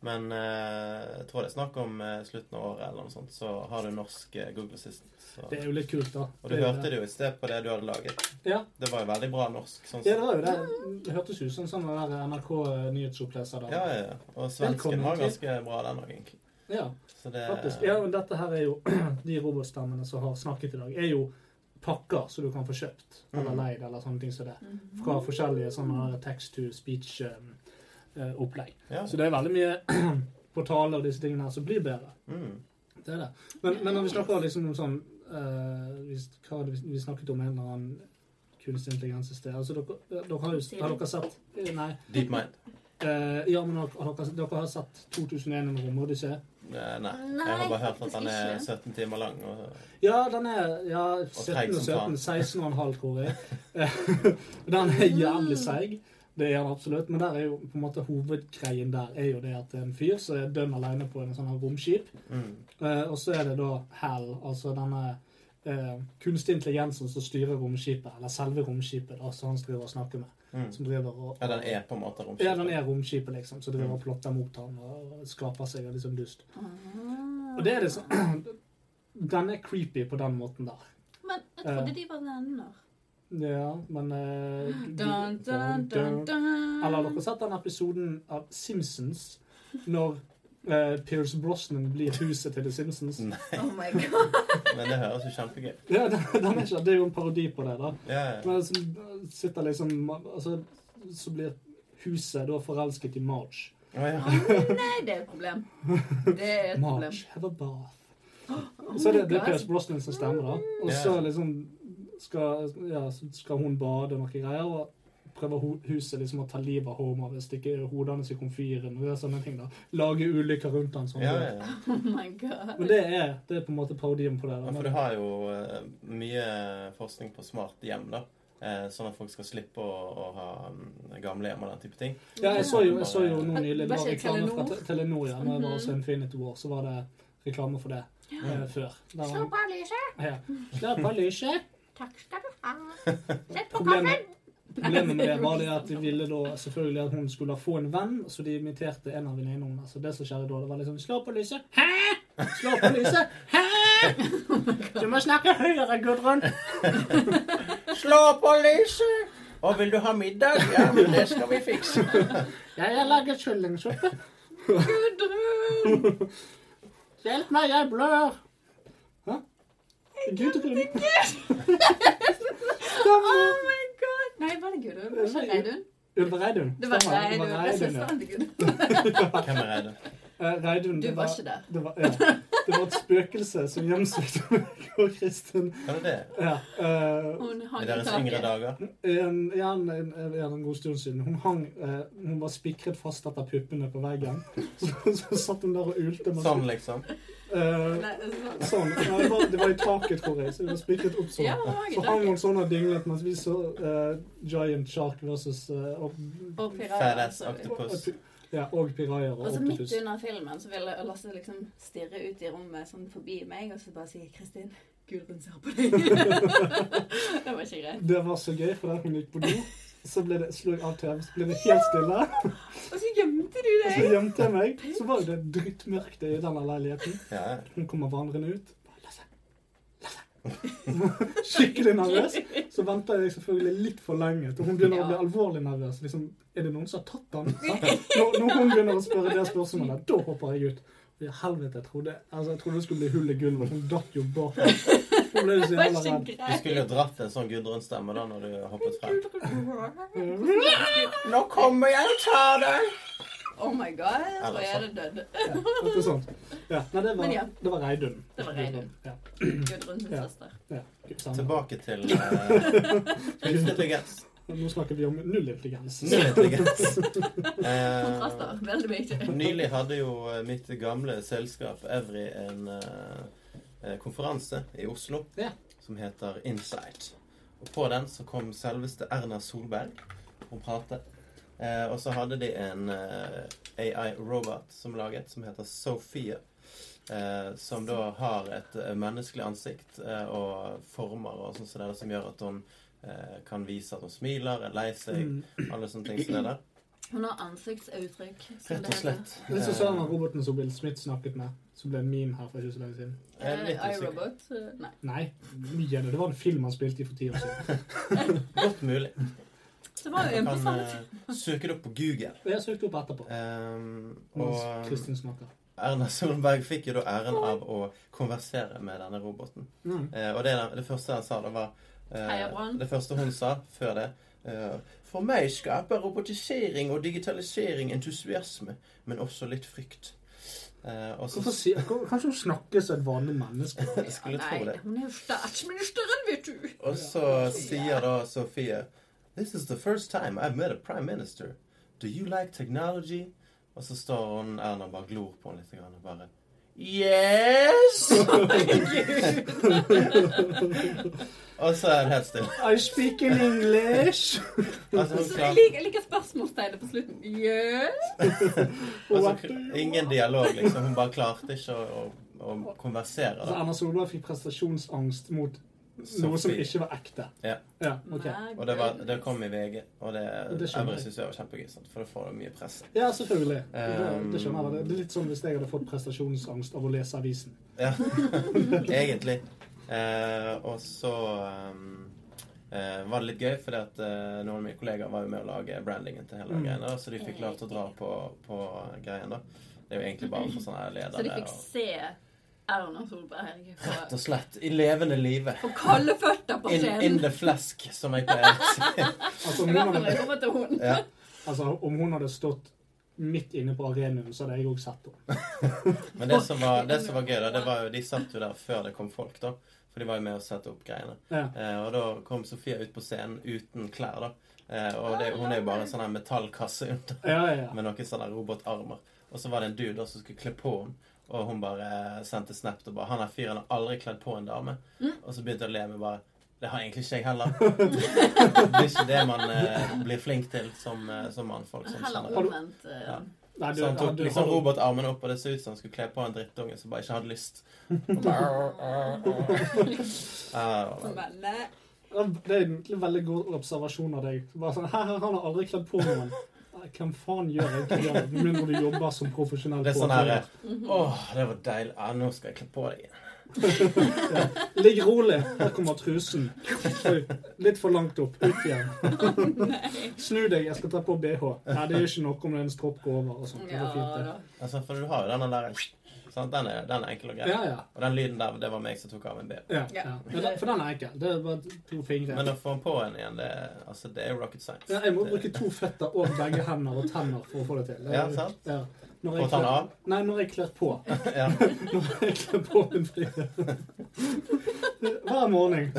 Speaker 4: Men eh, jeg tror det er snakk om eh, slutten av året eller noe sånt, så har du norsk eh, Google Assistant. Så.
Speaker 3: Det er jo litt kult, da.
Speaker 4: Og du
Speaker 3: er jo
Speaker 4: hørte det jo i sted på det du hadde laget.
Speaker 3: Ja.
Speaker 4: Det var jo veldig bra norsk. Sånn
Speaker 3: Ja,
Speaker 4: sett.
Speaker 3: det var jo det. Det hørtes ut som sånn der eh, NRK-nyhetsoppleser.
Speaker 4: Ja, ja, ja. Og svensken
Speaker 3: Velkommen
Speaker 4: var
Speaker 3: til.
Speaker 4: ganske bra, den òg, egentlig.
Speaker 3: ja,
Speaker 4: Så det
Speaker 3: faktisk. Ja, men dette her er jo De robotstemmene som har snakket i dag, er jo pakker som du kan få kjøpt eller
Speaker 4: Mm.
Speaker 3: leid eller sånne ting som det. Fra forskjellige sånne text-to-speech-opplegg. eh,
Speaker 4: ja.
Speaker 3: Så det er veldig mye portaler og disse tingene her som blir bedre.
Speaker 4: Mm.
Speaker 3: Det er det. Men, men når vi snakker liksom om sånn eh, vi, Hva var det vi, vi snakket om en eller annen kunstig intelligens i sted? Altså, dere, dere har jo har dere sett Nei.
Speaker 4: Deep mind.
Speaker 3: Eh, ja, men dere, dere, dere har sett 2001 en romodyssé?
Speaker 4: Eh, Nei.
Speaker 5: Nei,
Speaker 4: Jeg har bare hørt at
Speaker 5: faktisk
Speaker 4: den er
Speaker 5: ikke.
Speaker 4: 17 timer lang. Og,
Speaker 3: Ja, den er ja,
Speaker 4: treig
Speaker 3: 17 og
Speaker 4: som faen.
Speaker 3: 17, 16 og en halv, tror jeg. Eh, den er jævlig seig. Det er han absolutt, men der er jo på en måte hovedgreien der er jo det at det er en fyr som er dønn alene på en sånn her romskip.
Speaker 4: Mm.
Speaker 3: Eh, og så er det da HAL, altså denne eh, kunstig intelligensen som styrer romskipet, eller selve romskipet, da, som han driver og snakker med.
Speaker 4: Mm.
Speaker 3: Som driver og
Speaker 4: Ja, den er på en måte romskipet.
Speaker 3: Ja, den er romskipet, liksom, som driver og plotter mot han og skaper seg en liksom dust. Og det er det som Den er creepy på den måten der.
Speaker 5: Men jeg trodde de var venner.
Speaker 3: Ja, men eh, du-
Speaker 5: Dun, dun, dun, dun.
Speaker 3: Eller har dere sett den episoden av Simpsons når eh, Pierce Brosnan blir huset til The Simpsons?
Speaker 4: Nei,
Speaker 9: Oh my god.
Speaker 4: men det høres jo kjempegøy ut.
Speaker 3: Ja, den, den er ikke, Det er jo en parodi på det, da.
Speaker 4: Ja, ja.
Speaker 3: Men så sitter liksom altså, Så blir huset da forelsket i Marge.
Speaker 4: Å, ja.
Speaker 5: Nei, det er et problem. Det er et problem. Oh
Speaker 3: Marge, have a bath. Så er det, det er
Speaker 5: God.
Speaker 3: Pierce Brosnan som stemmer, da. Og så
Speaker 4: Ja.
Speaker 3: liksom skal, ja, så skal hun bade og noen greier, og prøver ho- huset liksom å ta livet av Homer ved å stikke hodene sine i komfyren og det er sånne ting. da. Lage ulykker rundt han sånn.
Speaker 4: Ja, ja, ja.
Speaker 5: Oh my god.
Speaker 3: Men det er, det er på en måte parodien på det.
Speaker 4: Ja,
Speaker 3: da.
Speaker 4: for du har jo eh, mye forskning på smart hjem, da. Eh, sånn at folk skal slippe å, å ha mm, gamle hjem og den type ting.
Speaker 3: Ja, jeg så jo, jeg så jo noe nylig. Det var
Speaker 5: Var ikke
Speaker 3: reklame fra
Speaker 5: Telenor?
Speaker 3: Te- Telenor. ja, Når jeg var også Infinity War, så var det reklame for det eh, før. Der var-
Speaker 5: Slå på lyset.
Speaker 3: ja. Slapp av lyset.
Speaker 5: Takk skal du ha. Sett på
Speaker 3: Problemet-
Speaker 5: kaffen.
Speaker 3: Problemet med det var det at de ville da selvfølgelig at hun skulle få en venn, så de imiterte en av venninnene hennes. Og det som skjedde da, det var liksom 'Slå på lyset'. Hæ? Slå på lyset. Hæ?
Speaker 5: Oh
Speaker 3: Du må snakke høyere, Gudrun.
Speaker 4: Slå på lyset! Og vil du ha middag? Ja, men det skal vi fikse.
Speaker 3: Jeg har laget kyllingsuppe.
Speaker 5: Gudrun!
Speaker 3: Hjelp meg, jeg blør. Hæ? Gudrun.
Speaker 5: Oh my god! Nei, var det Gudrun? Var det ikke Reidun?
Speaker 3: Ulve Reidun.
Speaker 5: Det var
Speaker 3: Stemmer,
Speaker 5: Reidun. Det er
Speaker 3: ja.
Speaker 5: søsteren til Gudrun.
Speaker 4: Hvem er det?
Speaker 3: Eh, Reidun,
Speaker 5: Du
Speaker 3: det
Speaker 5: var ikke der.
Speaker 3: Det var, ja. det var et spøkelse som hjemsøkte meg og Kristin.
Speaker 4: Hvem er det?
Speaker 3: Ja, eh,
Speaker 5: Hun
Speaker 4: I
Speaker 5: hang i
Speaker 4: deres yngre
Speaker 5: taket.
Speaker 4: dager?
Speaker 3: en, ja, en, en, en, en god stund siden. Hun hang eh, Hun var spikret fast etter puppene på veggen. Så, så satt hun der og ulte. mens-
Speaker 4: Sånn, liksom.
Speaker 3: Eh,
Speaker 5: Nei, det er sant.
Speaker 3: sånn. Nei, det, var, det var i taket, tror jeg. Så hun var spikret opp sånn.
Speaker 5: Ja, hun hang i
Speaker 3: Så hang
Speaker 5: taket.
Speaker 3: hun sånn og dinglet mens vi så eh, Giant Shark versus eh, og,
Speaker 5: Og pirater.
Speaker 4: Fadass
Speaker 5: altså.
Speaker 4: octopus.
Speaker 3: ja, og pirajaer og
Speaker 5: Og så Altså, midt
Speaker 3: octopus.
Speaker 5: under filmen så ville Lasse liksom stirre ut i rommet sånn forbi meg, og så bare sier Kristin Gudrun ser på deg. det var ikke greit.
Speaker 3: Det var så gøy, for der hun gikk på do, så ble det, slo jeg av TV, så ble det helt stille.
Speaker 5: Og så gjemte du
Speaker 3: Og så
Speaker 4: Altså,
Speaker 5: deg.
Speaker 3: gjemte jeg meg. Så var jo det drittmørkt i denne leiligheten.
Speaker 4: Ja, ja.
Speaker 3: Hun kommer vandrende ut. Bare, Lasse! Lasse! Skikkelig nervøs. Så venter jeg selvfølgelig litt for lenge til hun begynner å bli
Speaker 5: Ja.
Speaker 3: alvorlig nervøs. Liksom, er det noen som har tatt han? Når, når hun begynner å spørre det spørsmålet, da hopper jeg ut. Og i helvete, jeg trodde, altså, jeg trodde det skulle bli hull i gulvet. Hun datt jo bakover. Hun ble så
Speaker 5: Det var
Speaker 3: jævla
Speaker 5: ikke
Speaker 3: redd.
Speaker 4: Du
Speaker 5: greit.
Speaker 4: skulle jo dratt en sånn Gudrun-stemme da når du hoppet frem.
Speaker 5: Nå
Speaker 4: kommer jeg og tar deg!
Speaker 5: Oh my god, jeg tror jeg
Speaker 4: Eller
Speaker 5: er død.
Speaker 3: Ja, det er sånt. Ja, nei, det var,
Speaker 5: Men ja.
Speaker 3: det var Reidun.
Speaker 5: Det var Reidun.
Speaker 3: Ja,
Speaker 5: Gudrun sin
Speaker 3: Ja.
Speaker 5: søster.
Speaker 3: ja, samme.
Speaker 4: Tilbake til uh, kunstintelligens.
Speaker 3: Nå snakker vi om null intelligens.
Speaker 4: Null intelligens. Eh,
Speaker 5: Kontraster. Veldig viktig.
Speaker 4: Nylig hadde jo eh, mitt gamle selskap Evry en eh, eh, konferanse i Oslo
Speaker 3: Ja.
Speaker 4: som heter Insight. Og på den så kom selveste Erna Solberg og pratet. Eh, og så hadde de en eh, AI-robot som laget, som heter Sophia. Eh, som da har et eh, menneskelig ansikt eh, og former og sånn som det der, som gjør at hun eh, kan vise at hun smiler, er lei seg,
Speaker 3: Mm.
Speaker 4: alle sånne ting som det der.
Speaker 5: Hun har ansiktsuttrykk. som
Speaker 4: Rett
Speaker 5: det
Speaker 4: og
Speaker 5: heter.
Speaker 4: slett.
Speaker 3: Det er så sånn
Speaker 4: eh,
Speaker 3: at roboten som Will Smith snakket med, som ble en meme her for ikke så lenge siden.
Speaker 4: Eh, Jeg er
Speaker 5: Er det
Speaker 4: litt usikker.
Speaker 5: iRobot? Nei.
Speaker 3: Nei, mye av det. Det var en film han spilte i for ti år siden.
Speaker 4: Godt mulig.
Speaker 5: Det var jo
Speaker 4: Du kan
Speaker 5: interessant.
Speaker 4: eh, søke det opp på Google.
Speaker 3: Og jeg søkte opp etterpå.
Speaker 4: Ehm, og
Speaker 3: Mens Kristin snakker.
Speaker 4: Erna Solberg fikk jo da æren av å konversere med denne roboten.
Speaker 3: Mm.
Speaker 4: Eh, og det, det første han sa, da var eh,
Speaker 5: Heia Brann.
Speaker 4: Det første hun sa før det eh, For meg skaper robotisering og digitalisering entusiasme, men også litt frykt. Eh, og så
Speaker 3: Hvorfor si, kanskje hun snakker som et vanlig menneske?
Speaker 4: Jeg skulle
Speaker 5: Ja,
Speaker 4: tro
Speaker 5: nei,
Speaker 4: det.
Speaker 5: Hun er jo statsministeren, vet du.
Speaker 4: Og så sier da Sofie This is the first time I've met a prime minister. Do you like technology? Og så står hun Erna og bare glor på henne litt. grann Og bare Yes! og så er det helt stille.
Speaker 3: I speak in English!
Speaker 4: Altså, hun
Speaker 5: Så jeg
Speaker 4: klarer,
Speaker 5: liker, jeg liker spørsmålstegnet på slutten. Yes.
Speaker 4: altså, ingen dialog, liksom. Hun bare klarte ikke å, å, å konversere.
Speaker 3: Altså,
Speaker 4: Da.
Speaker 3: Erna Solberg fikk prestasjonsangst mot noe som
Speaker 4: Sofie.
Speaker 3: ikke var ekte.
Speaker 4: Ja.
Speaker 3: Ja, ok.
Speaker 5: My
Speaker 4: Og det, var,
Speaker 5: goodness.
Speaker 4: det kom i VG, og det,
Speaker 3: Det skjønner
Speaker 4: Emre
Speaker 3: jeg.
Speaker 4: synes det var kjempegøy, sant? for da får du mye press.
Speaker 3: Ja, selvfølgelig. Det,
Speaker 4: Um,
Speaker 3: det skjønner jeg. Det er litt som hvis jeg hadde fått prestasjonsangst av å lese avisen.
Speaker 4: Ja, egentlig. Eh, og så um, eh, var det litt gøy, fordi at eh, noen av mine kollegaer var jo med å lage brandingen til hele
Speaker 3: Mm.
Speaker 4: greia, da, så de fikk lov til å dra på, på greien, da. Det er jo egentlig bare for sånne her
Speaker 5: Så de
Speaker 4: ledere
Speaker 5: fikk se Erna Solberg
Speaker 4: Rett
Speaker 5: på,
Speaker 4: og slett. I levende live.
Speaker 5: på kalde føtter på
Speaker 4: In, in
Speaker 5: scenen.
Speaker 4: the flask, som jeg pleier å si.
Speaker 3: Altså,
Speaker 5: I
Speaker 3: om hun
Speaker 5: hvert fall når
Speaker 3: hadde,
Speaker 5: jeg kommer til hun.
Speaker 4: Ja.
Speaker 3: altså, om hun hadde stått midt inne på arenaen, så hadde jeg òg sett henne.
Speaker 4: Men det som, var, det som var gøy, da, det var jo de satt jo der før det kom folk, da. For de var jo med å sette opp greiene.
Speaker 3: Ja.
Speaker 4: Eh, og da kom Sofia ut på scenen uten klær, da. Eh, og det, hun er jo bare en sånn her metallkasse under.
Speaker 3: Ja, ja, ja.
Speaker 4: med noen sånne robotarmer. Og så var det en dude da som skulle kle på henne, og hun bare eh, sendte snap og bare 'Han her fyren har aldri kledd på en dame.' Og så begynte jeg å le med bare 'Det har egentlig ikke jeg heller.' det er ikke det man eh, blir flink til som, eh, som mannfolk. Som
Speaker 5: Heller
Speaker 4: generelt.
Speaker 5: omvendt.
Speaker 4: sånn.
Speaker 5: eh,
Speaker 4: Ja.
Speaker 3: Nei, du,
Speaker 4: så han
Speaker 3: ja,
Speaker 4: tok
Speaker 3: du,
Speaker 4: liksom
Speaker 3: har,
Speaker 4: robotarmene opp, og det så ut som han skulle kle på en drittunge som bare ikke hadde lyst. Og bare, "Arr, arr, arr." Ja, det
Speaker 5: Som
Speaker 4: var-
Speaker 5: bare, nei.
Speaker 3: det er egentlig en veldig god observasjon av deg. Bare sånn, Hæ, hæ, han har aldri kledd på noen. Nei, Hvem faen gjør egentlig det, med mindre du jobber som profesjonell
Speaker 4: det er sånn her
Speaker 3: påklæder?
Speaker 4: eh, Åh, det var deilig. Ja, nå skal jeg kle på deg igjen.
Speaker 3: Ligg rolig, her kommer trusen. Oi, litt for langt opp. Ut igjen. Snu deg, jeg skal ta på BH. Nei, det gjør ikke noe om det er en stropp går over og sånt. Sånn, Det
Speaker 5: Ja
Speaker 3: går fint,
Speaker 5: da.
Speaker 3: det.
Speaker 4: Altså, for du har jo den der sant? Den, er, den er enkel og grei.
Speaker 3: Ja, ja.
Speaker 4: Og den lyden der, det var meg som tok av en bh.
Speaker 3: Ja, ja. ja da- for den er enkel. Det er bare to fingre.
Speaker 4: Men å få den på en igjen, det, er- altså, det er jo rocket science.
Speaker 3: Ja, jeg må
Speaker 4: Det-
Speaker 3: bruke to føtter og begge hender og tenner for å få det til. Det er-
Speaker 4: Ja, sant?
Speaker 3: Ja. Når
Speaker 4: For å
Speaker 3: jeg
Speaker 4: ta den
Speaker 3: klør,
Speaker 4: av?
Speaker 3: nei, når jeg klør på.
Speaker 4: Ja.
Speaker 3: Når jeg klør på en frie. Hver morgen.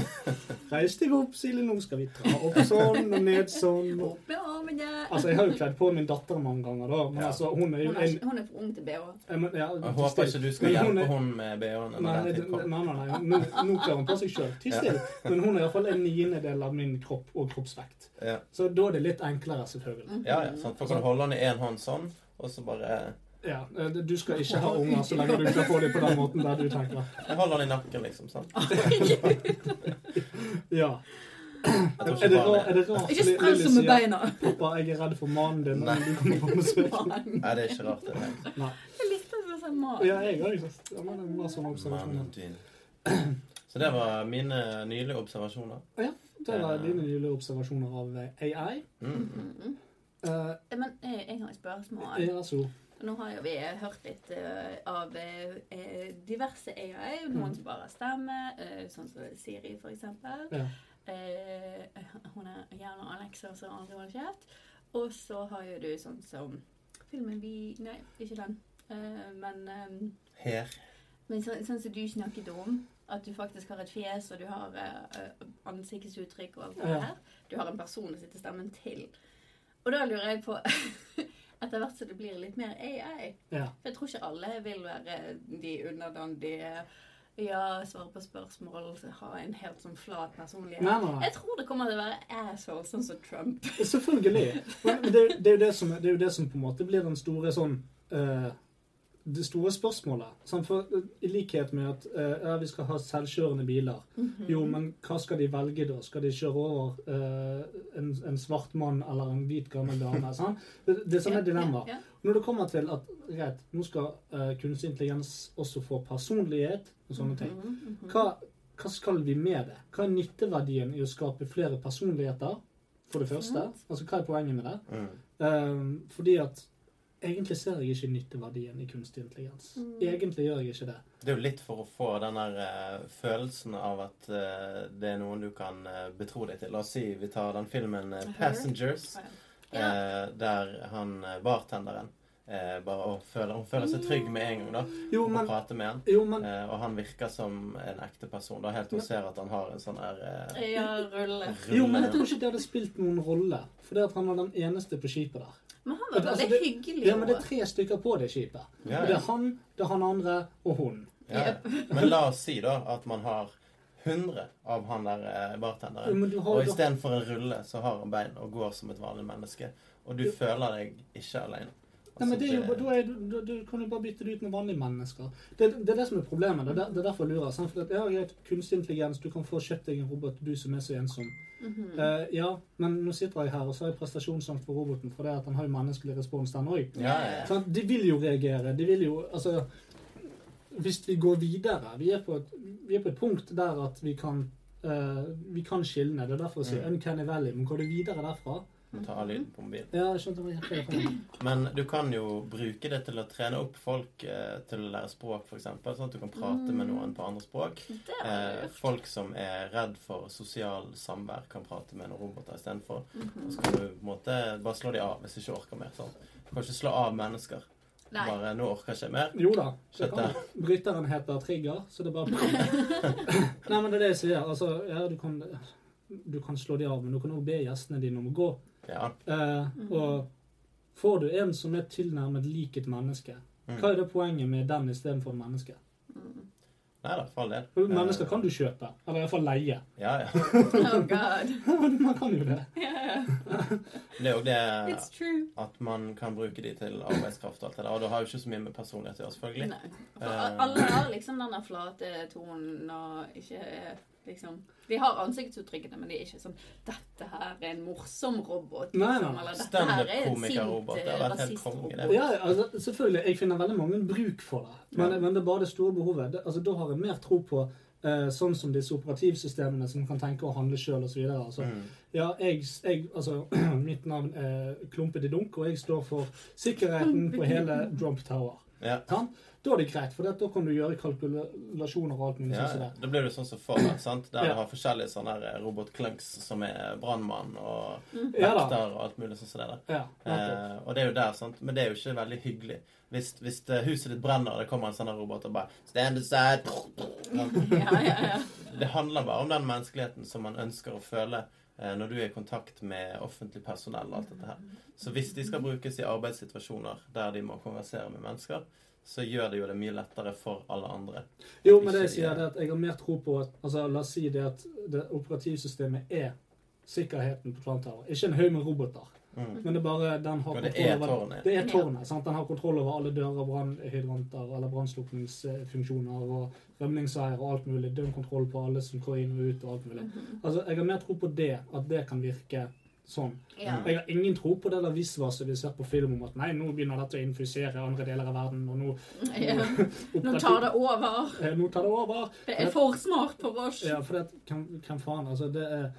Speaker 3: Reis deg opp, Silje, nå skal vi dra opp sånn og ned sånn. og-
Speaker 5: Opp med armene.
Speaker 3: Altså, Jeg har jo kledd på min datter mange ganger, da. Men
Speaker 4: Ja.
Speaker 3: altså, hun er jo
Speaker 5: Hun er,
Speaker 3: en
Speaker 5: ikke- hun er for ung til BH.
Speaker 3: Jeg, men, ja,
Speaker 4: Jeg håper ikke du skal
Speaker 3: Men hun
Speaker 4: hjelpe
Speaker 3: er-
Speaker 4: hun med bh-en
Speaker 3: Nei,
Speaker 4: når
Speaker 3: nei,
Speaker 4: den tid
Speaker 3: nei,
Speaker 4: kommer.
Speaker 3: nei, nei, Nå, nå klarer hun på seg sjøl. Ti stille. Men hun er iallfall en niendedel av min kropp og kroppsvekt.
Speaker 4: Ja.
Speaker 3: Så da er det litt enklere, selvfølgelig.
Speaker 4: Ja, ja, sant? For kan du holde den i én hånd sånn, og så bare
Speaker 3: Ja, eh, Du skal ikke ha unger så lenge du ikke får dem på den måten der du tenker.
Speaker 4: Jeg holder den i nakken, liksom. sant?
Speaker 3: Ah, Ja.
Speaker 4: Jeg tror
Speaker 3: Er
Speaker 4: ikke
Speaker 3: det,
Speaker 4: barn
Speaker 3: ra- er
Speaker 4: er
Speaker 3: Altså, det rart
Speaker 5: Ikke
Speaker 3: Li-
Speaker 5: sprell
Speaker 3: Lilly
Speaker 5: som med
Speaker 3: sier,
Speaker 5: beina.
Speaker 3: Pappa, jeg er redd for mannen din
Speaker 4: Nei.
Speaker 3: når du kommer på besøk.
Speaker 4: Nei, det er ikke rart. det er
Speaker 3: Nei.
Speaker 5: Jeg likte det som mat.
Speaker 3: Ja, jeg òg. Ja, men eh, det sånn? var sånne observasjoner.
Speaker 4: Mannen din. Så det var mine nylige observasjoner.
Speaker 3: Det var dine nylige observasjoner av eh, AI.
Speaker 4: Mm.
Speaker 3: Eh,
Speaker 5: Men eh, jeg har et spørsmål.
Speaker 3: Ja, så
Speaker 5: Nå har jo vi hørt litt eh, av eh, eh, diverse AI.
Speaker 3: Mm.
Speaker 5: Noen som bare har stemme, eh, sånn som Siri for eksempel.
Speaker 3: Ja.
Speaker 5: Eh, hun er gjerne Alexa som aldri holder kjeft. Og så har jo du sånn som filmen vi Nei, ikke den. Eh, men eh,
Speaker 4: Her.
Speaker 5: Men så, sånn som du snakket om, at du faktisk har et fjes, og du har eh, eh, ansiktsuttrykk og alt det
Speaker 3: Ja.
Speaker 5: her. Du har en person å sitte stemmen til. Og da lurer jeg på Etter hvert som det blir litt mer AI.
Speaker 3: Ja.
Speaker 5: For jeg tror ikke alle vil være de underdandige, ja, svare på spørsmål, ha en helt sånn flat personlighet.
Speaker 3: Nei, nei, nei.
Speaker 5: Jeg tror det kommer til å være assholes, sånn som Trump.
Speaker 3: Selvfølgelig. Men det, det, er jo det, som, det er jo det som på en måte blir den store sånn eh, Det store spørsmålet. sant? for, eh, I likhet med at eh, ja, vi skal ha selvkjørende biler.
Speaker 5: Mhm.
Speaker 3: Jo, men hva skal de velge da? Skal de kjøre over eh, en, en svart mann eller en hvit gammel dame? sant? Det, det er sånne dilemmaer.
Speaker 5: Ja, ja.
Speaker 3: Når det kommer til at greit, nå skal eh, kunstig intelligens også få personlighet og
Speaker 5: Mhm.
Speaker 3: sånne ting,
Speaker 5: Mm,
Speaker 3: hva, hva skal vi med det? Hva er nytteverdien i å skape flere personligheter, for det første? Altså, hva er poenget med det?
Speaker 4: Mm.
Speaker 3: Ehm, fordi at egentlig ser jeg ikke nytteverdien i kunstig intelligens. Egentlig gjør jeg ikke det.
Speaker 4: Det er jo litt for å få den der eh, følelsen av at eh, det er noen du kan eh, betro deg til. La oss si vi tar den filmen eh,
Speaker 5: Her.
Speaker 4: 'Passengers'.
Speaker 5: Ja.
Speaker 4: Eh, der han eh, bartenderen eh, bare å, føler, hun føler seg trygg med en gang da,
Speaker 3: Jo,
Speaker 4: og
Speaker 3: men,
Speaker 4: prater med han.
Speaker 3: jo, men
Speaker 4: Eh, og han virker som en ekte person. Da helt til hun ser at han har en sånn her eh,
Speaker 5: Ja, rulle.
Speaker 3: jo, men jeg
Speaker 4: rullende-
Speaker 3: tror ikke det hadde spilt noen rolle. For det at han var den eneste på skipet der.
Speaker 5: Men han var
Speaker 3: Men
Speaker 5: veldig
Speaker 3: altså, det-
Speaker 5: hyggelig.
Speaker 3: Ja, men det er
Speaker 5: også.
Speaker 3: tre stykker på det skipet.
Speaker 4: Ja,
Speaker 3: Og Det er han, det er han andre og hun.
Speaker 4: ja. Men la oss si da at man har 100 av han der eh,
Speaker 3: Ja,
Speaker 4: bartenderen.
Speaker 3: men du har
Speaker 4: Og
Speaker 3: jo-
Speaker 4: istedenfor en rulle så har han bein og går som et vanlig menneske. Og du føler deg ikke alene.
Speaker 3: Nei, men det er jo,
Speaker 4: Altså,
Speaker 3: da, er, du- da, du kan jo bare bytte det ut med vanlige mennesker. Det, det er det som er problemet. Det er, der- det er derfor jeg lurer. Sant? For at, ja, greit, kunstig intelligens, du kan få kjøpt deg en robot, du som er så ensom. Eh, ja, men nå sitter jeg her, og så har jeg prestasjonsangst for roboten, for det at han har jo menneskelig respons, den òg.
Speaker 4: ja, ja, ja.
Speaker 3: De vil jo reagere. De vil jo Altså Hvis vi går videre Vi er på et, vi er på et punkt der at vi kan eh, vi kan skilne. Det er derfor jeg sier Uncanny Valley. Men går du videre derfra
Speaker 4: Må ta av lyden på mobilen.
Speaker 3: Ja, jeg skjønte hva jeg hva jeg-
Speaker 4: Men du kan jo bruke det til å trene opp folk eh, til å lære språk, f.eks. Sånn at du kan prate med noen på andre språk.
Speaker 3: Mm.
Speaker 5: Det var
Speaker 4: Eh,
Speaker 5: lurt.
Speaker 4: folk som er redd for sosial samvær, kan prate med noen roboter istedenfor.
Speaker 3: Mhm.
Speaker 4: Og så kan du på en måte bare slå dem av hvis du ikke orker mer. Sånn. Du kan ikke slå av mennesker.
Speaker 5: Nei.
Speaker 4: Bare 'Nå orker jeg ikke mer'.
Speaker 3: Jo da. Så
Speaker 4: Dette-
Speaker 3: kan, du. bryteren heter Trigger, så det er bare Nei, men det er det jeg sier. Altså, ja, du kan, du kan slå de av, men du kan òg be gjestene dine om å gå.
Speaker 4: Ja.
Speaker 3: Eh, og får du en som er tilnærmet lik et menneske,
Speaker 4: Mm.
Speaker 3: hva er det poenget med den istedenfor et menneske?
Speaker 4: Nei da, for all del. Eh,
Speaker 3: For Mennesker kan du kjøpe, eller iallfall leie.
Speaker 4: Ja, ja.
Speaker 5: Oh god.
Speaker 3: Man kan jo det.
Speaker 5: Yeah.
Speaker 4: Det er jo det
Speaker 5: It's true.
Speaker 4: at man kan bruke de til arbeidskraft og alt det der. Og det har jo ikke så mye med personlighet å gjøre, selvfølgelig.
Speaker 5: Nei. For
Speaker 3: Eh.
Speaker 5: a- alle har liksom denne flate tonen og ikke er liksom De har ansiktsuttrykkene, men de er ikke sånn 'Dette her er en morsom robot',
Speaker 3: Nei,
Speaker 5: liksom.
Speaker 3: nei.
Speaker 5: Eller 'Dette her er en sint
Speaker 4: Standup-komiker-robot. Det har
Speaker 5: eh,
Speaker 4: vært helt konge, det.
Speaker 5: rasist-robot'.
Speaker 3: Ja, altså, selvfølgelig. Jeg finner veldig mange bruk for det. Men,
Speaker 4: Ja.
Speaker 3: men det er bare det store behovet. Det, altså, da har jeg mer tro på eh, sånn som disse operativsystemene som kan tenke å handle sjøl osv. Altså,
Speaker 4: Mm.
Speaker 3: ja, jeg, jeg, altså, mitt navn er Klumpeti Dunk, og jeg står for sikkerheten på hele Drump Tower.
Speaker 4: Ja.
Speaker 3: Sant? Da er det greit, for det, da kan du gjøre kalkulasjoner og alt mulig
Speaker 4: Ja,
Speaker 3: sånn som
Speaker 4: ja.
Speaker 3: det.
Speaker 4: Da blir det sånn som Fallout, sant? der
Speaker 3: Ja.
Speaker 4: du har forskjellige sånne her robotklunks som er brannmann og
Speaker 3: Ja da.
Speaker 4: vekter og alt mulig sånn som det der.
Speaker 3: Ja, nettopp.
Speaker 4: Eh, og det er jo der, sant? men det er jo ikke veldig hyggelig. Hvis, hvis eh, huset ditt brenner, og det kommer en sånn her robot og bare Stand aside!
Speaker 5: Ja, ja, ja.
Speaker 4: Det handler bare om den menneskeligheten som man ønsker å føle eh, når du er i kontakt med offentlig personell og alt dette her. Så hvis de skal brukes i arbeidssituasjoner der de må konversere med mennesker, så gjør det jo det mye lettere for alle andre.
Speaker 3: Jo, men det jeg
Speaker 4: Ikke-
Speaker 3: sier, det er at jeg har mer tro på at altså, La oss si det at det operativsystemet er sikkerheten på Trondheim. Ikke en haug med roboter.
Speaker 4: Mm.
Speaker 3: Men det er bare den har
Speaker 4: Men det
Speaker 3: kontroll
Speaker 4: er
Speaker 3: over
Speaker 4: tårnet.
Speaker 3: Det er tårnet. sant? Den har kontroll over alle dører, brannhydranter eller brannslukningsfunksjoner og rømningsveier og alt mulig. Døgnkontroll på alle som går inn og ut og alt mulig.
Speaker 5: Mhm.
Speaker 3: Altså, Jeg har mer tro på det, at det kan virke sånn.
Speaker 5: ja.
Speaker 3: Jeg har ingen tro på det der visvaset vi ser på film om at nei, nå begynner dette å infusere andre deler av verden, og nå
Speaker 5: ja. Nå tar det over.
Speaker 3: Eh, Nå tar det over.
Speaker 5: Det er for smart for oss.
Speaker 3: Ja, for det, hvem, hvem faen, altså, det er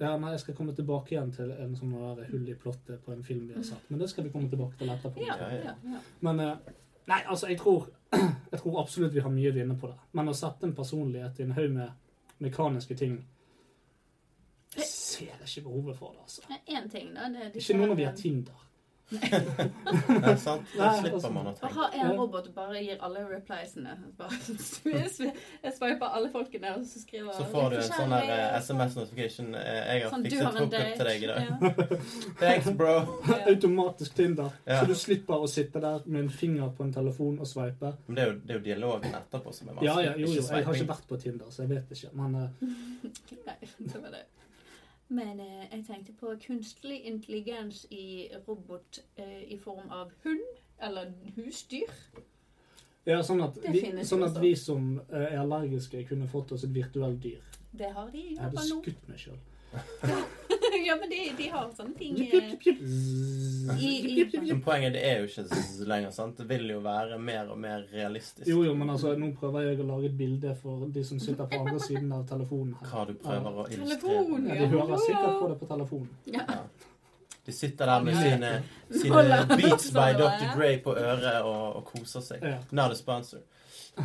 Speaker 3: ja, nei, Jeg skal komme tilbake igjen til en sånn der hull i plottet på en film vi har sett. Men det skal vi komme tilbake til etterpå.
Speaker 5: Ja,
Speaker 4: Ja,
Speaker 5: ja,
Speaker 4: ja.
Speaker 5: ja.
Speaker 3: Men eh, nei, altså, jeg tror, jeg tror absolutt vi har mye å vinne på det. Men å sette en personlighet i en haug med mekaniske ting Jeg ser ikke behovet for det, altså.
Speaker 5: Én ting, da. Eh. Det er eh, disse
Speaker 3: Ikke nå når vi
Speaker 5: her-
Speaker 3: har Tinder.
Speaker 4: Nei, sant? Da
Speaker 3: Nei, altså-
Speaker 4: slipper man å
Speaker 5: Å
Speaker 4: tenke.
Speaker 5: ha en robot og bare gir alle repliesene. Bare Jeg sveiper alle folkene, og så skriver
Speaker 4: Så får du en sånn her eh,
Speaker 5: Kjære-
Speaker 4: SMS notification. eh, Jeg har
Speaker 5: Sånn, du
Speaker 4: fikset
Speaker 5: har en
Speaker 4: hookup
Speaker 5: date.
Speaker 4: til deg i dag.
Speaker 5: Ja.
Speaker 4: Thanks, bro.
Speaker 5: Ja.
Speaker 3: Automatisk Tinder.
Speaker 4: Ja.
Speaker 3: Så du slipper å sitte der med en finger på en telefon og sveipe.
Speaker 4: Men det er jo, det er jo dialogen etterpå som er vanskelig.
Speaker 3: Ja, ja, jo, jo. Jeg har
Speaker 4: swiping.
Speaker 3: ikke vært på Tinder, så jeg vet ikke. Men eh,
Speaker 5: Nei, det var det. Men eh, jeg tenkte på kunstig intelligens i robot eh, i form av hund eller husdyr.
Speaker 3: Ja, sånn at,
Speaker 5: Det
Speaker 3: vi,
Speaker 5: finnes
Speaker 3: sånn
Speaker 5: jo
Speaker 3: at
Speaker 5: også.
Speaker 3: vi som eh, er allergiske, kunne fått oss et virtuelt dyr.
Speaker 5: Det har de i
Speaker 3: Jeg hadde
Speaker 5: Japan nå.
Speaker 3: skutt meg sjøl.
Speaker 5: ja, men de, de har sånne ting eh, i, i
Speaker 3: Jo,
Speaker 4: Men poenget det er jo ikke zzz lenger, sant? Det vil jo være mer og mer realistisk
Speaker 3: jo, men altså, nå prøver jeg å lage et bilde for de som sitter på andre siden av telefonen her.
Speaker 4: hva du prøver å illustrere.
Speaker 5: Telefon,
Speaker 3: Ja,
Speaker 5: ja.
Speaker 3: de hører sikkert på det på telefonen.
Speaker 5: Ja.
Speaker 4: De sitter der med
Speaker 5: Ja, ja.
Speaker 4: sine, sine
Speaker 5: Holder
Speaker 4: Beats
Speaker 5: sånn,
Speaker 4: by
Speaker 5: eller?
Speaker 4: Dr. Dre på øret og, og koser seg.
Speaker 3: Ja.
Speaker 4: Not a sponsor.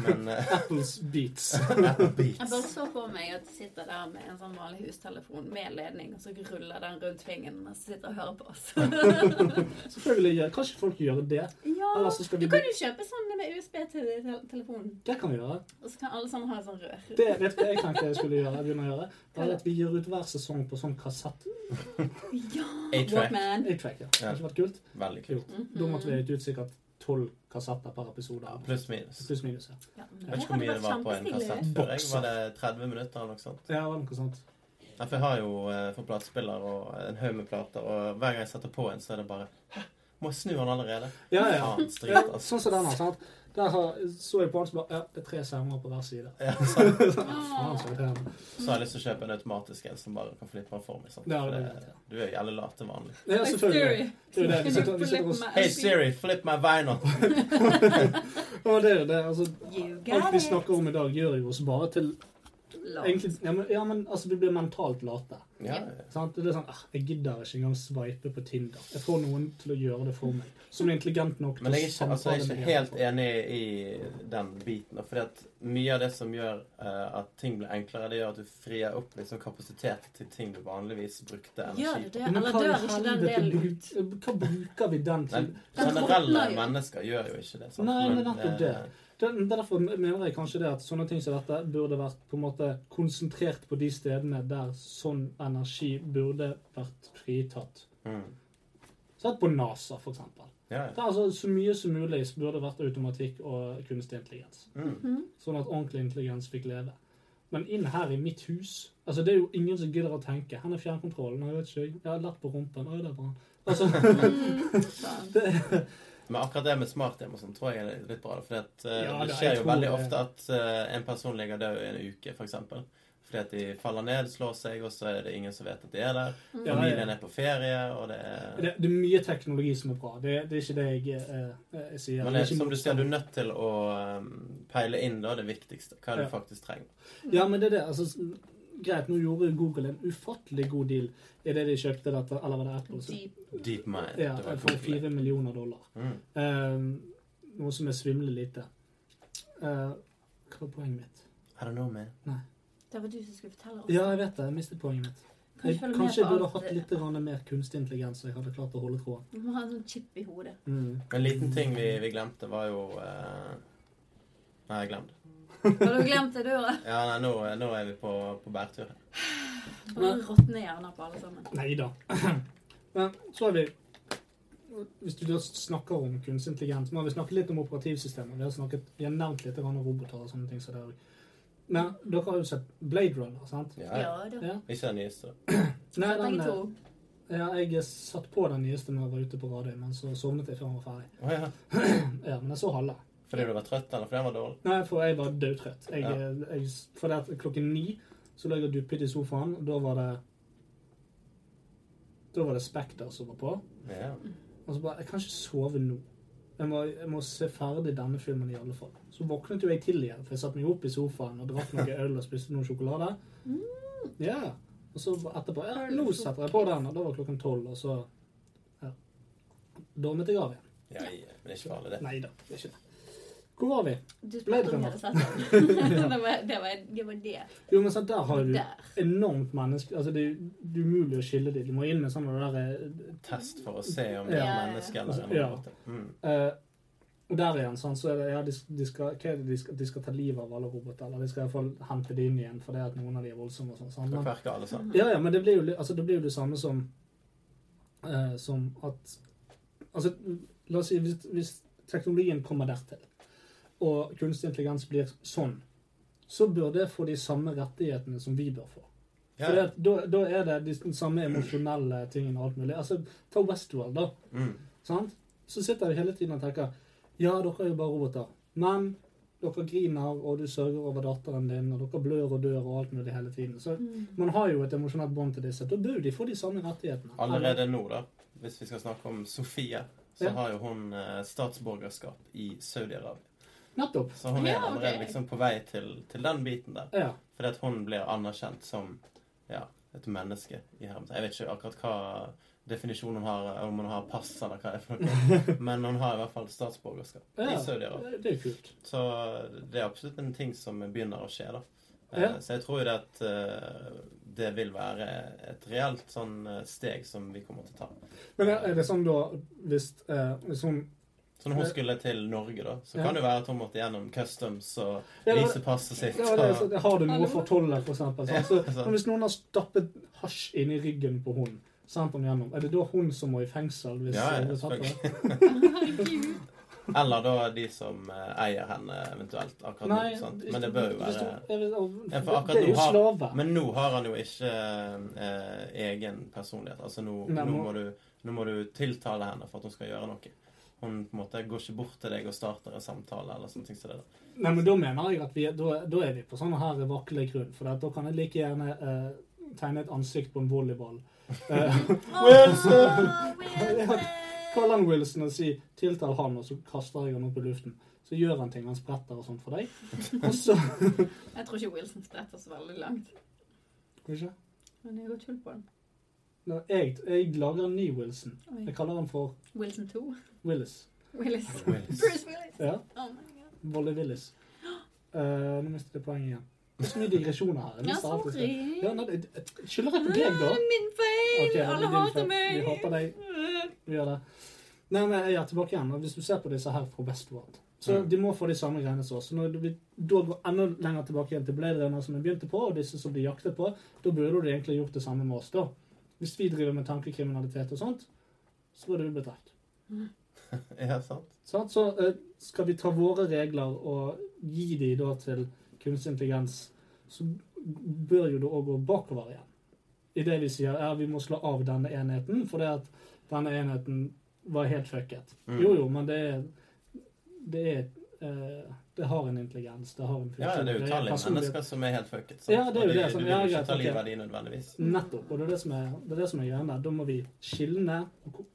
Speaker 4: Men eh,
Speaker 3: Apples Beats.
Speaker 4: Apple
Speaker 5: Jeg
Speaker 4: Beats.
Speaker 5: bare så på meg at de sitter der med en sånn vanlig hustelefon med ledning, og så ruller den rundt fingeren mens de sitter og hører på oss.
Speaker 3: Selvfølgelig gjør kanskje folk gjør det.
Speaker 5: ja,
Speaker 3: Eller så skal
Speaker 5: du
Speaker 3: vi
Speaker 5: kan jo kjøpe sånne med USB til te- telefonen,
Speaker 3: Det kan vi gjøre.
Speaker 5: og så kan alle sammen ha en sånn rør.
Speaker 3: Det vet du hva jeg tenkte jeg skulle gjøre. Jeg begynner å gjøre. Det er at vi gir ut hver sesong på sånn kassett.
Speaker 5: Ja!
Speaker 4: Eight track.
Speaker 5: Walkman.
Speaker 3: 8-track, ja. Det hadde vært kult.
Speaker 4: Veldig kult.
Speaker 3: kult. Da måtte vi gitt ut sikkert tolv kassetter per episode.
Speaker 4: Ja, pluss minus.
Speaker 3: Pluss minus, ja.
Speaker 5: Ja, men
Speaker 4: Jeg vet ikke hvor mye det var på en
Speaker 5: kjempestilig.
Speaker 4: kassett før. Jeg.
Speaker 3: Bokser.
Speaker 4: Var det 30 minutter eller noe sånt?
Speaker 3: Ja, det var noe sånt.
Speaker 4: Ja, for jeg har jo eh, for platespiller og en haug med plater, og hver gang jeg setter på en, så er det bare Hæ? Må jeg snu den allerede?
Speaker 3: Ja, ja.
Speaker 4: Faen, stryk,
Speaker 3: ja
Speaker 4: altså.
Speaker 3: sånn som denne, sant. Der har, så jeg på den som bare Ja, det er tre sanger på hver side.
Speaker 4: Ja, så,
Speaker 3: Faen, altså. så irriterende.
Speaker 4: så har jeg lyst til å kjøpe en automatisk en som bare kan flippe meg for meg. Sant?
Speaker 3: Ja,
Speaker 4: For
Speaker 3: det er greit,
Speaker 4: det, du er jo jævlig late vanlig.
Speaker 3: Ja,
Speaker 5: Like
Speaker 3: selvfølgelig.
Speaker 5: Siri.
Speaker 3: Det er jo det. Vi
Speaker 5: Kan
Speaker 3: sitter,
Speaker 5: du
Speaker 3: vi sitter og
Speaker 5: flippe meg?
Speaker 4: Hey Siri, flip my vinyl!
Speaker 3: Ja, det er jo det. Altså,
Speaker 5: You
Speaker 3: alt
Speaker 5: got
Speaker 3: vi
Speaker 5: it.
Speaker 3: snakker om i dag, gjør jo oss bare til
Speaker 5: Love.
Speaker 3: egentlig, ja, men, ja, men altså, vi blir mentalt late.
Speaker 4: Ja,
Speaker 3: Sant? Det er sånn, ah, Jeg gidder ikke engang sveipe på Tinder. Jeg får noen til å gjøre det for meg. Som er intelligent nok
Speaker 4: Men jeg er ikke, altså, jeg er
Speaker 3: med
Speaker 4: ikke
Speaker 3: dem.
Speaker 4: helt enig i den biten. For mye av det som gjør eh, at ting blir enklere, det gjør at du frier opp liksom, kapasitet til ting du vanligvis brukte
Speaker 5: Gjør
Speaker 4: energi
Speaker 5: det det,
Speaker 3: Men
Speaker 5: eller
Speaker 3: hva i
Speaker 5: dør ikke den
Speaker 3: helvete
Speaker 5: delen Mm.
Speaker 3: bruk-
Speaker 5: ut?
Speaker 3: Hva bruker vi den
Speaker 4: Nei,
Speaker 3: til?
Speaker 5: Den
Speaker 4: generelle
Speaker 5: råtner jo.
Speaker 4: mennesker gjør jo ikke det. sant?
Speaker 3: Nei, men
Speaker 4: Men,
Speaker 3: nettopp
Speaker 4: eh,
Speaker 3: det. Det det er derfor mener jeg kanskje det at sånne ting som dette burde vært på en måte konsentrert på de stedene der sånn energi burde vært fritatt.
Speaker 4: Mm.
Speaker 3: Sett på NASA, for eksempel.
Speaker 4: Ja,
Speaker 3: Det
Speaker 4: ja.
Speaker 3: er altså Så mye som mulig så burde det vært automatikk og kunstig intelligens.
Speaker 4: Mm.
Speaker 3: Sånn at ordentlig intelligens fikk leve. Men inn her i mitt hus altså Det er jo ingen som gidder å tenke. Her er fjernkontrollen. Jeg vet ikke, jeg- jeg har lapp på rumpen. Oi, det er bra. Altså,
Speaker 5: Sånn.
Speaker 4: Men akkurat det med smart-hjem og sånn tror jeg er litt bra. For at, eh,
Speaker 3: Ja,
Speaker 4: det
Speaker 3: det-
Speaker 4: skjer
Speaker 3: jeg
Speaker 4: jo
Speaker 3: tror
Speaker 4: veldig
Speaker 3: det.
Speaker 4: ofte at eh, en person ligger død i en uke, f.eks. For eksempel. fordi at de faller ned, slår seg, og så er det ingen som vet at de er der.
Speaker 5: Mm.
Speaker 3: ja,
Speaker 4: Familien
Speaker 3: ja.
Speaker 4: er på ferie, og det er
Speaker 3: Det, det er mye teknologi som er bra. Det, det er ikke det jeg, eh, eh, jeg
Speaker 4: Men
Speaker 3: sier. Det er
Speaker 4: det,
Speaker 3: ikke
Speaker 4: som du sier,
Speaker 3: motstand.
Speaker 4: du er nødt til å um, peile inn da, det viktigste. Hva er det
Speaker 3: Ja.
Speaker 4: du faktisk trenger.
Speaker 3: Ja, men det er det. Altså, s- greit, nå gjorde Google en ufattelig god deal i det de kjøpte dette, eller var det Apple? som-
Speaker 5: Deep.
Speaker 4: Deep mind.
Speaker 3: Ja,
Speaker 4: det var
Speaker 3: for
Speaker 4: Google.
Speaker 3: fire millioner dollar.
Speaker 4: Mm.
Speaker 3: Eh, noe som er svimlende lite. Eh, hva var poenget mitt?
Speaker 4: I don't know, man.
Speaker 5: Det var du som skulle fortelle oss.
Speaker 3: Ja, jeg vet det. Jeg mistet poenget mitt.
Speaker 5: Kan
Speaker 3: Jeg,
Speaker 5: du følge med
Speaker 3: kanskje jeg
Speaker 5: på
Speaker 3: burde
Speaker 5: alt
Speaker 3: hatt
Speaker 5: det?
Speaker 3: litt grann mer kunstig intelligens, så jeg hadde klart å holde tråden.
Speaker 5: Du må ha en sånn chip i hodet.
Speaker 4: En liten ting vi, vi glemte, var jo eh, Nei, jeg glemte.
Speaker 5: Har du glemt det, du òg?
Speaker 4: Ja, nei, nå, nå er vi på, på bærtur.
Speaker 5: Bare råtne hjerner på alle sammen.
Speaker 3: Nei da. Men så har vi Hvis du da snakker om kunstig intelligens Nå har vi snakket litt om operativsystemer. Vi har, snakket, vi har nevnt litt grann om roboter og sånne ting. Så det er, jo- men dere har jo sett Blade Runner, sant?
Speaker 4: Ja, ja.
Speaker 5: Ja, det var
Speaker 3: Ja.
Speaker 4: Ikke den nyeste.
Speaker 3: Nei, den,
Speaker 5: begge to.
Speaker 3: eh, ja, jeg satt på den nyeste når jeg var ute på Radøy, men så sovnet jeg før den var ferdig.
Speaker 4: Å ja.
Speaker 3: Ja, Men jeg så halve.
Speaker 4: Fordi du var trøtt, eller fordi den var dårlig?
Speaker 3: Nei, for jeg var dødtrøtt. Jeg,
Speaker 4: Ja.
Speaker 3: jeg, for det at klokken ni så lå jeg og duppet i sofaen, og da var det Da var det Spekter som var på.
Speaker 4: Ja.
Speaker 3: Og så bare Jeg kan ikke sove nå. Jeg må, jeg må se ferdig denne filmen i alle fall. Så våknet jo jeg til igjen, for jeg satte meg opp i sofaen og drakk noe øl og spiste noe sjokolade. Ja. Og så bare etterpå ja, Nå setter jeg på den, og da var klokken tolv, og så ja. Dormet jeg av igjen.
Speaker 4: Ja, ja. Men det er ikke farlig, det.
Speaker 3: Nei da, det er ikke det. Hvor var vi?
Speaker 5: Du spurte om jeg hadde sett den. det, var, det, var, det var det.
Speaker 3: Jo, men sant, der har du
Speaker 5: Der.
Speaker 3: enormt menneske... Altså, det er det er umulig å skille dem. Du må inn med sånn det derre
Speaker 4: Test for å se om det er
Speaker 5: Ja, ja,
Speaker 4: et
Speaker 5: ja.
Speaker 4: menneske eller en
Speaker 3: Ja.
Speaker 4: robot. Mm.
Speaker 3: Eh, og der igjen, sånn, så er det, ja, de, de, skal, hva er det, de, skal, de skal ta livet av alle roboter, eller de skal i hvert fall hente det inn igjen, for det at noen av de er voldsomme og sånn. sant?
Speaker 4: Skal
Speaker 3: Men,
Speaker 4: kverke alle sammen.
Speaker 3: ja, ja, men det blir jo, li- altså, det blir jo det samme som, eh, som at, altså, la oss si, hvis, hvis teknologien kommer dertil, og kunstig intelligens blir sånn, så bør det få de samme rettighetene som vi bør få.
Speaker 4: Ja.
Speaker 3: For det, at da, da er det de, samme emosjonelle tingene og alt mulig. Altså, ta Westworld da.
Speaker 4: Mm.
Speaker 3: Sant? Så sitter jeg hele tiden og tenker Ja, dere er jo bare roboter. Men dere griner, og du sørger over datteren din, og dere blør og dør og alt mulig hele tiden. Så man har jo et emosjonelt bånd til disse. Da bør de få de samme rettighetene.
Speaker 4: Allerede nå, da, hvis vi skal snakke om Sofie, så
Speaker 3: Ja.
Speaker 4: har jo hun eh, statsborgerskap i Saudi-Arabia.
Speaker 3: Eller- Nettopp.
Speaker 4: Så hun er
Speaker 5: Ja, ok.
Speaker 4: allerede liksom på vei til, til den biten der.
Speaker 3: Ja.
Speaker 4: Fordi at hun blir anerkjent som ja, et menneske. i hermetegn. Jeg vet ikke akkurat hva definisjon hun har, eh, om hun har pass eller hva det er for noe. Men hun har i hvert fall statsborgerskap
Speaker 3: ja.
Speaker 4: i Saudi-Arabia.
Speaker 3: Det er jo kult.
Speaker 4: Så det er absolutt en ting som begynner å skje, da. Eh,
Speaker 3: Ja.
Speaker 4: Så jeg tror jo det at eh, det vil være et reelt sånn eh, steg som vi kommer til å ta.
Speaker 3: Men er det sånn da hvis, eh, hvis hun
Speaker 4: Så når hun skulle til Norge, da, så
Speaker 3: Ja.
Speaker 4: kan det jo være at hun måtte gjennom customs og
Speaker 3: Ja, det var-
Speaker 4: vise passet sitt.
Speaker 3: ja, det, er sånn så-
Speaker 4: og-
Speaker 3: Har du noe for tollet, for eksempel?
Speaker 4: Ja,
Speaker 3: sant? Så,
Speaker 4: sant.
Speaker 3: men hvis noen har stappet hasj inn i ryggen på hunden sendte han gjennom. Er det da hun som må i fengsel? hvis
Speaker 4: Ja, ja,
Speaker 3: hun blir tatt for det?
Speaker 4: selvfølgelig.
Speaker 5: Herregud.
Speaker 3: sånn.
Speaker 4: Eller da de som eh, eier henne eventuelt. akkurat nå, sant? Men det bør jo
Speaker 3: hvis
Speaker 4: være
Speaker 3: du- jeg vet- og-
Speaker 4: Ja, for akkurat
Speaker 3: Det
Speaker 4: nå
Speaker 3: er jo
Speaker 4: har-
Speaker 3: slave.
Speaker 4: Men nå har han jo ikke eh, egen personlighet. Altså nå,
Speaker 3: Nei,
Speaker 4: nå,
Speaker 3: må-
Speaker 4: må du, nå må du tiltale henne for at hun skal gjøre noe. Hun på en måte går ikke bort til deg og starter en samtale eller sånne ting som det. da.
Speaker 3: Nei, men da mener jeg at vi, da, da er vi på sånn her vakle grunn. For at da kan jeg like gjerne eh, tegne et ansikt på en volleyball. Eh,
Speaker 4: Wilson!
Speaker 3: Kall han Wilson og si 'tiltal han', og så kaster jeg han opp i luften. Så gjør han ting, han spretter og sånn for deg. Og så
Speaker 5: Jeg tror ikke Wilson spretter så veldig langt.
Speaker 3: Kanskje?
Speaker 5: Men jeg går tull på den.
Speaker 3: Nå, jeg, jeg lager en ny Wilson.
Speaker 5: Oi.
Speaker 3: Jeg kaller han for
Speaker 5: Wilson 2.
Speaker 3: Willis.
Speaker 5: Willis.
Speaker 4: Willis.
Speaker 5: Bruce Willis.
Speaker 3: Ja,
Speaker 5: Oh my god.
Speaker 3: Volley Willis. Eh, nå mistet jeg poenget igjen. Det er så mye digresjoner her. Jeg
Speaker 5: Ja,
Speaker 3: mister alt jeg
Speaker 5: sorry.
Speaker 3: sier. Ja, nei, det- det- Skylder jeg på deg, da?
Speaker 5: Ah, Min feil!
Speaker 3: Ok, det er
Speaker 5: Alle
Speaker 3: din
Speaker 5: hater
Speaker 3: feil.
Speaker 5: meg!
Speaker 3: Vi hater deg. Vi gjør det. Nei, men jeg er tilbake igjen. og Hvis du ser på disse her fra Westworld, så
Speaker 4: Mm.
Speaker 3: de må få de samme greiene som oss. Så Når vi da går enda lenger tilbake igjen til Blade Runner, som vi begynte på, og disse som blir jaktet på, da burde du egentlig gjort det samme med oss, da. Hvis vi driver med tankekriminalitet og sånt, så burde vi blitt drept.
Speaker 4: Ja, sant?
Speaker 3: Sant? Så eh, skal vi ta våre regler og gi de da til kunstig intelligens, så bør jo det òg gå bakover igjen. I det vi sier er vi må slå av denne enheten, for det at denne enheten var helt fucket.
Speaker 4: Mm.
Speaker 3: Jo jo, men det er Det er eh, Det har en intelligens. Det har en
Speaker 4: Ja, det er jo
Speaker 3: funksjon, en
Speaker 4: utallige
Speaker 3: personlighet.
Speaker 4: mennesker som er helt fucket. sant?
Speaker 3: Ja, det er jo
Speaker 4: Og de-
Speaker 3: det som-
Speaker 4: Du
Speaker 3: ja,
Speaker 4: vil jo
Speaker 3: greit,
Speaker 4: ikke ta
Speaker 3: ok.
Speaker 4: livet av de nødvendigvis.
Speaker 3: Nettopp. Og det er det som er, det er, det som er greia der. Da må vi skilne. Og ko-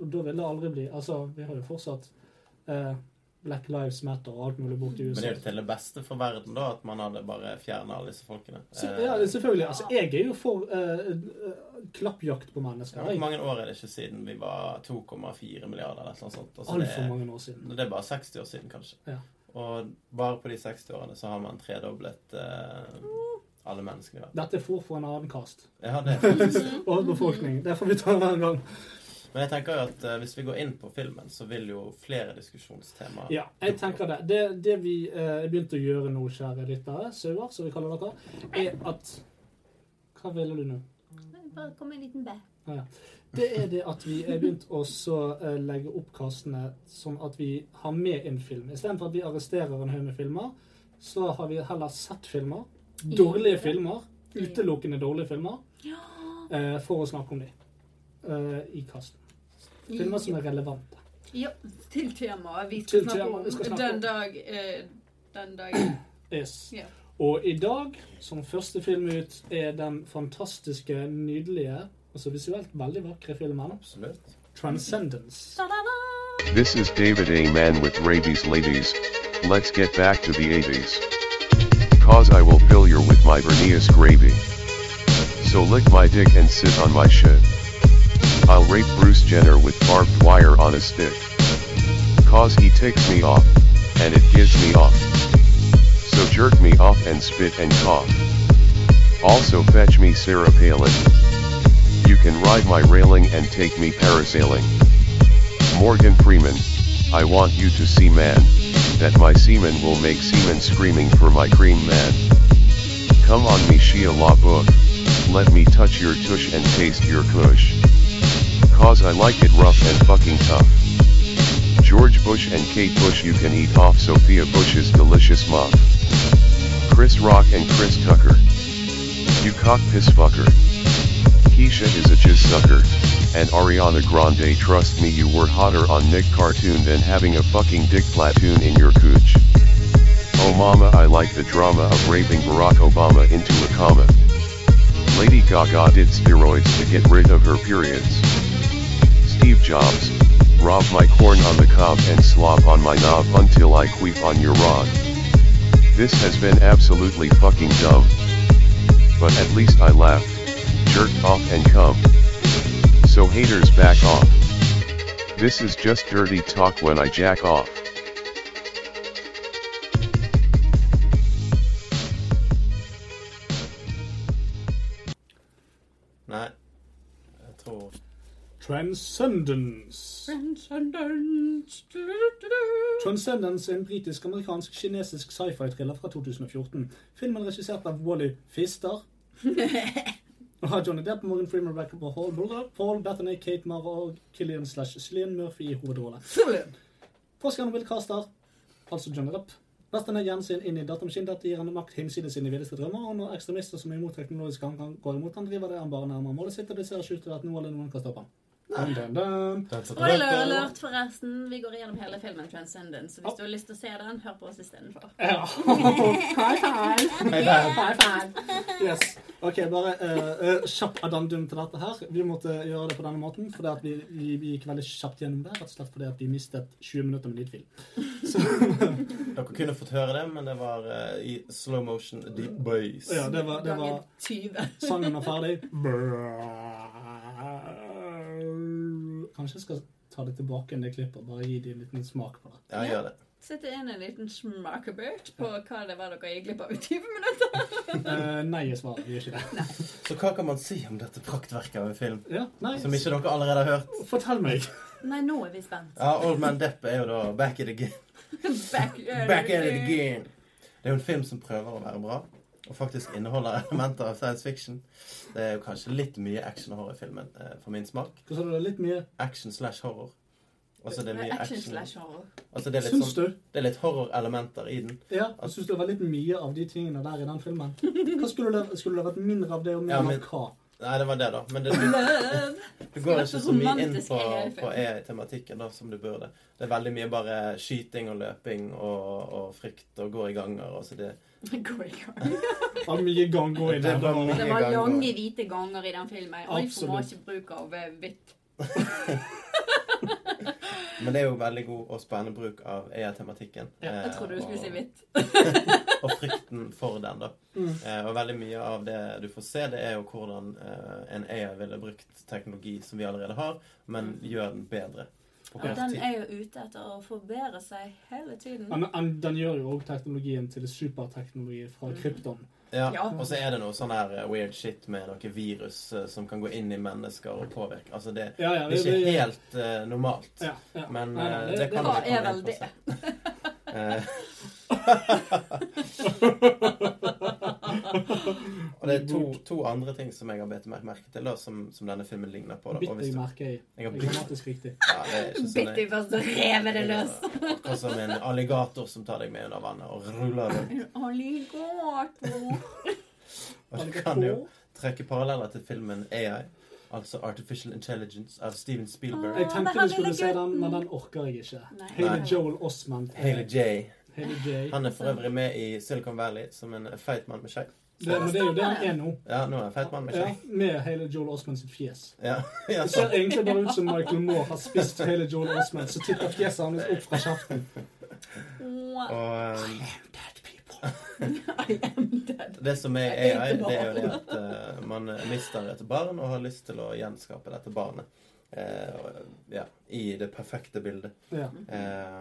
Speaker 3: og da vil det aldri bli Altså, vi har jo fortsatt eh, Black Lives Matter og alt mulig borti
Speaker 4: Men det
Speaker 3: USA.
Speaker 4: er jo til det beste for verden, da, at man hadde bare fjernet alle disse folkene.
Speaker 3: Så,
Speaker 4: Eh,
Speaker 3: ja, selvfølgelig. Altså, jeg er jo for eh, eh, klappjakt på mennesker.
Speaker 4: Eh, Hvor
Speaker 3: jeg.
Speaker 4: mange år er det ikke siden vi var 2,4 milliarder eller noe sånt? Altså, det,
Speaker 3: Altfor
Speaker 4: er-
Speaker 3: mange år siden.
Speaker 4: det er bare 60 år siden, kanskje.
Speaker 3: Ja.
Speaker 4: Og bare på de 60 årene så har man tredoblet eh, alle menneskene i verden.
Speaker 3: Dette er for for en annen kast.
Speaker 4: Ja, det er faktisk.
Speaker 3: Og befolkning. Det får vi ta en annen gang.
Speaker 4: Men jeg tenker jo at eh, hvis vi går inn på filmen, så vil jo flere diskusjonstemaer
Speaker 3: Ja, jeg tenker det. Det, det vi eh, begynte å gjøre nå, kjære lyttere, sauer, som vi kaller dere, er at Hva ville du nå?
Speaker 5: Bare kom en liten bæ.
Speaker 3: Ja. Det er det at vi er begynt å så, eh, legge opp kastene sånn at vi har med en film. Istedenfor at vi arresterer en haug med filmer, så har vi heller sett filmer. Dårlige filmer. Utelukkende dårlige filmer. eh, For å snakke om dem i kasten. Filmer som er relevante.
Speaker 5: Ja, til temaet vi
Speaker 3: Til
Speaker 5: skal snakke
Speaker 3: temaet vi skal
Speaker 5: om
Speaker 3: snakke om.
Speaker 5: den dag eh, Den dagen.
Speaker 3: Yes.
Speaker 5: Ja.
Speaker 3: Og i dag, som første film ut, er den fantastiske, nydelige, altså visuelt veldig vakre filmen
Speaker 4: Absolutt.
Speaker 3: Transcendence.
Speaker 5: Ta-da-da!
Speaker 9: This is David A. Man with Rabies Ladies, let's get back to the 80s. Cause I will fill you with my Bernice gravy. So lick my dick and sit on my shit. I'll rape Bruce Jenner with barbed wire on a stick. Cause he ticks me off, and it gives me off. So jerk me off and spit and cough. Also fetch me Sarah Palin. You can ride my railing and take me parasailing. Morgan Freeman, I want you to see man, that my semen will make semen screaming for my cream man. Come on me Shia LaBeouf, let me touch your tush and taste your kush. Cause I like it rough and fucking tough. George Bush and Kate Bush you can eat off Sophia Bush's delicious muff. Chris Rock and Chris Tucker. You cock piss fucker. Keisha is a jizz sucker, and Ariana Grande trust me you were hotter on Nick Cartoon than having a fucking dick platoon in your cooch. Oh mama I like the drama of raping Barack Obama into a coma. Lady Gaga did steroids to get rid of her periods. Steve Jobs, rob my corn on the cob and slop on my knob until I queef on your rod. This has been absolutely fucking dumb. But at least I laughed, jerked off and come. So haters back off. This is just dirty talk when I jack off.
Speaker 4: Nei, jeg tror
Speaker 3: Transcendence.
Speaker 5: Transcendence. Du-du-du-du.
Speaker 3: Transcendence er en britisk-amerikansk-kinesisk sci-fi-thriller fra 2014. Filmen er regissert av Wally Fister. Nå har Johnny Depp, Morgan Freeman, Rebecca Hall, Paul, Bethany, Kate Mara og Killian slash Cillian Murphy i hovedrolle. Forskeren Will Caster, altså Johnny Depp, Bethany Jensen inn i datamaskinen. Dette gir henne makt hinsides sine villeste drømmer, og når ekstremister som er imot teknologisk gang kan gå imot han, driver det han bare nærmere målet sitt, og det ser ikke ut til at noe eller noen kan stoppe han. Dun, dun, dun.
Speaker 5: Spoiler alert, forresten. Vi går igjennom hele filmen Transcendence. Så hvis du har lyst til å se den, hør på oss istedenfor.
Speaker 3: Ja. High five!
Speaker 4: High five.
Speaker 3: High five. Yes. Ok, bare eh, eh, kjapp addendum til dette her. Vi måtte gjøre det på denne måten, fordi at vi, vi, vi gikk veldig kjapt gjennom det, rett og slett fordi at vi mistet 20 minutter med lydfil.
Speaker 4: Dere kunne fått høre det, men det var eh, i slow motion deep bass.
Speaker 3: Ja, det var, det var
Speaker 5: Gangen 20.
Speaker 3: Sangen var ferdig. Kanskje jeg skal ta det tilbake enn det klippet. Bare gi dem en liten smak på det.
Speaker 4: Ja, gjør det.
Speaker 5: Sette inn en liten smakebørt på hva det var dere gikk glipp av i 20 minutter.
Speaker 3: Eh, nei er svaret. Vi gjør ikke det.
Speaker 4: Så hva kan man si om dette praktverket av en film
Speaker 3: Ja, nei,
Speaker 4: som ikke dere allerede har hørt?
Speaker 3: Fortell meg.
Speaker 5: Nei, nå er vi spent.
Speaker 4: Ja, Old Man Depp er jo da back in the game.
Speaker 5: Back,
Speaker 4: Back in the game. Det er jo en film som prøver å være bra, og faktisk inneholder elementer av science fiction. Det er jo kanskje litt mye action og horror i filmen eh, for min smak.
Speaker 3: Hva sa du? Litt mye
Speaker 4: Action slash horror. Altså det er mye
Speaker 5: Action
Speaker 4: action.
Speaker 5: slash horror.
Speaker 4: Altså det er litt,
Speaker 3: Syns
Speaker 4: sånn,
Speaker 3: du?
Speaker 4: det er litt horrorelementer i den.
Speaker 3: Ja, jeg syns det var litt mye av de tingene der i den filmen. Hva skulle det, skulle det vært mindre av det og mer
Speaker 4: Ja, men-
Speaker 3: av hva?
Speaker 4: Nei, det var det, da. Men det,
Speaker 5: Love.
Speaker 4: Du går
Speaker 5: Skal
Speaker 4: ikke
Speaker 5: være
Speaker 4: så mye inn
Speaker 5: romantisk
Speaker 4: på,
Speaker 5: hele filmen.
Speaker 4: på E-tematikken da, som du burde. Det er veldig mye bare skyting og løping og, og frykt og gå i ganger. Og så det,
Speaker 5: Går i gang.
Speaker 3: Det var mye gang og i
Speaker 4: det
Speaker 3: det.
Speaker 4: er bare mye
Speaker 5: Det var lange,
Speaker 4: ganger.
Speaker 5: hvite ganger i den filmen. Altfor
Speaker 3: Absolutt.
Speaker 5: mye bruk av eh, hvitt.
Speaker 4: Men det er jo veldig god og spennende bruk av E-tematikken. Eh,
Speaker 5: Jeg trodde du skulle si hvitt.
Speaker 4: og frykten for den, da.
Speaker 5: Mm.
Speaker 4: Eh, og veldig mye av det du får se, det er jo hvordan eh, en AI ville brukt teknologi som vi allerede har, men gjør den bedre. På
Speaker 5: Mm. Og
Speaker 4: kort
Speaker 5: den
Speaker 4: tid.
Speaker 5: er jo ute etter å forbedre seg hele tiden.
Speaker 3: Men, men den gjør jo òg teknologien til superteknologi
Speaker 4: Mm.
Speaker 3: fra krypton.
Speaker 4: Ja.
Speaker 5: Ja.
Speaker 4: Og så er det noe sånn her eh, weird shit med noe virus eh, som kan gå inn i mennesker og påvirke. Altså det,
Speaker 3: Ja, ja,
Speaker 4: det er ikke helt eh, normalt.
Speaker 3: ja, ja.
Speaker 4: Men
Speaker 3: Nei, nei,
Speaker 4: eh, det kan
Speaker 5: Hva
Speaker 4: vi
Speaker 5: er
Speaker 4: komme
Speaker 5: vel
Speaker 4: inn på
Speaker 5: det?
Speaker 4: senere. Eh, og det er to, to andre ting som jeg har bitt meg merke til, da, som, som denne filmen ligner på. Da. Og
Speaker 3: Bitt
Speaker 4: hvis
Speaker 3: deg
Speaker 4: du,
Speaker 3: merke i.
Speaker 4: jeg har bitt
Speaker 3: Grammatisk riktig.
Speaker 4: ja, det er ikke sånn
Speaker 5: Bitt deg fast og rev det løs.
Speaker 4: Akkurat som en alligator som tar deg med under vannet og ruller deg.
Speaker 5: Alligator.
Speaker 4: Og du kan jo trekke paralleller til filmen AI, altså Artificial Intelligence av Steven Spielberg.
Speaker 3: Jeg
Speaker 5: Å, men
Speaker 3: tenkte
Speaker 5: han
Speaker 3: vi skulle
Speaker 5: lille
Speaker 3: se den,
Speaker 5: gutten.
Speaker 3: men den orker jeg ikke.
Speaker 5: Nei.
Speaker 3: Hele
Speaker 4: Nei.
Speaker 3: Joel Osment.
Speaker 4: Haley J.
Speaker 3: Haley J.
Speaker 4: Han er for øvrig med i Silicon Valley som en feit mann med skjegg.
Speaker 3: Det, men det er jo det han er nå.
Speaker 4: Ja, nå er han feit mann med
Speaker 3: Ja,
Speaker 4: skjegg.
Speaker 3: med hele Joel Osment sitt fjes.
Speaker 4: Ja, ja,
Speaker 3: Det ser egentlig bare ut som Michael Moore har spist hele Joel Osment, så titter fjeset hans opp fra kjeften.
Speaker 5: Mwah.
Speaker 4: Og um,
Speaker 3: Dead people.
Speaker 5: I am dead.
Speaker 4: det som er
Speaker 5: Jeg
Speaker 4: AI,
Speaker 5: tenkte på
Speaker 4: det er jo det at eh, man mister et barn og har lyst til å gjenskape dette barnet. Eh, og, ja, I det perfekte bildet.
Speaker 3: Ja.
Speaker 4: Eh,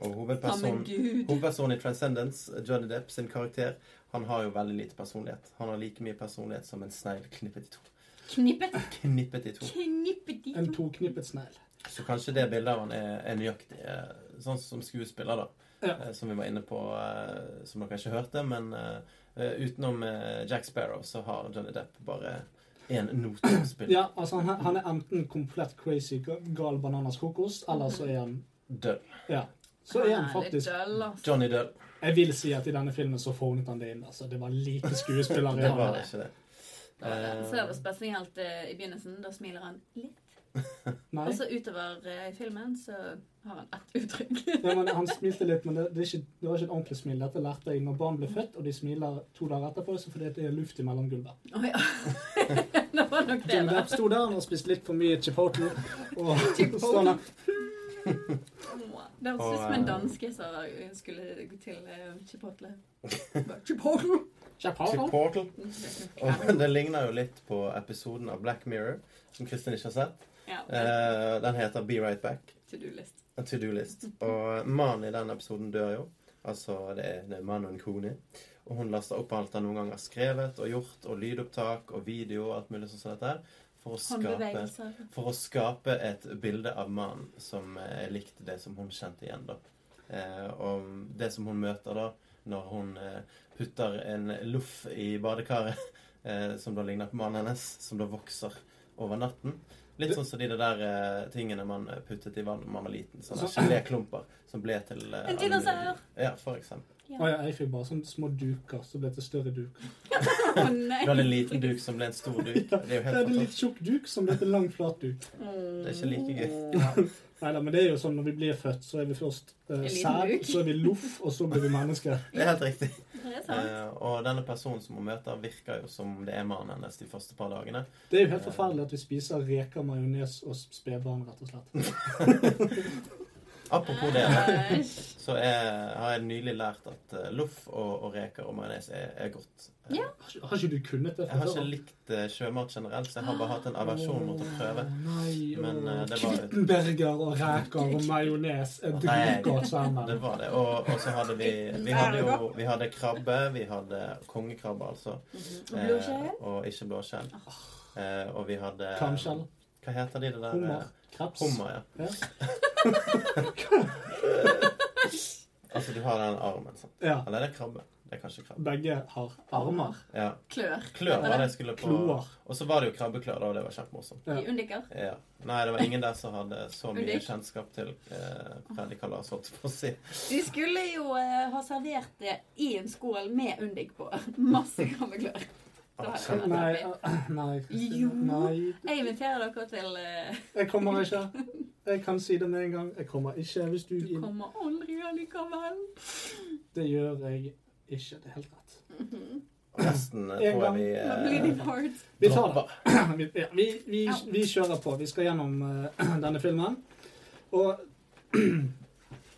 Speaker 4: og
Speaker 5: Samme
Speaker 3: sånn-
Speaker 4: hovedpersonen
Speaker 5: gud.
Speaker 4: hovedpersonen i Transcendence, Johnny Depp sin karakter, han har jo veldig lite personlighet. Han har like mye personlighet som en snegl knippet i to.
Speaker 5: Knippet.
Speaker 4: Knippet i to.
Speaker 5: Knippet i
Speaker 3: En toknippet snegl.
Speaker 4: Så kanskje det bildet av han er, er nøyaktig eh, sånn som skuespiller, da.
Speaker 3: Ja.
Speaker 4: Eh, Som vi var inne på, eh, som dere ikke hørte. Men eh, eh, utenom eh, Jack Sparrow så har Johnny Depp bare én note å spille.
Speaker 3: Ja, altså han, han er enten komplett crazy ga- gal bananas kokos, eller så er han
Speaker 4: Død.
Speaker 3: Ja. Så er han faktisk
Speaker 4: Johnny død.
Speaker 3: Jeg vil si at i denne filmen så fånet han det inn. altså. Det var lite skuespiller i
Speaker 4: Det
Speaker 3: han.
Speaker 4: var ikke det.
Speaker 5: Så det var spesielt eh, i begynnelsen. Da smiler han litt.
Speaker 3: Nei.
Speaker 5: Og så utover eh, filmen så har han ett uttrykk.
Speaker 3: Ja, men han smilte litt, men det, det, er ikke, det var ikke et ordentlig smil. Dette lærte jeg når barn ble født, og de smiler to dager etterpå så fordi det er luft imellom gulvet.
Speaker 5: Å ja. det var nok det.
Speaker 3: Johnny
Speaker 5: da.
Speaker 3: Depp sto der og spiste litt for mye chipotle. Og sånn der.
Speaker 5: Mwah. Det
Speaker 4: Og,
Speaker 5: høres ut som en
Speaker 4: eh,
Speaker 5: danske som skulle gå til eh, Chipotle. Bare, Chipotle!
Speaker 3: Chipotle.
Speaker 4: Eh, Portal. Og det ligner jo litt på episoden av Black Mirror, som Kristin ikke har sett.
Speaker 5: Ja,
Speaker 4: Eh, Den heter Be Right Back.
Speaker 5: to do-list.
Speaker 4: En to do-list. Og mannen i den episoden dør jo. Altså, det er, det er mann og en kone. Og hun laster opp alt han noen gang har skrevet og gjort, og lydopptak og video og alt mulig sånn som dette her, for å skape,
Speaker 5: Håndbevegelser.
Speaker 4: for å skape et bilde av mannen som eh, likte det som hun kjente igjen, da. Eh, og det som hun møter da, når hun eh, putter en loff i badekaret eh, som da ligner på mannen hennes, som da vokser over natten. Litt sånn som de der eh, tingene man puttet i vann da man var liten. Sånne
Speaker 3: Altså-
Speaker 4: geléklumper som ble til eh,
Speaker 5: En dinosaur!
Speaker 4: Ja, for eksempel.
Speaker 5: Ja.
Speaker 3: Å ja, jeg fikk bare sånne små duker som ble til større duker.
Speaker 5: Å nei.
Speaker 4: Du hadde en liten duk som ble en stor duk. Det er jo
Speaker 3: Jeg
Speaker 4: helt
Speaker 3: hadde en litt
Speaker 4: fantastisk.
Speaker 3: tjukk duk som ble til lang, flat duk.
Speaker 5: Mm.
Speaker 4: Det er ikke like gøy.
Speaker 3: Neida, men det er jo sånn når vi blir født, så er vi først uh,
Speaker 5: En liten
Speaker 3: sæd,
Speaker 5: duk.
Speaker 3: så er vi loff, og så blir vi mennesker.
Speaker 4: Det er helt riktig.
Speaker 5: Det er sant.
Speaker 4: Eh, og denne personen som hun møter, virker jo som det er mannen hennes de første par dagene.
Speaker 3: Det er jo helt forferdelig at vi spiser reker, majones og spedbarn, rett og slett.
Speaker 4: Apropos det,
Speaker 5: Eh.
Speaker 4: da,
Speaker 5: Æsj.
Speaker 4: så er, har jeg nylig lært at eh, loff og, og reker og majones er, er godt. Eh,
Speaker 5: Ja.
Speaker 3: Har ikke, har ikke du kunnet det
Speaker 4: Jeg har
Speaker 3: fra
Speaker 4: ikke
Speaker 3: før?
Speaker 4: likt eh, sjømat generelt, så jeg har bare hatt en aversjon mot å prøve.
Speaker 3: Å, Nei,
Speaker 4: Men,
Speaker 3: å,
Speaker 4: eh, det var-
Speaker 3: Kvittenberger og reker og majones er
Speaker 4: Nei.
Speaker 3: dritgodt
Speaker 4: Det
Speaker 3: sammen.
Speaker 4: var det. Og, og så hadde vi Vi hadde jo vi hadde krabbe. Vi hadde kongekrabbe, altså.
Speaker 5: Og blodskjell?
Speaker 4: og ikke blåskjell. Eh, og vi hadde
Speaker 3: Kamskjell,
Speaker 4: Hva heter de det der?
Speaker 3: hummer,
Speaker 4: eh,
Speaker 3: kreps.
Speaker 4: Hummer, ja.
Speaker 3: Ja.
Speaker 4: Altså du har den armen, sant.
Speaker 3: ja.
Speaker 4: Eller er det krabbe? Det er kanskje krabbe.
Speaker 3: Begge har armer.
Speaker 4: Ja.
Speaker 5: Klør.
Speaker 4: Klør var det jeg skulle på.
Speaker 3: Kloer.
Speaker 4: Og så var det jo krabbeklør, da, og det var kjempemorsomt.
Speaker 5: I undiker.
Speaker 4: Ja. Nei, det var ingen der som hadde så mye
Speaker 5: Ulrik?
Speaker 4: kjennskap til eh, predikalas, holdt jeg på å si.
Speaker 5: De skulle jo eh, ha servert det i en skål med undik på. Masse krabbeklør. Da
Speaker 4: Ah,
Speaker 5: hadde det
Speaker 3: Nei,
Speaker 5: vært artig.
Speaker 3: eh, nei, Kristine,
Speaker 5: Jo.
Speaker 3: nei.
Speaker 5: Jeg inviterer dere til eh,
Speaker 3: Jeg kommer ikke. Jeg kan si det med en gang. Jeg kommer ikke hvis du
Speaker 5: Du kommer aldri allikevel.
Speaker 3: Det gjør jeg ikke. Det er helt rett.
Speaker 4: Resten eh,
Speaker 3: En
Speaker 4: tror jeg
Speaker 3: gang.
Speaker 4: vi
Speaker 5: Nå blir de
Speaker 4: eh,
Speaker 5: hard.
Speaker 3: Vi tar det.
Speaker 4: dropper.
Speaker 3: Vi, ja, vi, vi, vi kjører på. Vi skal gjennom eh, denne filmen. Og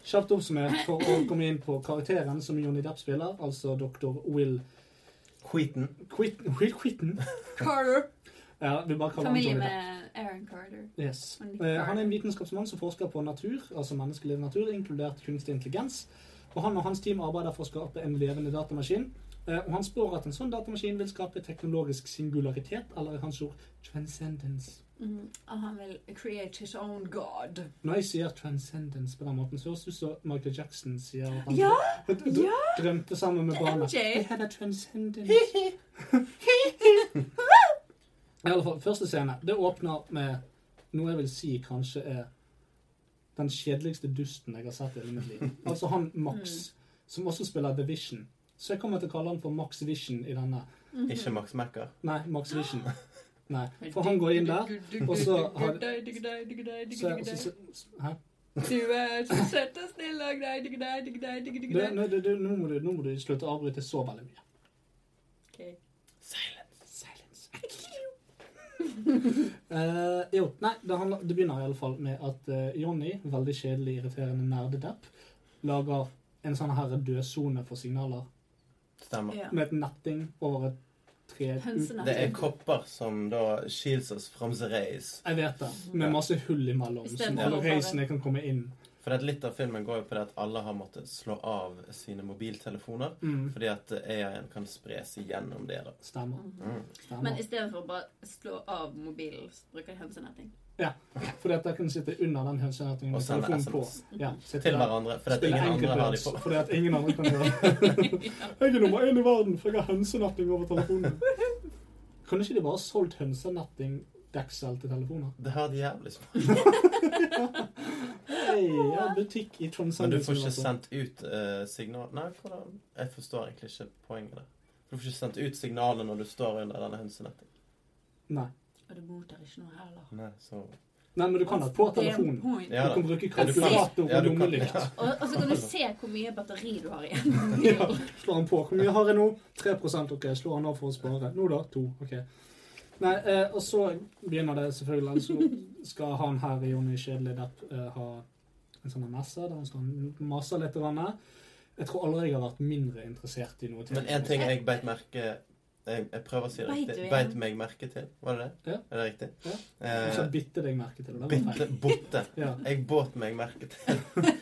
Speaker 3: kjapt oppsummert for å komme inn på karakteren som Johnny Depp spiller, altså dr. Will
Speaker 4: Queaton.
Speaker 3: Quitten. Will Quitten?
Speaker 5: Carter.
Speaker 3: Ja, vi bare kaller han
Speaker 5: Familie
Speaker 3: Johnny Depp.
Speaker 5: med Aaron Carter.
Speaker 3: Yes.
Speaker 5: Og Nick
Speaker 3: Eh, han er en
Speaker 5: Carter.
Speaker 3: vitenskapsmann som forsker på natur, altså menneskelig natur, inkludert kunstig intelligens. Og han og hans team arbeider for å skape en levende datamaskin. Eh, og han spår at en sånn datamaskin vil skape teknologisk singularitet, eller i hans ord transcendence.
Speaker 5: Mhm. Og han vil create his own god.
Speaker 3: Når jeg sier transcendence på den måten, så høres det ut som Michael Jackson sier at han
Speaker 5: Ja!
Speaker 3: d- d-
Speaker 5: ja.
Speaker 3: drømte sammen med
Speaker 5: Til
Speaker 3: barna.
Speaker 5: MJ.
Speaker 3: Jeg hadde transcendence. I alle fall, første scene. Det åpner med noe jeg vil si kanskje er den kjedeligste dusten jeg har sett i hele mitt liv. Altså han Max, som også spiller The Vision. Så jeg kommer til å kalle han for Max Vision i denne.
Speaker 4: Ikke Max Macker.
Speaker 3: Nei, Max Vision. Nei, for han går inn der, og så har så, så, så, så Hæ?
Speaker 5: Du er så søt og snill og grei, digg deg, digg deg, digg digg
Speaker 3: Du,
Speaker 5: deg.
Speaker 3: nå, du, du, nå, må du, nå må du slutte å avbryte så veldig mye.
Speaker 5: Ok.
Speaker 3: Silence. Eh, jo, nei, det, handler, det begynner i alle fall med at eh, Johnny, veldig kjedelig, irriterende nerdedepp, lager en sånn her dødsone for signaler
Speaker 4: Stemmer.
Speaker 5: Ja.
Speaker 3: med et netting over et tre
Speaker 5: Hønsenett.
Speaker 4: Det er kopper som da shields oss from the race.
Speaker 3: Jeg vet det. Med masse hull imellom,
Speaker 5: I
Speaker 3: så
Speaker 5: stedet
Speaker 3: alle
Speaker 5: for-
Speaker 3: reisene kan komme inn.
Speaker 4: For at litt av filmen går jo på det at alle har måttet slå av sine mobiltelefoner.
Speaker 3: Mm.
Speaker 4: Fordi at AI-en kan spres igjennom det. da.
Speaker 3: Stemmer.
Speaker 4: Mm.
Speaker 5: Men
Speaker 3: stemmer.
Speaker 5: i stedet for å bare slå av mobilen, så bruker de hønsenetting.
Speaker 3: Ja, fordi at jeg kan sitte under den hønsenettingen
Speaker 4: Og
Speaker 3: med
Speaker 4: sende
Speaker 3: telefonen på.
Speaker 4: SMS.
Speaker 3: Ja, sitte
Speaker 4: Til
Speaker 3: der.
Speaker 4: hverandre. Fordi at
Speaker 3: Spille
Speaker 4: ingen andre har de
Speaker 3: enkeltdans,
Speaker 4: på.
Speaker 3: fordi at ingen andre kan gjøre det. Jeg er nummer én i verden, for jeg har hønsenetting over telefonen. Kunne ikke de bare solgt hønsenetting Dexel til telefoner?
Speaker 4: Det har de jævlig små.
Speaker 3: Hei, jeg har butikk i Tromsø.
Speaker 4: Men du får ikke sendt ut eh, signal... Nei, hvordan? Jeg forstår egentlig ikke poenget der. Du får ikke sendt ut signalet når du står under denne hønsenettingen.
Speaker 3: Nei.
Speaker 5: Og det mottar ikke noe heller.
Speaker 4: Nei, så...
Speaker 3: Nei, men du kan ha på
Speaker 5: Damn
Speaker 3: telefonen.
Speaker 5: point.
Speaker 4: Ja
Speaker 3: Du kan
Speaker 4: da.
Speaker 3: bruke
Speaker 4: Ja, du kan-
Speaker 3: kalkulator
Speaker 4: ja,
Speaker 3: og
Speaker 4: du kan-
Speaker 3: lommelykt.
Speaker 5: Og, og så kan du se hvor mye batteri du har igjen.
Speaker 3: Ja, slår han på. Hvor mye har jeg nå? 3 OK. Slår han av for å spare. Nå da? 2 OK. Nei, eh, og så begynner det selvfølgelig Så skal han her i Jonny Kjedelig Depp eh, ha en sånn messe der han skal mase litt. Grann. Jeg tror aldri jeg har vært mindre interessert i noe.
Speaker 4: Men en ting jeg beit merke jeg, jeg prøver å si det
Speaker 5: Beit du
Speaker 4: riktig.
Speaker 5: igjen?
Speaker 4: Beit meg merke til. Var det det?
Speaker 3: Ja.
Speaker 4: Er det riktig?
Speaker 3: Ja.
Speaker 4: Eh,
Speaker 3: Ikke bitte deg merke til det. det var
Speaker 4: Bitte
Speaker 3: feil.
Speaker 4: botte.
Speaker 3: Ja.
Speaker 4: Jeg båt meg merke til.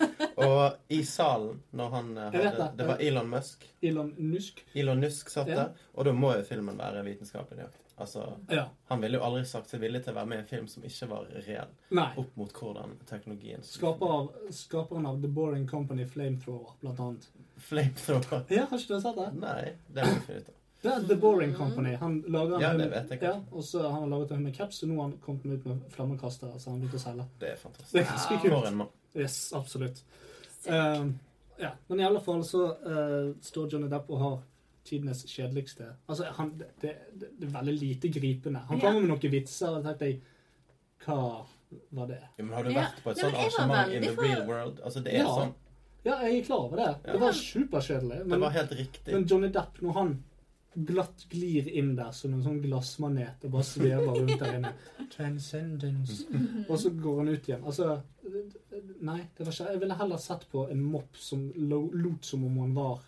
Speaker 4: Og i salen, når han eh,
Speaker 3: Jeg vet
Speaker 4: hadde
Speaker 3: det.
Speaker 4: Det var Elon Musk.
Speaker 3: Elon Nusk.
Speaker 4: Elon Musk satt
Speaker 3: Ja.
Speaker 4: der. Og da må jo filmen være vitenskapelig nøyaktig. Altså,
Speaker 3: Ja.
Speaker 4: han ville jo aldri sagt seg villig til å være med i en film som ikke var reell.
Speaker 3: Nei.
Speaker 4: Opp mot hvordan teknologien
Speaker 3: Skaper av, skaperen av The Boring Company Flamethrower, blant annet.
Speaker 4: Flamethrower.
Speaker 3: Ja, har ikke du sett det?
Speaker 4: Nei, det må vi finne ut av.
Speaker 3: Det er The Boring Company. Han lager en
Speaker 4: Ja,
Speaker 3: haug
Speaker 4: det
Speaker 3: med-
Speaker 4: vet jeg
Speaker 3: ja,
Speaker 4: kanskje.
Speaker 3: og så har han laget en haug med caps, og nå har han kommet ut med flammekastere, så han begynte å selge.
Speaker 4: Det er
Speaker 3: Det
Speaker 4: fantastisk.
Speaker 3: er ganske kult.
Speaker 4: For en mann.
Speaker 3: Yes, absolutt. Ehm, ja, men i alle fall så eh, står Johnny Depp og har tidenes kjedeligste Altså, han, det, det, det er veldig lite gripende. Han
Speaker 5: Ja.
Speaker 3: kommer med noen vitser, og da tenkte jeg Hva var det?
Speaker 4: Ja, men har du
Speaker 5: Ja.
Speaker 4: vært på et
Speaker 5: Nei, men
Speaker 4: sånt
Speaker 5: jeg var
Speaker 4: arrangement in
Speaker 5: veldig
Speaker 4: the
Speaker 5: for-
Speaker 4: real world? Altså, det er
Speaker 3: Ja.
Speaker 4: sånn.
Speaker 3: Ja, jeg er klar over det.
Speaker 4: Ja.
Speaker 3: Det var superkjedelig.
Speaker 4: Det
Speaker 3: Men,
Speaker 4: var helt riktig.
Speaker 3: men Johnny Depp, når han glatt glir inn der som en sånn glassmanet og bare svever rundt der inne Transcendence. Og så går han ut igjen. Altså Nei, det var ikke Jeg ville heller sett på en mopp som lo, lot som om han var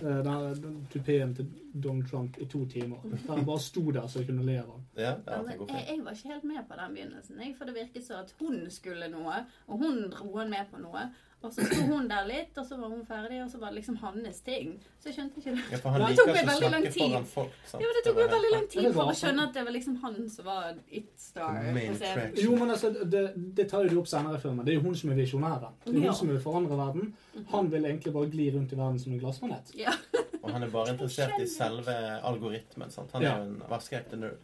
Speaker 3: eh, den- den tupeen til Donald Trump i to timer. Der han bare sto der så jeg kunne le av han.
Speaker 4: Ja, det
Speaker 5: Ja,
Speaker 4: hadde
Speaker 5: men
Speaker 4: gått
Speaker 5: jeg,
Speaker 4: fint.
Speaker 5: jeg var ikke helt med på den begynnelsen. Jeg, for det virket som at hun skulle noe, og hun dro han med på noe. Og så sto hun der litt, og så var hun ferdig, og så var det liksom hans ting. Så jeg skjønte ikke
Speaker 4: Ja,
Speaker 5: det.
Speaker 4: for han
Speaker 5: Det
Speaker 4: liker
Speaker 5: tok meg
Speaker 4: ikke å
Speaker 5: veldig lang
Speaker 4: snakke
Speaker 5: tid.
Speaker 4: foran folk. sant?
Speaker 5: Ja, men Det tok meg
Speaker 4: var
Speaker 5: veldig
Speaker 4: helt-
Speaker 5: lang
Speaker 3: Ja,
Speaker 5: tid
Speaker 3: det var sånn.
Speaker 5: for å
Speaker 3: han.
Speaker 5: skjønne at det var liksom han som var it-star
Speaker 4: Main
Speaker 5: på scenen.
Speaker 4: attraction.
Speaker 3: Jo, men altså, det, det tar jo de opp senere i filmen. Det er jo hun som er visjonæren. Det er jo
Speaker 5: Ja.
Speaker 3: hun som vil forandre verden. Han vil egentlig bare gli rundt i verden som en glassmanet.
Speaker 5: Ja.
Speaker 4: Og han er bare interessert i selve algoritmen. sant? Han er jo en vaskeekte nerd.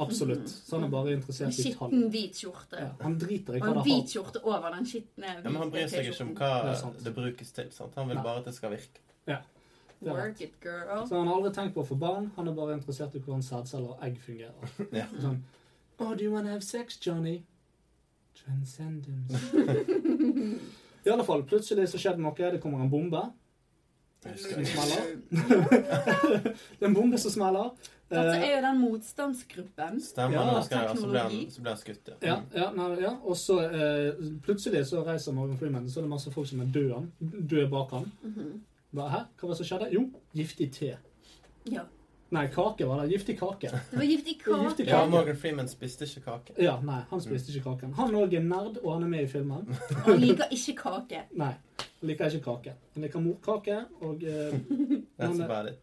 Speaker 3: Absolutt. Så han er bare interessert i tall.
Speaker 5: Skitten hvit skjorte.
Speaker 3: Ja, han driter i
Speaker 5: Og
Speaker 3: hva
Speaker 5: en
Speaker 3: det
Speaker 5: hvit
Speaker 3: har.
Speaker 5: skjorte over den skitne
Speaker 4: Ja, men han bryr seg ikke om
Speaker 3: Det
Speaker 4: hva
Speaker 3: er sant.
Speaker 4: det brukes til. sant? Han vil
Speaker 3: Nei.
Speaker 4: bare at det skal virke.
Speaker 3: Det er
Speaker 5: Work it, girl.
Speaker 3: Så han har aldri tenkt på å få barn. Han er bare interessert i hvordan sædceller og egg fungerer.
Speaker 4: Ja.
Speaker 3: Sånn, oh, do you wanna have sex, Johnny? Transcendence. I alle fall, plutselig så skjedde noe. Det kommer en bombe.
Speaker 4: Jeg husker
Speaker 3: Som
Speaker 4: ikke.
Speaker 3: smeller. det er en bombe som smeller.
Speaker 5: Dette
Speaker 3: Eh,
Speaker 5: Altså, er jo den motstandsgruppen.
Speaker 4: Stemmer,
Speaker 3: Ja,
Speaker 4: men da skal jeg, så ble han,
Speaker 5: teknologi.
Speaker 4: så ble han skutt, ja.
Speaker 5: Mm.
Speaker 3: Ja, ja, nei, ja. Og så eh, plutselig så reiser Morgan Freeman, så er det masse folk som er døde, døde bak ham.
Speaker 5: Mhm.
Speaker 3: Hva, Hæ? Hva var det som skjedde? Jo, giftig te.
Speaker 5: Ja.
Speaker 3: Nei, kake var det. Giftig kake.
Speaker 5: Det var gift i
Speaker 3: Gift i
Speaker 5: kake.
Speaker 4: Ja, Morgan Freeman spiste ikke kake.
Speaker 3: Ja, nei, han spiste ikke kaken. Han òg er nerd, og han er med i filmen.
Speaker 5: Han liker ikke kake.
Speaker 3: Nei, han liker ikke kake. Han liker morkake, og eh,
Speaker 4: That's
Speaker 3: han,
Speaker 4: about it.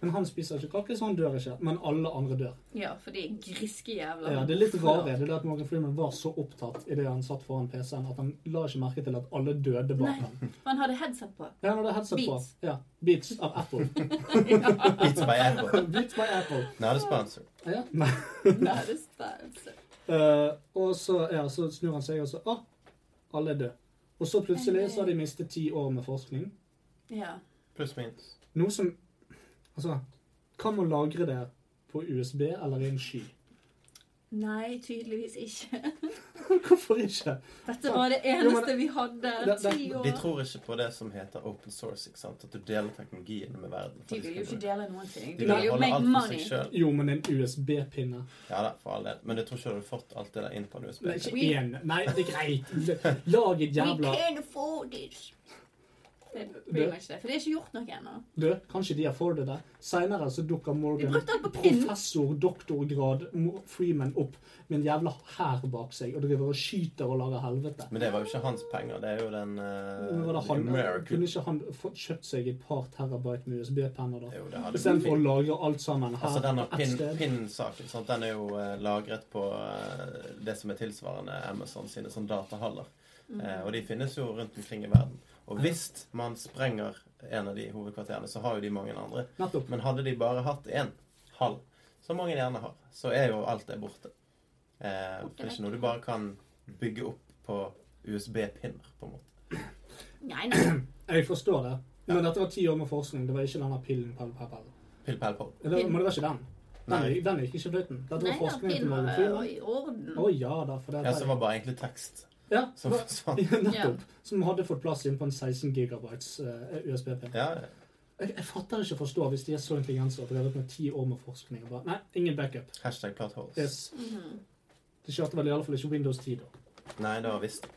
Speaker 3: men han spiser ikke kake, så han dør ikke. Men alle andre dør.
Speaker 5: Ja, for de er griske jævler.
Speaker 3: Ja, det er litt rare det er det at Morgan Freeman var så opptatt i det han satt foran PC-en, at han la ikke merke til at alle døde bak
Speaker 5: Nei.
Speaker 3: ham.
Speaker 5: For han hadde headset på.
Speaker 3: Ja, han hadde headset på.
Speaker 5: Beats.
Speaker 3: Ja, Beats av Apple.
Speaker 4: It's by Apple.
Speaker 3: Beats by Apple.
Speaker 4: Not a sponsor.
Speaker 3: Ja. Nei.
Speaker 5: Nei, det stemmer.
Speaker 3: Eh, og så, ja, så snur han seg og så Å, alle er døde. Og så plutselig så har de mistet ti år med forskning.
Speaker 5: Ja.
Speaker 4: Pluss minus.
Speaker 3: Noe som Altså, hva med å lagre det på USB eller i en sky?
Speaker 5: Nei, tydeligvis ikke.
Speaker 3: Hvorfor ikke?
Speaker 5: Dette var det eneste vi hadde.
Speaker 3: det- det-
Speaker 5: Ti
Speaker 4: De
Speaker 5: år.
Speaker 4: tror ikke på det som heter open source, ikke sant? At du deler teknologien med verden.
Speaker 5: De vil jo ikke dele noen ting.
Speaker 4: De
Speaker 5: De
Speaker 4: vil
Speaker 5: vil jo
Speaker 4: holde
Speaker 5: make
Speaker 4: alt for seg
Speaker 5: money.
Speaker 4: selv.
Speaker 3: Jo, men en USB-pinne.
Speaker 4: Ja da, for all del. Men jeg tror ikke du hadde fått alt det der inn på en USB.
Speaker 3: Nei, ikke
Speaker 5: We-
Speaker 3: én. Nei, det er greit. Lag et
Speaker 5: We
Speaker 3: jævla
Speaker 5: can't afford this. Det er pretty much det. For det er ikke gjort noe ennå.
Speaker 3: Du, kanskje de afforder det. Seinere så dukker
Speaker 5: Vi
Speaker 3: Morgan
Speaker 5: brukte alt på print.
Speaker 3: professor doktorgrad Mo- Freeman opp med en jævla hær bak seg og driver og skyter og lager helvete.
Speaker 4: Men det var jo ikke hans penger. Det er jo den
Speaker 3: Men var det
Speaker 4: uh,
Speaker 3: han,
Speaker 4: American.
Speaker 3: kunne ikke han fått kjøpt seg et par terabyte med USB-penner, da?
Speaker 4: Jo, det hadde vært
Speaker 3: Istedenfor å
Speaker 4: fint.
Speaker 3: lagre alt sammen her
Speaker 4: Altså, denne
Speaker 3: på ett
Speaker 4: pin-
Speaker 3: sted.
Speaker 4: PIN-saken sant, den er jo eh, lagret på eh, det som er tilsvarende Amazon sine sånn datahaller.
Speaker 3: Mm.
Speaker 4: Eh, og de finnes jo rundt omkring i verden. Og hvis man sprenger en av de hovedkvarterene, så har jo de mange andre.
Speaker 3: Nettopp.
Speaker 4: Men hadde de bare hatt én hall, som mange gjerne har, så er jo alt det borte. Eh, for det er ikke noe du bare kan bygge opp på USB-pinner, på en måte.
Speaker 5: Nei, nei.
Speaker 3: Jeg forstår det. Men dette var ti år med forskning. Det var ikke denne pillen. Pall, pall, pall.
Speaker 4: Pill, pall, pall.
Speaker 3: Eller, men det var ikke den. Den,
Speaker 4: Nei.
Speaker 3: er- den gikk ikke i fløyten. Dette
Speaker 5: Nei,
Speaker 3: var
Speaker 5: da,
Speaker 3: forskningen til
Speaker 5: pinn
Speaker 3: Morgan
Speaker 5: var
Speaker 3: Freeman.
Speaker 5: i orden.
Speaker 3: Å ja da, for det
Speaker 4: Ja, så var det bare egentlig tekst
Speaker 3: ja,
Speaker 4: som
Speaker 3: hva-
Speaker 4: forsvant.
Speaker 3: Nettopp. Som hadde fått plass inn på en 16 gigabytes eh, USB-pinne.
Speaker 4: Ja,
Speaker 3: Jeg, jeg fatter ikke og forstår hvis de er så intelligente og har drevet med ti år med forskning. og bare, Nei, ingen backup.
Speaker 4: hashtag plot holes.
Speaker 3: Yes.
Speaker 5: Mm.
Speaker 3: De kjørte vel i alle fall ikke Windows 10 da.
Speaker 4: Nei, det var visst.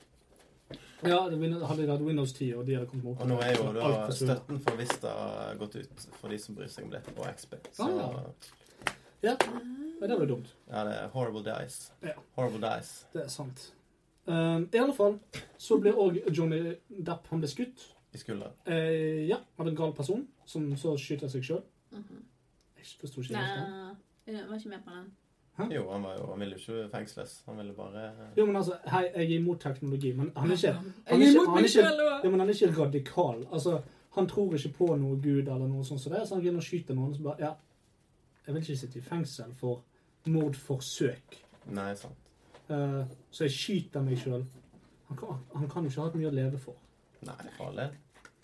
Speaker 3: Ja, det Win- hadde de hatt Windows 10, og de hadde kommet med
Speaker 4: Og nå er jo da
Speaker 3: Alt forsvunnet.
Speaker 4: støtten for Vista gått ut for de som bryr seg om det, og XP. Så
Speaker 3: Ah, Ja, men det var jo dumt.
Speaker 4: ja, det er horrible dies.
Speaker 3: Ja.
Speaker 4: Horrible dies.
Speaker 3: Det er sant. Um, I alle fall så ble òg Johnny Depp han ble skutt.
Speaker 4: I skulderen.
Speaker 3: Eh, ja, av en gal person som så skyter seg sjøl.
Speaker 5: Mhm.
Speaker 3: Jeg forsto ikke
Speaker 5: Nei,
Speaker 3: helt det.
Speaker 5: jeg var ikke med på den.
Speaker 4: Jo, han, var jo, han ville jo ikke fengsles. Han ville bare
Speaker 3: Jo, men altså, hei, jeg er imot teknologi, men han er ikke
Speaker 5: Jeg
Speaker 3: er
Speaker 5: er
Speaker 3: ikke- han
Speaker 5: imot
Speaker 3: er
Speaker 5: meg
Speaker 3: ikke-
Speaker 5: selv
Speaker 3: Ja,
Speaker 5: òg.
Speaker 3: men han er ikke radikal. Altså, Han tror ikke på noe gud eller noe sånt som det, så han begynner å skyte noen som bare Ja, jeg vil ikke sitte i fengsel for mordforsøk,
Speaker 4: Nei, sant.
Speaker 3: Eh, så jeg skyter meg sjøl. Han, kan- han kan jo ikke ha hatt mye å leve for.
Speaker 4: Nei, farlig.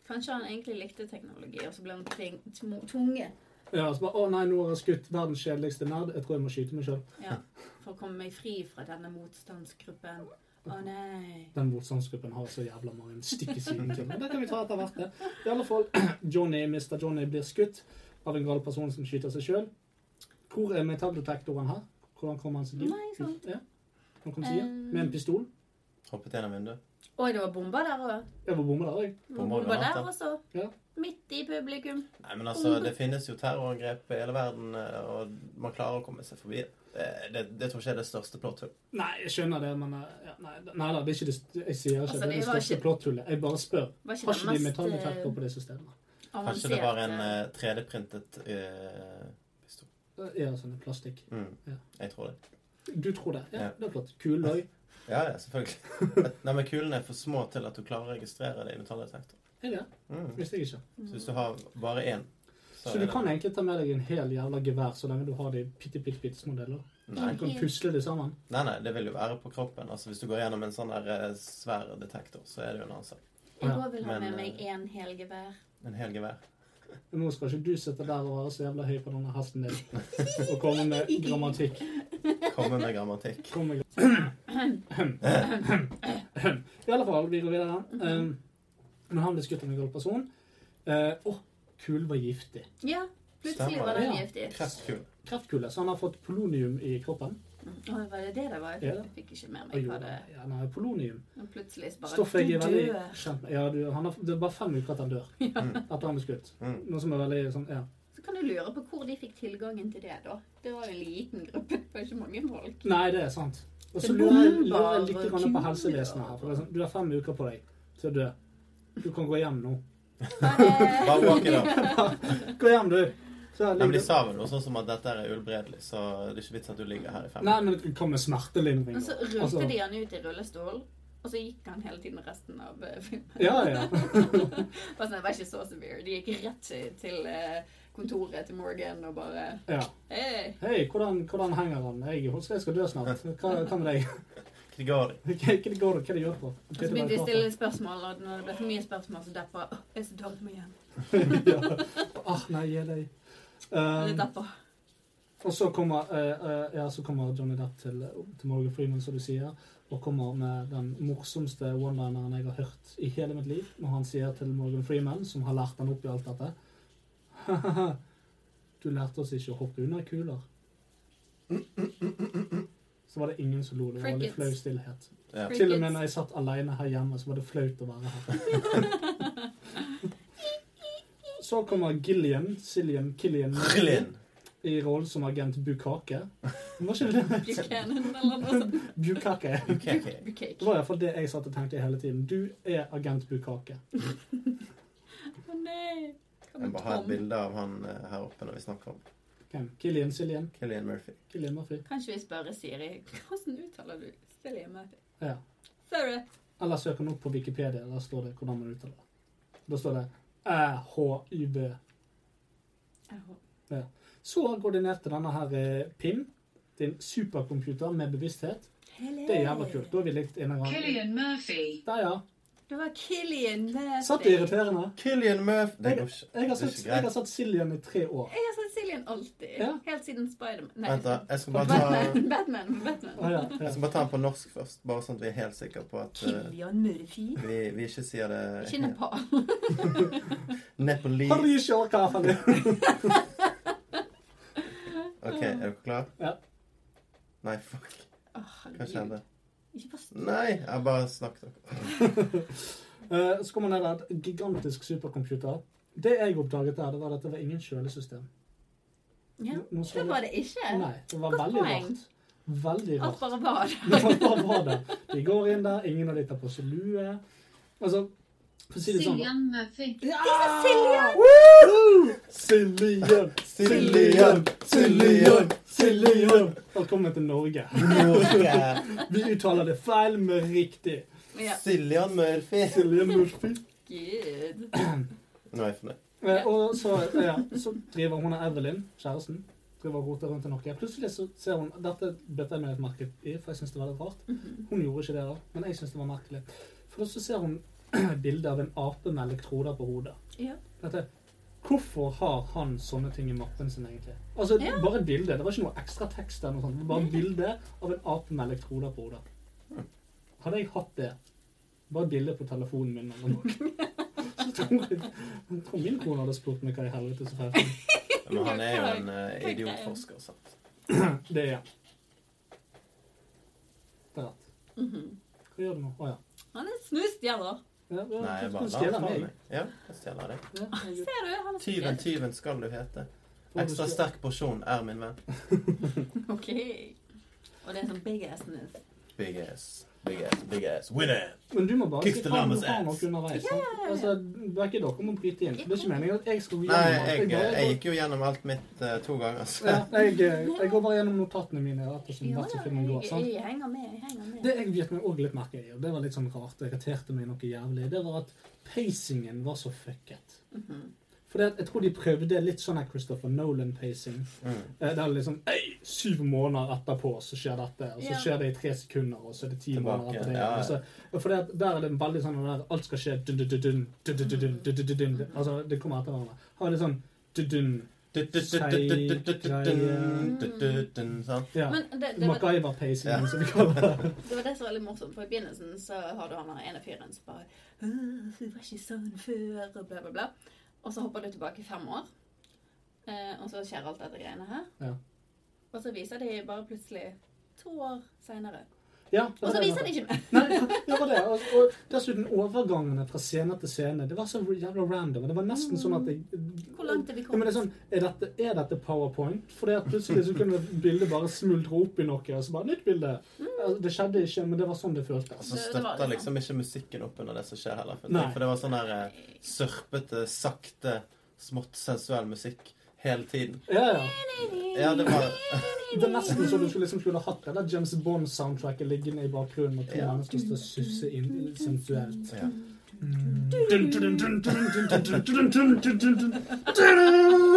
Speaker 5: Kanskje han egentlig likte teknologi, og så ble han tving, tmo- tvunget
Speaker 3: Ja, så bare, Å nei, nå har jeg skutt verdens kjedeligste nerd. Jeg tror jeg må skyte meg sjøl.
Speaker 5: ja, for å komme meg fri fra denne motstandsgruppen. Å nei.
Speaker 3: Den motstandsgruppen har så jævla mange stygge sider til. Men det kan vi ta etter hvert. det. I alle fall, Johnny, Mr. Johnny blir skutt av en gal person som skyter seg sjøl. Hvor er metalldetektoren her? Hvordan kom han seg dit?
Speaker 5: Nei, sant. Um,
Speaker 3: Ja. Han kom seg hjem med en pistol.
Speaker 4: Hoppet gjennom vinduet.
Speaker 5: Oi, det var bomber der òg.
Speaker 3: Jeg var bomme der, jeg.
Speaker 4: Bomber og
Speaker 5: Bomber der
Speaker 4: granater.
Speaker 5: også.
Speaker 3: Ja.
Speaker 5: Midt i publikum.
Speaker 4: Nei, men altså, det finnes jo terrorangrep i hele verden, eh, og man klarer å komme seg forbi. Eh, Det, det tror ikke jeg er det største plotthullet.
Speaker 3: Nei, jeg skjønner det, men eh, ja, nei, nei da, det er ikke det, jeg sier ikke
Speaker 5: Altså,
Speaker 3: at det er
Speaker 5: det
Speaker 3: det
Speaker 5: var
Speaker 3: største
Speaker 5: ikke-
Speaker 3: plotthullet. Jeg bare spør.
Speaker 5: Var ikke
Speaker 3: Har ikke de
Speaker 5: den mest
Speaker 3: metalldetektor
Speaker 5: eh,
Speaker 3: på disse stedene?
Speaker 4: Kanskje det var en
Speaker 5: avanserte-
Speaker 4: eh, 3D-printet eh, pistol.
Speaker 3: Ja, sånn plastikk.
Speaker 4: Mm.
Speaker 3: Ja.
Speaker 4: Jeg tror det.
Speaker 3: Du tror det? Ja,
Speaker 4: Ja.
Speaker 3: det er flott. Kul løy.
Speaker 4: Ja, ja, selvfølgelig. Nei, men kulene er for små til at du klarer å registrere det i metalldetektor.
Speaker 3: Er det?
Speaker 4: Mm.
Speaker 3: Visste jeg ikke.
Speaker 4: Så hvis du har bare én
Speaker 3: Så du kan egentlig ta med deg en hel jævla gevær så lenge du har de bitte, bitte, bitte små deler?
Speaker 4: Nei.
Speaker 3: Du kan pusle de sammen?
Speaker 4: nei, nei, det vil jo være på kroppen. Altså, Hvis du går gjennom en sånn der eh, svær detektor, så er det jo en annen sak.
Speaker 5: Jeg òg vil ha
Speaker 4: Men,
Speaker 5: med
Speaker 4: eh,
Speaker 5: meg en hel gevær.
Speaker 4: En hel gevær.
Speaker 3: Men nå skal ikke du sitte der og være så jævla høy på denne hesten din og komme med grammatikk.
Speaker 4: Komme med grammatikk.
Speaker 3: Kom med I alle fall, vi går videre.
Speaker 5: Mhm.
Speaker 3: Um, men han ble skutt av en gal person. Eh, Å, kulen var giftig.
Speaker 5: Ja, plutselig
Speaker 4: Stemmer
Speaker 5: var den
Speaker 3: det.
Speaker 5: giftig.
Speaker 4: Kreftkule.
Speaker 3: Kreftkule. Så han har fått polonium i kroppen.
Speaker 5: Å, var det det det var?
Speaker 3: Ja.
Speaker 5: Jeg fikk ikke med
Speaker 3: Og
Speaker 5: meg hva
Speaker 3: jo,
Speaker 5: det
Speaker 3: ja, nei, polonium.
Speaker 5: Men plutselig så bare
Speaker 3: Stoffet jeg
Speaker 5: du
Speaker 3: er veldig
Speaker 5: dør.
Speaker 3: kjent med. Ja, du, han har, det er bare fem uker at han dør. Etter han ble skutt.
Speaker 4: Mm.
Speaker 3: Noe som er veldig sånn Ja.
Speaker 5: Så kan du lure på hvor de fikk tilgangen til det, da. Det var jo en liten gruppe, det var ikke mange folk.
Speaker 3: Nei, det er sant. Og så
Speaker 5: Det
Speaker 3: lurer jeg,
Speaker 5: bomber
Speaker 3: lurer jeg litt
Speaker 5: og
Speaker 3: grann på
Speaker 5: kuler.
Speaker 3: helsevesenet her. For det er sånn, du har fem uker på deg til å dø. Du kan gå hjem nå.
Speaker 5: Bare,
Speaker 4: Bare walk it up.
Speaker 3: Gå hjem, du! Så
Speaker 4: Nei, men De
Speaker 3: ligger...
Speaker 4: sa vel noe sånn som at dette er uhelbredelig, så det er ikke vits at du ligger her i fem
Speaker 3: Nei, men hva med smertelindring?
Speaker 5: og så
Speaker 3: da?
Speaker 5: rullte
Speaker 3: Altså,
Speaker 5: de han ut i rullestol, og så gikk han hele tiden resten av eh, filmen.
Speaker 3: Ja, ja.
Speaker 5: Bare sånn, det var ikke så severe. De gikk rett til eh, kontoret til Morgan og bare
Speaker 3: ja.
Speaker 5: Hei!
Speaker 3: Hei, hvordan, hvordan henger han? Jeg holdt jeg skal dø snart. Hva, hva med deg?
Speaker 4: Krigori.
Speaker 3: Hva, hva det går, hva det gjør på?
Speaker 5: Og så begynte de å stille spørsmål, og når det ble for mye spørsmål, så deppa Åh, Jeg er så dårlig med hjem.
Speaker 3: ja. Ah, nei, gi deg.
Speaker 5: Jeg er
Speaker 3: Um,
Speaker 5: deppa.
Speaker 3: og så kommer, eh, eh, ja, så kommer Johnny Depp til, til Morgan Freeman, som du sier, og kommer med den morsomste one-lineren jeg har hørt i hele mitt liv, når han sier til Morgan Freeman, som har lært han opp i alt dette Du lærte oss ikke å hoppe under kuler. Så var det ingen som lo. Det var litt
Speaker 5: Crickets.
Speaker 3: flau stillhet.
Speaker 4: Ja.
Speaker 3: Til og med når jeg satt alene her hjemme, så var det flaut å være her. Så kommer Gillian, Sillian, Killian
Speaker 4: Krillin.
Speaker 3: i rollen som agent Bukake. Var ikke det
Speaker 5: Buchanan eller noe sånt.
Speaker 3: Bukake?
Speaker 4: Ukeke.
Speaker 5: Bucake.
Speaker 3: Det var iallfall det jeg satt og tenkte hele tiden. Du er agent Bukake.
Speaker 5: Å nei! Hva
Speaker 4: Jeg
Speaker 5: med
Speaker 4: bare har et
Speaker 5: Tom?
Speaker 4: bilde av han eh, her oppe når vi snakker om
Speaker 3: Hvem? Killian, Sillian,
Speaker 4: Killian Murphy.
Speaker 3: Killian Murphy.
Speaker 5: Kanskje vi spørre Siri hvordan uttaler du Silje Murphy?
Speaker 3: Ja.
Speaker 5: Siri.
Speaker 3: Eller søk han opp på Wikipedia, der står det hvordan man uttaler det. Da står det æ-h-y-b. Så koordinerte denne her eh, PIM, din supercomputer med bevissthet, Det er jævla kult. Da er vi likt en gang.
Speaker 10: Killian Murphy.
Speaker 3: Der, ja.
Speaker 5: Det var Killian Murphy.
Speaker 3: Satt det irriterende?
Speaker 4: Killian Murphy Det
Speaker 3: Jeg,
Speaker 4: går ikke.
Speaker 3: jeg, har
Speaker 4: Det er
Speaker 3: sett,
Speaker 4: ikke
Speaker 3: jeg har
Speaker 4: greit.
Speaker 3: sett Siljan i tre år.
Speaker 5: Jeg har sett Siljen alltid.
Speaker 3: Ja.
Speaker 5: Helt siden Spiderman. Nei,
Speaker 4: Vent, da. Jeg skal bare ta
Speaker 5: Batman. Batman. Batman.
Speaker 3: Ah, ja, ja.
Speaker 4: jeg skal bare ta den på norsk først, bare sånn at vi er helt sikre på at eh,
Speaker 5: Killian Murphy.
Speaker 4: vi, vi ikke sier det
Speaker 5: Ikke
Speaker 4: helt.
Speaker 5: Nepal.
Speaker 4: Nepali.
Speaker 3: Harry Shorkaffen din.
Speaker 4: OK, er dere klar?
Speaker 3: Ja.
Speaker 4: Nei, fuck.
Speaker 5: Å,
Speaker 4: Hva skjedde?
Speaker 5: herregud. Ikke forstå.
Speaker 4: Nei, jeg bare snakket dere.
Speaker 3: Eh, Så kommer det der et gigantisk supercomputer. Det jeg oppdaget der, det var at det var ingen kjølesystem.
Speaker 5: Ja.
Speaker 3: Nå- nå så
Speaker 5: Det
Speaker 3: jeg-
Speaker 5: var det ikke.
Speaker 3: Nei, det var
Speaker 5: Godt
Speaker 3: veldig
Speaker 5: poeng.
Speaker 3: rart. Veldig
Speaker 5: Alt
Speaker 3: rart.
Speaker 5: bare var
Speaker 3: Det
Speaker 5: der.
Speaker 3: var bare var det. De går inn der, ingen av de tar på seg lue. Altså, for å si det sånn
Speaker 10: Cillian Murphy.
Speaker 3: Ja!
Speaker 5: Siljan!
Speaker 3: Woo! Siljan, Siljan, Siljan, Siljan. Velkommen til Norge.
Speaker 4: Norge.
Speaker 3: Vi uttaler det feil, men riktig.
Speaker 5: Ja.
Speaker 4: Siljan Murphy.
Speaker 3: Siljan Murphy.
Speaker 5: Gud.
Speaker 4: Nå er jeg fornøyd.
Speaker 3: Eh, og så, ja, så driver hun og Evelyn, kjæresten, driver og roter rundt i noe. Plutselig så ser hun Dette bet jeg meg et merke i, for jeg syns det var litt rart. Hun gjorde ikke det, da, men jeg syns det var merkelig. For da så ser hun bilde av en ape med elektroder på hodet.
Speaker 5: Ja.
Speaker 3: Dette, hvorfor har han sånne ting i mappen sin, egentlig? Altså,
Speaker 5: Ja.
Speaker 3: Bare et bilde. Det var ikke noe ekstra tekst. eller noe sånt. Det var bare et bilde av en ape med elektroder på hodet. Hadde jeg hatt det, bare et bilde på telefonen min eller noe Så tror jeg jeg tror min kone hadde spurt meg hva i helvete som feilte.
Speaker 4: Men han er jo en
Speaker 5: Hva
Speaker 4: eh,
Speaker 5: er-
Speaker 4: idiotforsker, sant.
Speaker 3: Det er jeg. Det er rett.
Speaker 5: Mhm.
Speaker 3: Hva gjør du nå? Å ja.
Speaker 5: Han er snustjeler.
Speaker 3: ja, ja
Speaker 4: Nei, jeg
Speaker 3: du
Speaker 4: bare
Speaker 3: stjeler
Speaker 4: la han fra
Speaker 3: meg.
Speaker 4: meg. Ja, jeg stjeler det.
Speaker 3: Ja, herregud.
Speaker 5: Ser du? Han er
Speaker 4: Tyven, tyven skal du hete.
Speaker 3: Får du
Speaker 4: Ekstra
Speaker 3: stjele-
Speaker 4: sterk porsjon er min venn.
Speaker 5: Ok. Og det er sånn big ass news.
Speaker 4: Big ass, big ass, big ass. Winner!
Speaker 3: Men du må bare
Speaker 4: Kick
Speaker 3: si
Speaker 4: the
Speaker 3: hva du
Speaker 4: llamas
Speaker 3: har
Speaker 4: ass.
Speaker 3: nok underveis. sant?
Speaker 5: Ja, ja, ja.
Speaker 3: Altså, det er ikke dere må bryte inn. Det er ikke meningen at jeg skal gå
Speaker 4: Nei,
Speaker 3: gjennom alt.
Speaker 4: jeg, eh,
Speaker 3: bare-
Speaker 4: jeg gikk jo gjennom alt mitt eh, to ganger, så
Speaker 3: Ja, jeg, eh, jeg går bare gjennom notatene mine. Rett og slett,
Speaker 5: Jo
Speaker 3: rett
Speaker 5: da,
Speaker 3: og slett, går,
Speaker 5: jeg,
Speaker 3: sant?
Speaker 5: jeg henger med. Jeg henger med.
Speaker 3: Det jeg vet meg også litt merke i, og det var litt sånn rart, og irriterte meg noe jævlig, det var at pacingen var så fucket.
Speaker 5: Mhm.
Speaker 3: For jeg tror de prøvde litt sånn her Christopher Nolan-pacing. Eh, Der liksom ei, syv måneder etterpå så skjer dette, og så
Speaker 5: Ja.
Speaker 3: skjer det i tre sekunder, og så er det ti
Speaker 4: Tilbake,
Speaker 3: måneder etter det.
Speaker 4: ja, ja.
Speaker 3: og så- og For det, der er det veldig sånn der, alt skal skje dun, dun, dun, dun, dun, dun, dun, dun, dun, dun, dun. Altså, det kommer etter hverandre. Har litt sånn dun, dun,
Speaker 4: Du-du-du-du-du-du-du-du-du-du-du-du-du, sant?
Speaker 3: ja.
Speaker 5: Men det, det, var,
Speaker 3: MacGyver-pacingen, som vi kaller det.
Speaker 5: det var det som var litt morsomt, for i begynnelsen så har du han her ene fyren som bare «Åh, 'Hun var ikke sånn før', og bla, bla, bla. Og så hopper du tilbake fem år, eh, og så skjer alt dette greiene her.
Speaker 3: Ja.
Speaker 5: Og så viser de bare plutselig to år seinere.
Speaker 3: Ja,
Speaker 5: Og så viser de ikke mer!
Speaker 3: Nei, det var det. Og, og dessuten overgangene fra scene til scene. Det var så jævla random. Det var nesten sånn at jeg
Speaker 5: Hvor langt er vi
Speaker 3: ja, men det er, sånn, er, dette, er dette powerpoint? Fordi at plutselig så kunne bildet bare smuldre opp i noe. Og så bare nytt bilde. Altså, Det skjedde ikke, men det var sånn det føltes.
Speaker 4: Så
Speaker 5: Det- det var
Speaker 4: støtter
Speaker 5: det.
Speaker 4: liksom ikke musikken opp under det som skjer heller. For,
Speaker 3: Nei.
Speaker 4: for det var sånn der eh, sørpete, sakte, smått sensuell musikk hele tiden.
Speaker 3: Ja, ja. sånn-
Speaker 4: Ja, det var
Speaker 3: Det er nesten så du skulle, liksom skulle hatt det der James Bond-soundtracket liggende i bakgrunnen, og to
Speaker 4: Ja.
Speaker 3: mennesker står og susser inn sensuelt.
Speaker 4: ja.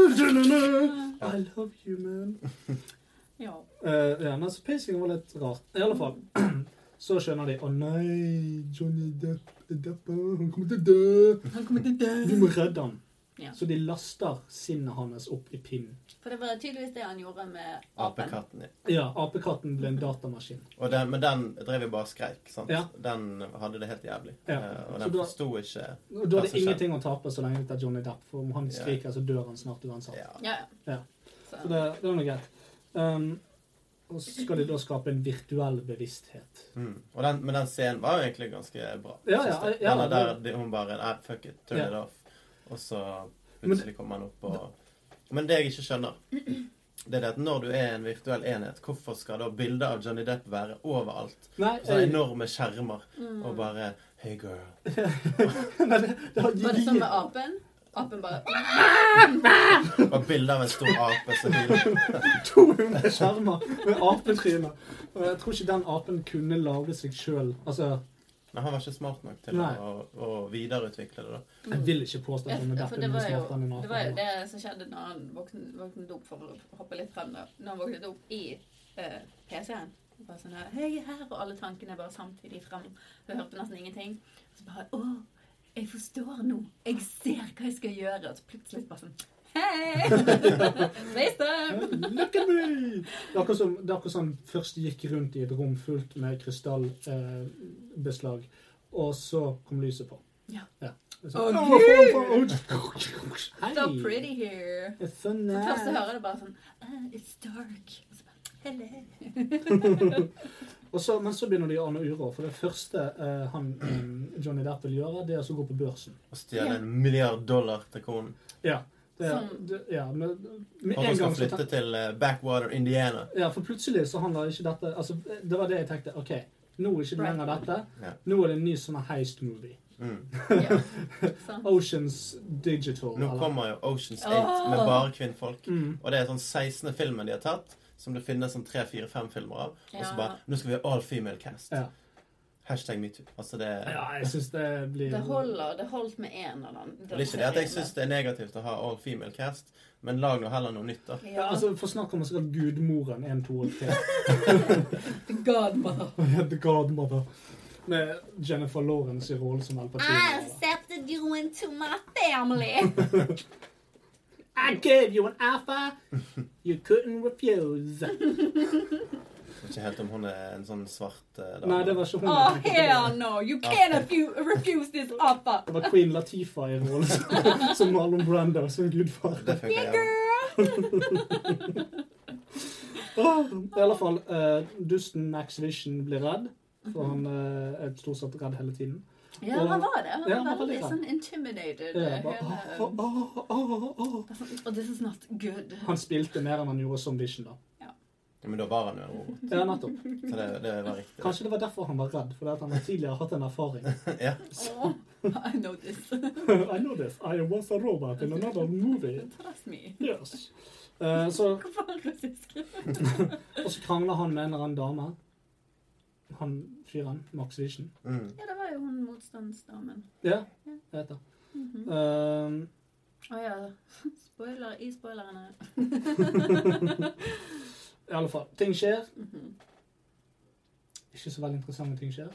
Speaker 3: I love you, man.
Speaker 5: Ja.
Speaker 3: Eh, ja, men så pacingen var litt rart. I alle fall. Så skjønner de Å nei, Johnny Depp er deppa. Han kommer til å dø.
Speaker 5: Han kommer til å
Speaker 3: Vi
Speaker 5: dø.
Speaker 3: må redde han.
Speaker 5: Ja.
Speaker 3: Så de laster sinnet hans opp i pinnen.
Speaker 5: For det var tydeligvis det han gjorde med apen.
Speaker 4: Apekatten. Ja.
Speaker 3: Ja, apekatten ble
Speaker 5: Mm.
Speaker 3: en datamaskin.
Speaker 4: Og den, men den drev jo bare og skreik. sant?
Speaker 3: Ja.
Speaker 4: Den hadde det helt jævlig.
Speaker 3: Ja.
Speaker 4: Eh, Og
Speaker 3: Så
Speaker 4: den
Speaker 3: da-
Speaker 4: forsto ikke
Speaker 3: Og Da
Speaker 4: hva
Speaker 3: er
Speaker 4: som
Speaker 3: det ingenting å tape så lenge det er Johnny Depp. For om han
Speaker 4: Ja.
Speaker 3: skriker, så dør han snart uansett.
Speaker 4: skjedde. Ja.
Speaker 5: Ja, ja.
Speaker 3: Ja.
Speaker 5: Så.
Speaker 3: Så det, det var noe greit. Um, og så skal de da skape en virtuell bevissthet.
Speaker 4: Mm. Og den, men den scenen var jo egentlig ganske bra.
Speaker 3: Ja, ja,
Speaker 4: synes jeg.
Speaker 3: ja,
Speaker 4: den
Speaker 3: ja,
Speaker 4: der, de- hun bare Nei, fuck it, turn
Speaker 3: Ja.
Speaker 4: it off. Og så
Speaker 3: Men-
Speaker 4: plutselig kommer han opp og Men det jeg ikke skjønner, det er det at når du er en virtuell enhet, hvorfor skal da bildet av Johnny Depp være overalt?
Speaker 3: Nei,
Speaker 4: På Sånne
Speaker 3: jeg,
Speaker 4: enorme skjermer og bare Hey, girl.
Speaker 3: nei det, det var
Speaker 5: Var det sånn
Speaker 3: gedigent.
Speaker 5: med apen? Apen bare
Speaker 4: Og bilde av en stor ape som hyler.
Speaker 3: 200 skjermer med apetryner. Og jeg tror ikke den apen kunne lage seg sjøl. Altså,
Speaker 4: Men han var ikke smart nok til å,
Speaker 3: Nei.
Speaker 4: å, å videreutvikle det, da.
Speaker 3: jeg vil ikke påstå
Speaker 5: Mm. Ja,
Speaker 3: at han er
Speaker 5: for det
Speaker 3: deppen
Speaker 5: var,
Speaker 3: mye
Speaker 5: jo,
Speaker 3: smartere enn en
Speaker 5: det var jo
Speaker 3: ape.
Speaker 5: det som skjedde når han våknet, våknet opp for å hoppe litt frem da. Når han våknet opp i eh, PC-en. Det var Sånn her, Hei, her, og alle tankene bare samtidig frem. Jeg hørte nesten ingenting. Så bare Å, jeg forstår nå. Jeg ser hva jeg skal gjøre. Og så plutselig bare sånn Hei! Facetime!
Speaker 3: Look at me! Det er akkurat som, det er akkurat som han først gikk rundt i et rom fullt med krystallbeslag, eh, beslag, og så kom lyset på.
Speaker 5: Ja.
Speaker 3: Så,
Speaker 5: Å,
Speaker 3: «Åh, faen,
Speaker 5: Gud!»
Speaker 3: faen, faen. Hei!
Speaker 5: So pretty here.
Speaker 3: It's so
Speaker 5: Så først så
Speaker 3: nice.
Speaker 5: hører jeg bare sånn «Ah, It's dark. Og så bare, Hello.
Speaker 3: Og så, men så begynner de å ane uro, for det første eh, han, eh, Johnny Depp vil gjøre, det er å gå på børsen.
Speaker 4: Og stjele en milliard dollar til konen.
Speaker 3: Ja. Det,
Speaker 5: Som-
Speaker 3: det, ja med, med
Speaker 4: Og hun
Speaker 3: en
Speaker 4: skal
Speaker 3: gang så
Speaker 4: flytte til eh, Backwater, Indiana.
Speaker 3: Ja, for plutselig så handler ikke dette altså, Det var det jeg tenkte. OK, nå er ikke det lenger dette.
Speaker 4: Ja.
Speaker 3: Nå er det en ny sånn heist-movie.
Speaker 4: Mm.
Speaker 5: Ja. Sånn.
Speaker 3: Oceans Digital.
Speaker 4: Nå
Speaker 3: eller-
Speaker 4: kommer jo Oceans 8 med
Speaker 5: Åh!
Speaker 4: bare kvinnfolk.
Speaker 3: Mm.
Speaker 4: Og det er sånn 16. filmen de har tatt, som det finnes sånn 3-4-5 filmer av. Og så
Speaker 5: Ja.
Speaker 4: bare Nå skal vi ha all female cast.
Speaker 3: Ja.
Speaker 4: Hashtag metoo. Altså det
Speaker 3: Ja, jeg syns det blir
Speaker 5: Det holder. Det holdt med én av dem.
Speaker 4: Det er ikke det at jeg syns det er negativt å ha all female cast, men lag nå heller noe nytt, da.
Speaker 3: Ja, altså, Få snakke om sikkert gudmoren 1, 2 og 3.
Speaker 5: Godmother.
Speaker 3: The Godmother. Med Jennifer Lawrence i rollen som Al
Speaker 5: I
Speaker 3: Pacino.
Speaker 5: accepted you into my family.
Speaker 3: I gave you an alpha you couldn't refuse.
Speaker 4: Jeg vet Ikke helt om hun er en sånn svart eh, dame.
Speaker 3: Nei, det var ikke hun.
Speaker 5: Oh, hell no. You can't refu- refuse this offer.
Speaker 3: Det var Queen Latifa i rollen som, som Marlon Brando som gudfar.
Speaker 4: Det funker
Speaker 5: um,
Speaker 4: jævlig.
Speaker 5: Girl.
Speaker 3: I alle fall, eh, dusten Max Vision blir redd. For han eh, er stort sett redd hele tiden.
Speaker 5: Ja, han var det.
Speaker 3: Ja,
Speaker 5: Han
Speaker 3: han
Speaker 5: var
Speaker 3: var
Speaker 5: veldig
Speaker 3: litt
Speaker 5: sånn intimidated.
Speaker 3: Eh,
Speaker 5: eh,
Speaker 3: bare,
Speaker 5: hele-
Speaker 3: «Åh, åh, åh, åh, åh».
Speaker 5: Og this is not good.
Speaker 3: Han spilte mer enn han gjorde som Vision, da.
Speaker 4: Ja, Men da var han jo en robot,
Speaker 3: Ja, nettopp.
Speaker 4: så det, det var riktig.
Speaker 3: Kanskje det var derfor han var redd. Fordi at han tidligere har hatt en erfaring.
Speaker 4: Ja.
Speaker 5: Oh, I know this.
Speaker 3: I know this. I was a robot in another movie.
Speaker 5: Trust me.
Speaker 3: Yes. Eh, så,
Speaker 5: Hvorfor er han russisk?
Speaker 3: og så krangler han med en eller annen dame. Han fyren. Max Vision.
Speaker 4: Mm.
Speaker 5: Ja, det var jo hun motstandsdamen.
Speaker 3: Ja, jeg vet det. Eh,
Speaker 5: Å Mhm. Ah ja. Spoiler i spoilerne.
Speaker 3: I alle fall. Ting skjer. Ikke så veldig interessante ting skjer.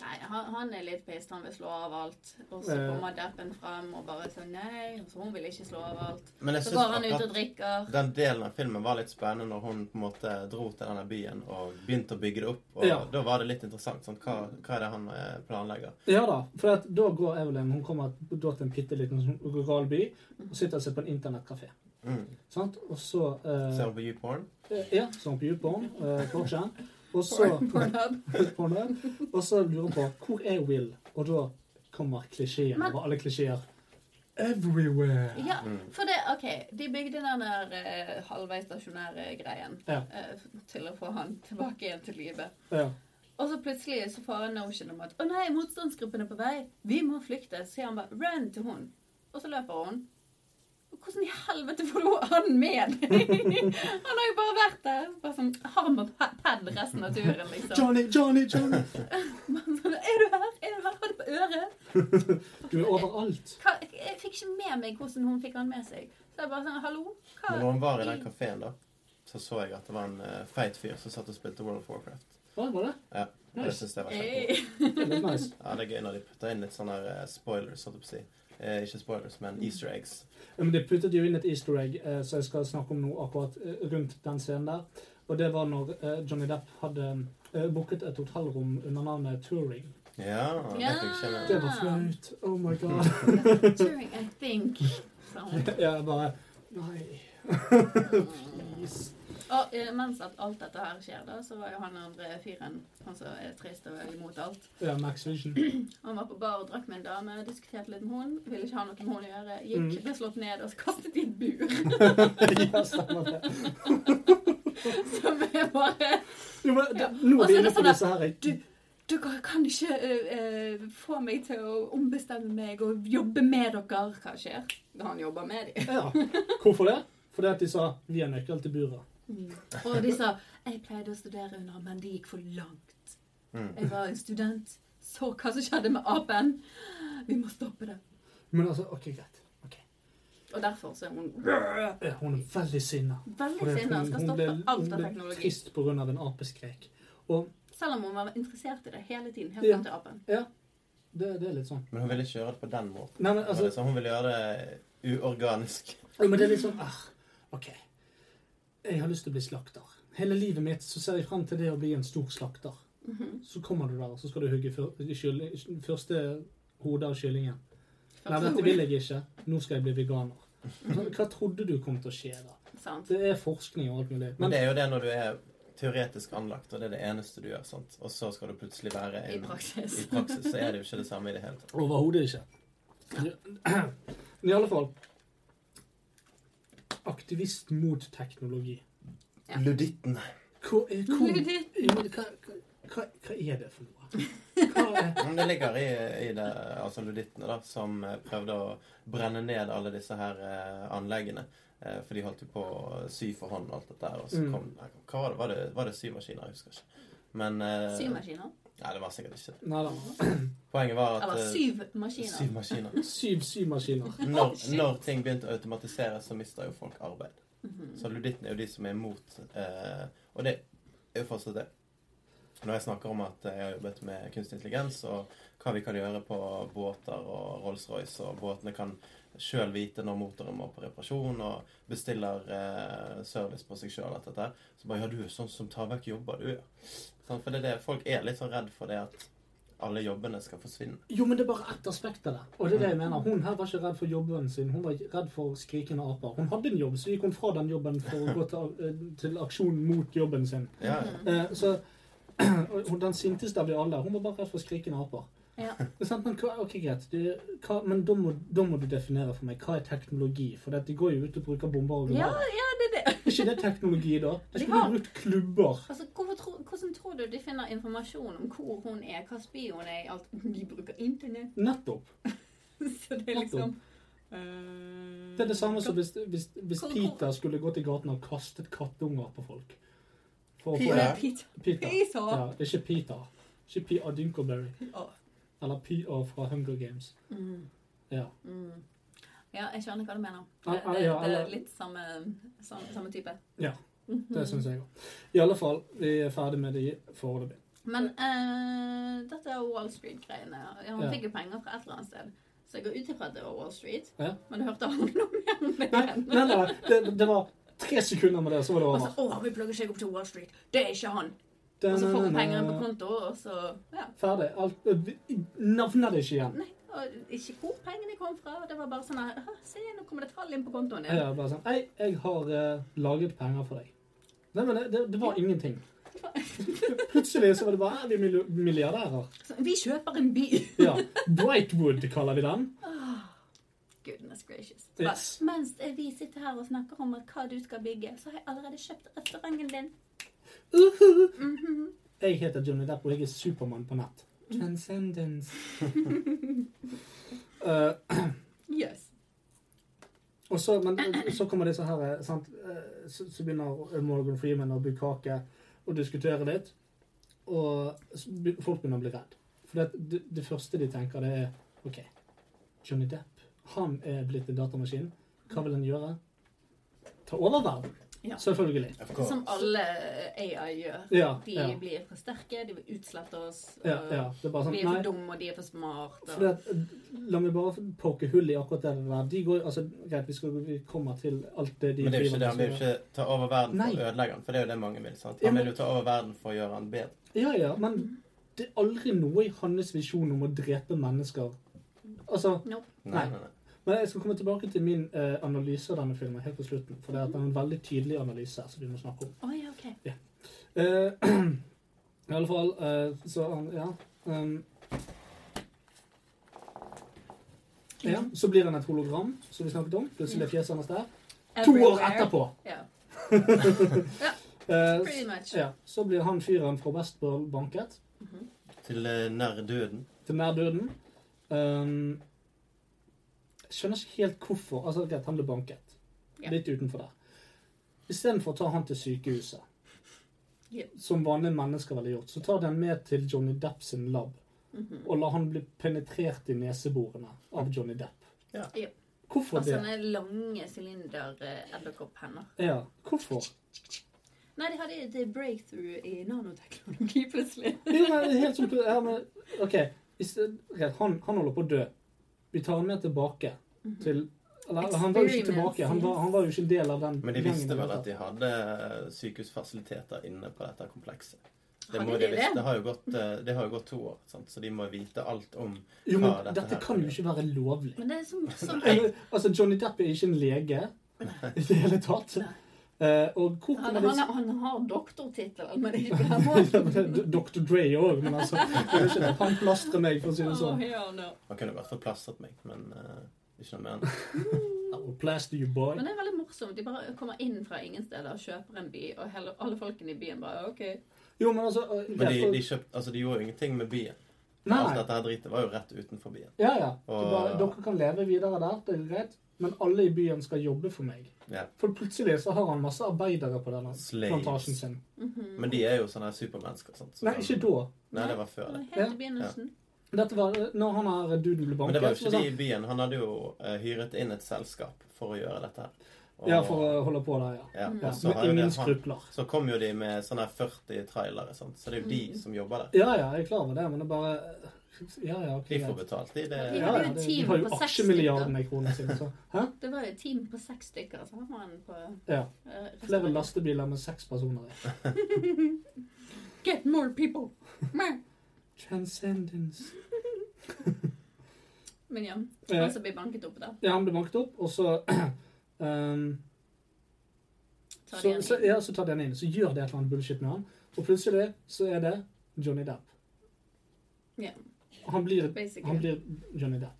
Speaker 5: Nei, han, han er litt pissed. Han vil slå av alt. Og så
Speaker 3: Eh.
Speaker 5: kommer dappen frem og bare sånn nei. Og så hun vil ikke slå av alt.
Speaker 4: Men jeg
Speaker 5: Så
Speaker 4: syns
Speaker 5: går han ut og
Speaker 4: akkurat
Speaker 5: drikker.
Speaker 4: den delen av filmen var litt spennende når hun på en måte dro til denne byen og begynte å bygge det opp. Og
Speaker 3: Ja.
Speaker 4: Da var det litt interessant. Sånn, hva, hva er det han eh, planlegger?
Speaker 3: Ja da, for at da går Evelyn hun kommer da til en bitte liten sånn rural by og sitter seg på en internettkafé.
Speaker 4: Mm.
Speaker 3: Sant? Og så eh,
Speaker 4: Ser hun på YouPorn?
Speaker 3: Ja, som på YouPorn. eh, 4chan. Og så
Speaker 5: Pornhub.
Speaker 3: Pornhub. Og så lurer hun på hvor er Will? Og da kommer klisjeen
Speaker 5: Men-
Speaker 3: over alle klisjeer. Everywhere.
Speaker 5: Ja, for det OK. De bygde den der eh, halvveis stasjonære greien
Speaker 3: Ja.
Speaker 5: eh, til å få han tilbake igjen til livet.
Speaker 3: Ja.
Speaker 5: Og så plutselig så får han notion om at 'Å nei, motstandsgruppen er på vei. Vi må flykte.' Så sier han bare 'Run' til hun. Og så løper hun. Og Hvordan i helvete får du han med deg? han har jo bare vært der. Bare sånn harm og pa- pad resten av turen, liksom.
Speaker 3: Johnny, Johnny, Johnny.
Speaker 5: Bare sånn, 'Er du her? Er du her? Har du på øret?'
Speaker 3: Du er overalt.
Speaker 5: Hva, jeg fikk ikke med meg hvordan hun fikk han med seg. Så jeg bare sånn 'Hallo?' Hva?
Speaker 4: Men når han var i
Speaker 5: i-
Speaker 4: den kafeen, da, så så jeg at det var en eh, feit fyr som satt og spilte World of Warcraft.
Speaker 3: Hva var det?
Speaker 4: Ja, og det
Speaker 3: Nice.
Speaker 4: synes jeg var kjempebra.
Speaker 5: Hey.
Speaker 3: Det er litt nice.
Speaker 4: Ja, det er gøy når de putter inn litt sånne eh, spoilers, holdt jeg på å si. Eh, ikke spoilers, men easter eggs.
Speaker 3: Ja, Men de puttet jo inn et easter egg, eh, så jeg skal snakke om noe akkurat eh, rundt den scenen der. Og det var når eh, Johnny Depp hadde eh, booket et hotellrom under navnet Touring.
Speaker 4: Ja, det fikk jeg
Speaker 5: Ja.
Speaker 4: ikke med.
Speaker 3: Det var flaut. Oh my god.
Speaker 5: Turing, I think. Sånn.
Speaker 3: Jeg bare Nei. Please.
Speaker 5: Og eh, mens at alt dette her skjer, da, så var jo han andre fyren, han som er trist og er imot alt.
Speaker 3: Ja, Max Vision.
Speaker 5: Han var på bar og drakk med en dame, diskuterte litt med hun, ville ikke ha noe med hun å gjøre, gikk, ble slått ned og så kastet i et bur.
Speaker 3: Ja, stemmer det.
Speaker 5: Som er bare
Speaker 3: Jo, men det, nå
Speaker 5: Og så er
Speaker 3: er vi
Speaker 5: det
Speaker 3: inne på
Speaker 5: sånn at-
Speaker 3: disse her. jeg-
Speaker 5: Du, dere kan ikke eh, eh, få meg til å ombestemme meg og jobbe med dere. Hva skjer? Han jobber med dem.
Speaker 3: Ja. Hvorfor det? Fordi at de sa 'vi har nøkkel til buret'.
Speaker 5: Og de sa Jeg pleide å studere under, men det gikk for langt.
Speaker 4: Mm.
Speaker 5: Jeg var en student. Så hva som skjedde med apen. Vi må stoppe det.
Speaker 3: Men altså, OK, greit. Ok.
Speaker 5: Og derfor så er hun
Speaker 3: Ja, hun er veldig sinna.
Speaker 5: veldig sinna og skal stoppe alt av
Speaker 3: Hun ble
Speaker 5: teknologi.
Speaker 3: trist pga. en apeskrek. Og
Speaker 5: Selv om hun var interessert i det hele tiden. Helt
Speaker 3: Ja.
Speaker 5: frem til apen.
Speaker 3: ja, det, det er litt sånn.
Speaker 4: Men hun ville ikke gjøre det på den måten.
Speaker 3: Nei, men
Speaker 4: Det var
Speaker 3: altså
Speaker 4: liksom, hun ville gjøre det uorganisk.
Speaker 3: Jo, men det er litt sånn ah, OK. Jeg har lyst til å bli slakter. Hele livet mitt så ser jeg frem til det å bli en stor slakter.
Speaker 5: Mhm.
Speaker 3: Så kommer du der, og så skal du hugge fyr, kylling- første hodet av kyllingen. Nei, dette vil jeg ikke. Nå skal jeg bli veganer. Så Hva trodde du kom til å skje da?
Speaker 5: Sant.
Speaker 3: Det er forskning og alt mulig.
Speaker 4: Men
Speaker 3: Men
Speaker 4: det er jo det når du er teoretisk anlagt, og det er det eneste du gjør, sant? og så skal du plutselig være
Speaker 5: I
Speaker 4: en
Speaker 5: praksis.
Speaker 4: I praksis så er det jo ikke det samme i det hele tatt.
Speaker 3: overhodet ikke. Men i alle fall Aktivist mot teknologi.
Speaker 5: Ja.
Speaker 4: Luditten.
Speaker 3: Hva er, hvor,
Speaker 5: Ludit.
Speaker 3: Jo, men hva, hva, hva er det for noe? Hva er
Speaker 4: Men det ligger i, i det, altså ludittene, da, som eh, prøvde å brenne ned alle disse her eh, anleggene. Eh, for de holdt jo på å sy for hånd og alt dette her. Og så
Speaker 3: Mm.
Speaker 4: kom, nei, hva var det? Var det, var det symaskiner? Jeg husker ikke. Men eh,
Speaker 5: Symaskiner.
Speaker 4: Nei, det var sikkert ikke det.
Speaker 3: Nei da.
Speaker 4: Poenget var at
Speaker 5: Eller
Speaker 4: eh,
Speaker 5: syv maskiner.
Speaker 4: syv maskiner.
Speaker 3: Syv symaskiner.
Speaker 4: Når, når ting begynte å automatiseres, så mista jo folk arbeid.
Speaker 5: Mhm.
Speaker 4: Så ludittene er jo de som er imot eh, Og det er jo fortsatt det. Når jeg snakker om at jeg har jobbet med kunstig intelligens, og hva vi kan gjøre på båter og Rolls-Royce, og båtene kan sjøl vite når motoren må på reparasjon, og bestiller eh, service på seg sjøl, alt dette her, så bare Ja, du er sånn som tar vekk jobber, du, ja. Sånn, for det er det, folk er litt sånn redd for det at alle jobbene skal forsvinne.
Speaker 3: Jo, men det er bare ett aspekt av det. Og det er det jeg mener. Hun her var ikke redd for jobben sin. Hun var redd for skrikende aper. Hun hadde en jobb, så gikk hun fra den jobben for å gå til, eh, til aksjon mot jobben sin.
Speaker 4: Ja, ja.
Speaker 3: Eh, så og hun- den sinteste av de alle. Hun var bare redd for skrikende aper.
Speaker 5: Ja.
Speaker 3: Men, sant, men, hva, ok, greit. Du, hva, men da må, da må du definere for meg hva er teknologi? For det, de går jo ut og bruker bomber og
Speaker 5: ja,
Speaker 3: granater.
Speaker 5: ja, det er det.
Speaker 3: Er ikke det teknologi, da? Jeg skulle
Speaker 5: Ja.
Speaker 3: brukt klubber.
Speaker 5: Altså, hvorfor tro, Hvordan tror du de finner informasjon om hvor hun er, hva spy hun er i alt? De bruker internett,
Speaker 3: Nettopp.
Speaker 5: så det er liksom eh,
Speaker 3: Det er det samme som hvis, hvis, hvis
Speaker 5: Hvor- hvor-
Speaker 3: Peter skulle gått i gaten og kastet kattunger på folk. For å få-
Speaker 4: Peter?
Speaker 5: Peter.
Speaker 3: Peter.
Speaker 5: Peter.
Speaker 3: Ja, det er ikke Peter. Ikke P av Dinkelberry.
Speaker 5: Å,
Speaker 3: Eller P av fra Hunger Games.
Speaker 5: Mm,
Speaker 3: Ja.
Speaker 5: mm. Ja, jeg skjønner hva du mener.
Speaker 3: Ja,
Speaker 5: Det,
Speaker 3: ja,
Speaker 5: det, det
Speaker 3: eller-
Speaker 5: er litt samme, samme, samme type.
Speaker 3: ja
Speaker 5: Mhm.
Speaker 3: det syns jeg òg. I alle fall, vi er ferdig med de foreløpig.
Speaker 5: Men eh, dette er Wall Street-greiene. Ja, Han
Speaker 3: Ja.
Speaker 5: fikk jo penger fra et eller annet sted. Så jeg går ut ifra at det var Wall Street.
Speaker 3: Ja.
Speaker 5: Men du hørte aldri noe mer om det.
Speaker 3: Nei, nei, nei det, det var tre sekunder med det, så var det
Speaker 5: Og
Speaker 3: over.
Speaker 5: så, å, vi plugger seg opp til Wall Street. Det er ikke han. Og så får hun pengene på konto, og så ja.
Speaker 3: Ferdig. Alt, eh, vi navner det ikke igjen.
Speaker 5: Nei, og ikke hvor pengene kom fra. Det var bare sånn her «Hæ, Se, nå kommer det tall inn på kontoen
Speaker 3: Jeg
Speaker 5: din.
Speaker 3: er bare sånn Hei, jeg har eh, laget penger for deg. Nei, men det, det, det var ingenting. Plutselig så var det bare «Eh, Vi er mil- milliardærer.
Speaker 5: Så, vi kjøper en bil!
Speaker 3: Ja. Brightwood kaller vi den.
Speaker 5: Goodness gracious. Så Bare,
Speaker 3: Yes.
Speaker 5: mens vi sitter her og snakker om at hva du skal bygge, så har jeg allerede kjøpt restauranten din.
Speaker 3: Uhuhu.
Speaker 5: Mhm.
Speaker 3: Jeg heter Johnny Depp, og jeg er Supermann på nett. Transcendence. Eh,
Speaker 5: Yes.
Speaker 3: og så, men så kommer disse her eh, sant? eh, Så, så begynner Morgan Freeman og Bukake å diskutere litt. Og s- be- folk begynner å bli redd. For det, det, det første de tenker, det er OK, Johnny Depp, han er blitt en datamaskin. Hva vil han gjøre? Ta over verden.
Speaker 5: Ja.
Speaker 3: Selvfølgelig.
Speaker 4: Of course.
Speaker 5: Som alle AI gjør.
Speaker 3: Ja,
Speaker 5: De
Speaker 3: ja,
Speaker 5: blir for sterke, de vil utslette oss.
Speaker 3: ja,
Speaker 5: og
Speaker 3: ja. Det er bare sånn
Speaker 5: Vi er
Speaker 3: Nei,
Speaker 5: for dumme, og de er for smarte.
Speaker 3: Fordi at, la meg bare poke hull i akkurat det der. De går, altså, greit, vi, skal, vi kommer til alt det de
Speaker 4: Men det er jo
Speaker 3: driver
Speaker 4: ikke det. Han
Speaker 3: med,
Speaker 4: vil jo ikke ta over verden for
Speaker 3: Nei.
Speaker 4: å ødelegge den, for det er jo det mange vil. sant?
Speaker 3: Ja,
Speaker 4: Han
Speaker 3: men-
Speaker 4: vil jo ta over verden for å gjøre den bedre.
Speaker 3: så- Ja, ja, men det er aldri noe i hans visjon om å drepe mennesker. Altså,
Speaker 4: Nei,
Speaker 3: Nei.
Speaker 4: nei, nei.
Speaker 3: men Jeg skal komme tilbake til min eh, analyse av denne filmen helt på slutten. For det er at det er en veldig tydelig analyse som vi må snakke om.
Speaker 5: Å ja, OK.
Speaker 3: Eh, I alle fall, eh, så han Ja. ehm, ja, Så blir han et hologram, som vi snakket om. Plutselig er fjeset hans der. To år
Speaker 5: Everywhere.
Speaker 3: etterpå!
Speaker 5: Ja,
Speaker 3: Eh,
Speaker 5: pretty much.
Speaker 3: Ja, så blir han fyren fra Westball banket
Speaker 4: Til eh, nær døden.
Speaker 3: til nær døden. Ehm, jeg skjønner ikke helt hvorfor. Altså, greit, han ble banket.
Speaker 5: Ja.
Speaker 3: Litt utenfor der. Istedenfor å ta han til sykehuset,
Speaker 5: Ja.
Speaker 3: som vanlige mennesker ville gjort, så tar de han med til Johnny Depp sin lab
Speaker 5: Mhm.
Speaker 3: og lar han bli penetrert i neseborene av Johnny Depp.
Speaker 4: Ja.
Speaker 5: Ja. Altså,
Speaker 3: Hvorfor
Speaker 5: Og
Speaker 3: det?
Speaker 5: sånne lange sylinder-edderkopphender.
Speaker 3: Ja, hvorfor?
Speaker 5: Nei, de hadde et eh, breakthrough i nanoteknologi plutselig.
Speaker 3: Jo, men det er helt som ja, men, OK, i sted- greit, han, han holder på å dø. Vi tar han med tilbake
Speaker 5: Mhm.
Speaker 3: til Eller eller, han var jo ikke
Speaker 5: Experiments,
Speaker 3: tilbake. Han var, han var jo ikke en del av den
Speaker 4: Men de visste vel at
Speaker 3: de
Speaker 4: de hadde eh, sykehusfasiliteter inne på dette komplekset. Det,
Speaker 5: Hadde
Speaker 4: må
Speaker 5: de
Speaker 4: de visst.
Speaker 5: det?
Speaker 4: det har jo gått, eh, det har jo gått to år, sant? så de må vite alt om
Speaker 3: Jo, men
Speaker 4: Ja, dette
Speaker 3: dette
Speaker 4: her-
Speaker 3: kan jo ikke være lovlig.
Speaker 5: Men det er som, som
Speaker 4: Nei.
Speaker 3: Eller, altså, Johnny Depp er ikke en lege i det hele tatt. Eh, og hvor
Speaker 5: han,
Speaker 3: kommer
Speaker 5: han,
Speaker 3: disse
Speaker 5: han har doktortittel, men ikke på den måten.
Speaker 3: Dr. Dre òg, men altså det er ikke det. Han plastrer meg, for å si det
Speaker 5: Oh,
Speaker 3: sånn.
Speaker 5: hell no.
Speaker 4: Han kunne i hvert fall plastret meg, men eh, ikke noe mer enn det.
Speaker 3: I'll plaster you, boy.
Speaker 5: Men det er veldig morsomt. De bare kommer inn fra ingen steder og kjøper en by, og hele, alle folkene i byen bare OK.
Speaker 3: Jo, men altså eh,
Speaker 4: Men de,
Speaker 3: greit, og-
Speaker 4: de, kjøpt, altså, de gjorde jo ingenting med byen.
Speaker 3: Nei.
Speaker 4: Altså, dette her dritet var jo rett utenfor byen.
Speaker 3: Ja, ja. Du
Speaker 4: Og-
Speaker 3: bare, dere kan leve videre der, det er greit. Men alle i byen skal jobbe for meg.
Speaker 4: Ja.
Speaker 3: For plutselig så har han masse arbeidere på denne
Speaker 4: Slaves.
Speaker 3: plantasjen sin.
Speaker 5: Mm.
Speaker 4: Men de er jo sånne her supermennesker. Sant? Så
Speaker 3: Nei,
Speaker 4: de-
Speaker 3: ikke da.
Speaker 4: Nei, det var før det.
Speaker 5: Det var helt i begynnelsen.
Speaker 3: Dette var når han her duden ble
Speaker 4: Men
Speaker 3: banket.
Speaker 4: det var jo
Speaker 3: så
Speaker 4: ikke
Speaker 3: sa-
Speaker 4: de i byen. Han hadde jo eh, hyret inn et selskap for å gjøre dette her. Og-
Speaker 3: Ja, for å holde på der, ja.
Speaker 4: ja, og
Speaker 3: ja.
Speaker 4: så har jo det-
Speaker 3: Med
Speaker 4: sånn-
Speaker 3: ingen
Speaker 4: han-
Speaker 3: skrupler.
Speaker 4: Så kom jo de med sånne her 40 trailere, sant? så det er jo de som jobber der.
Speaker 3: Ja, ja, jeg er klar over det, men det er bare Ja, ja, ok.
Speaker 4: De får
Speaker 3: greit.
Speaker 4: betalt, de. Det,
Speaker 5: Ja,
Speaker 3: Ja, ja,
Speaker 5: Det er jo et
Speaker 3: det, de
Speaker 5: team
Speaker 3: har jo
Speaker 5: på seks
Speaker 3: aksjemilliardene i kroner sine, så Hæ?
Speaker 5: Det var jo et team på seks stykker. Så har man på
Speaker 3: Ja.
Speaker 5: eh,
Speaker 3: Flere
Speaker 5: restaurant.
Speaker 3: lastebiler med seks personer i.
Speaker 5: Get more people! Meh.
Speaker 3: Transcendence.
Speaker 5: Men ja,
Speaker 3: Eh.
Speaker 5: han som blir banket opp der.
Speaker 3: Ja, han ble banket opp, og så ehm,
Speaker 5: Tar
Speaker 3: så,
Speaker 5: de
Speaker 3: så,
Speaker 5: han inn.
Speaker 3: ja, så tar de han inn, så gjør de et eller annet bullshit med han. Og plutselig så er det Johnny Depp.
Speaker 5: Ja.
Speaker 3: Han blir,
Speaker 5: Basically.
Speaker 3: han blir Johnny Depp.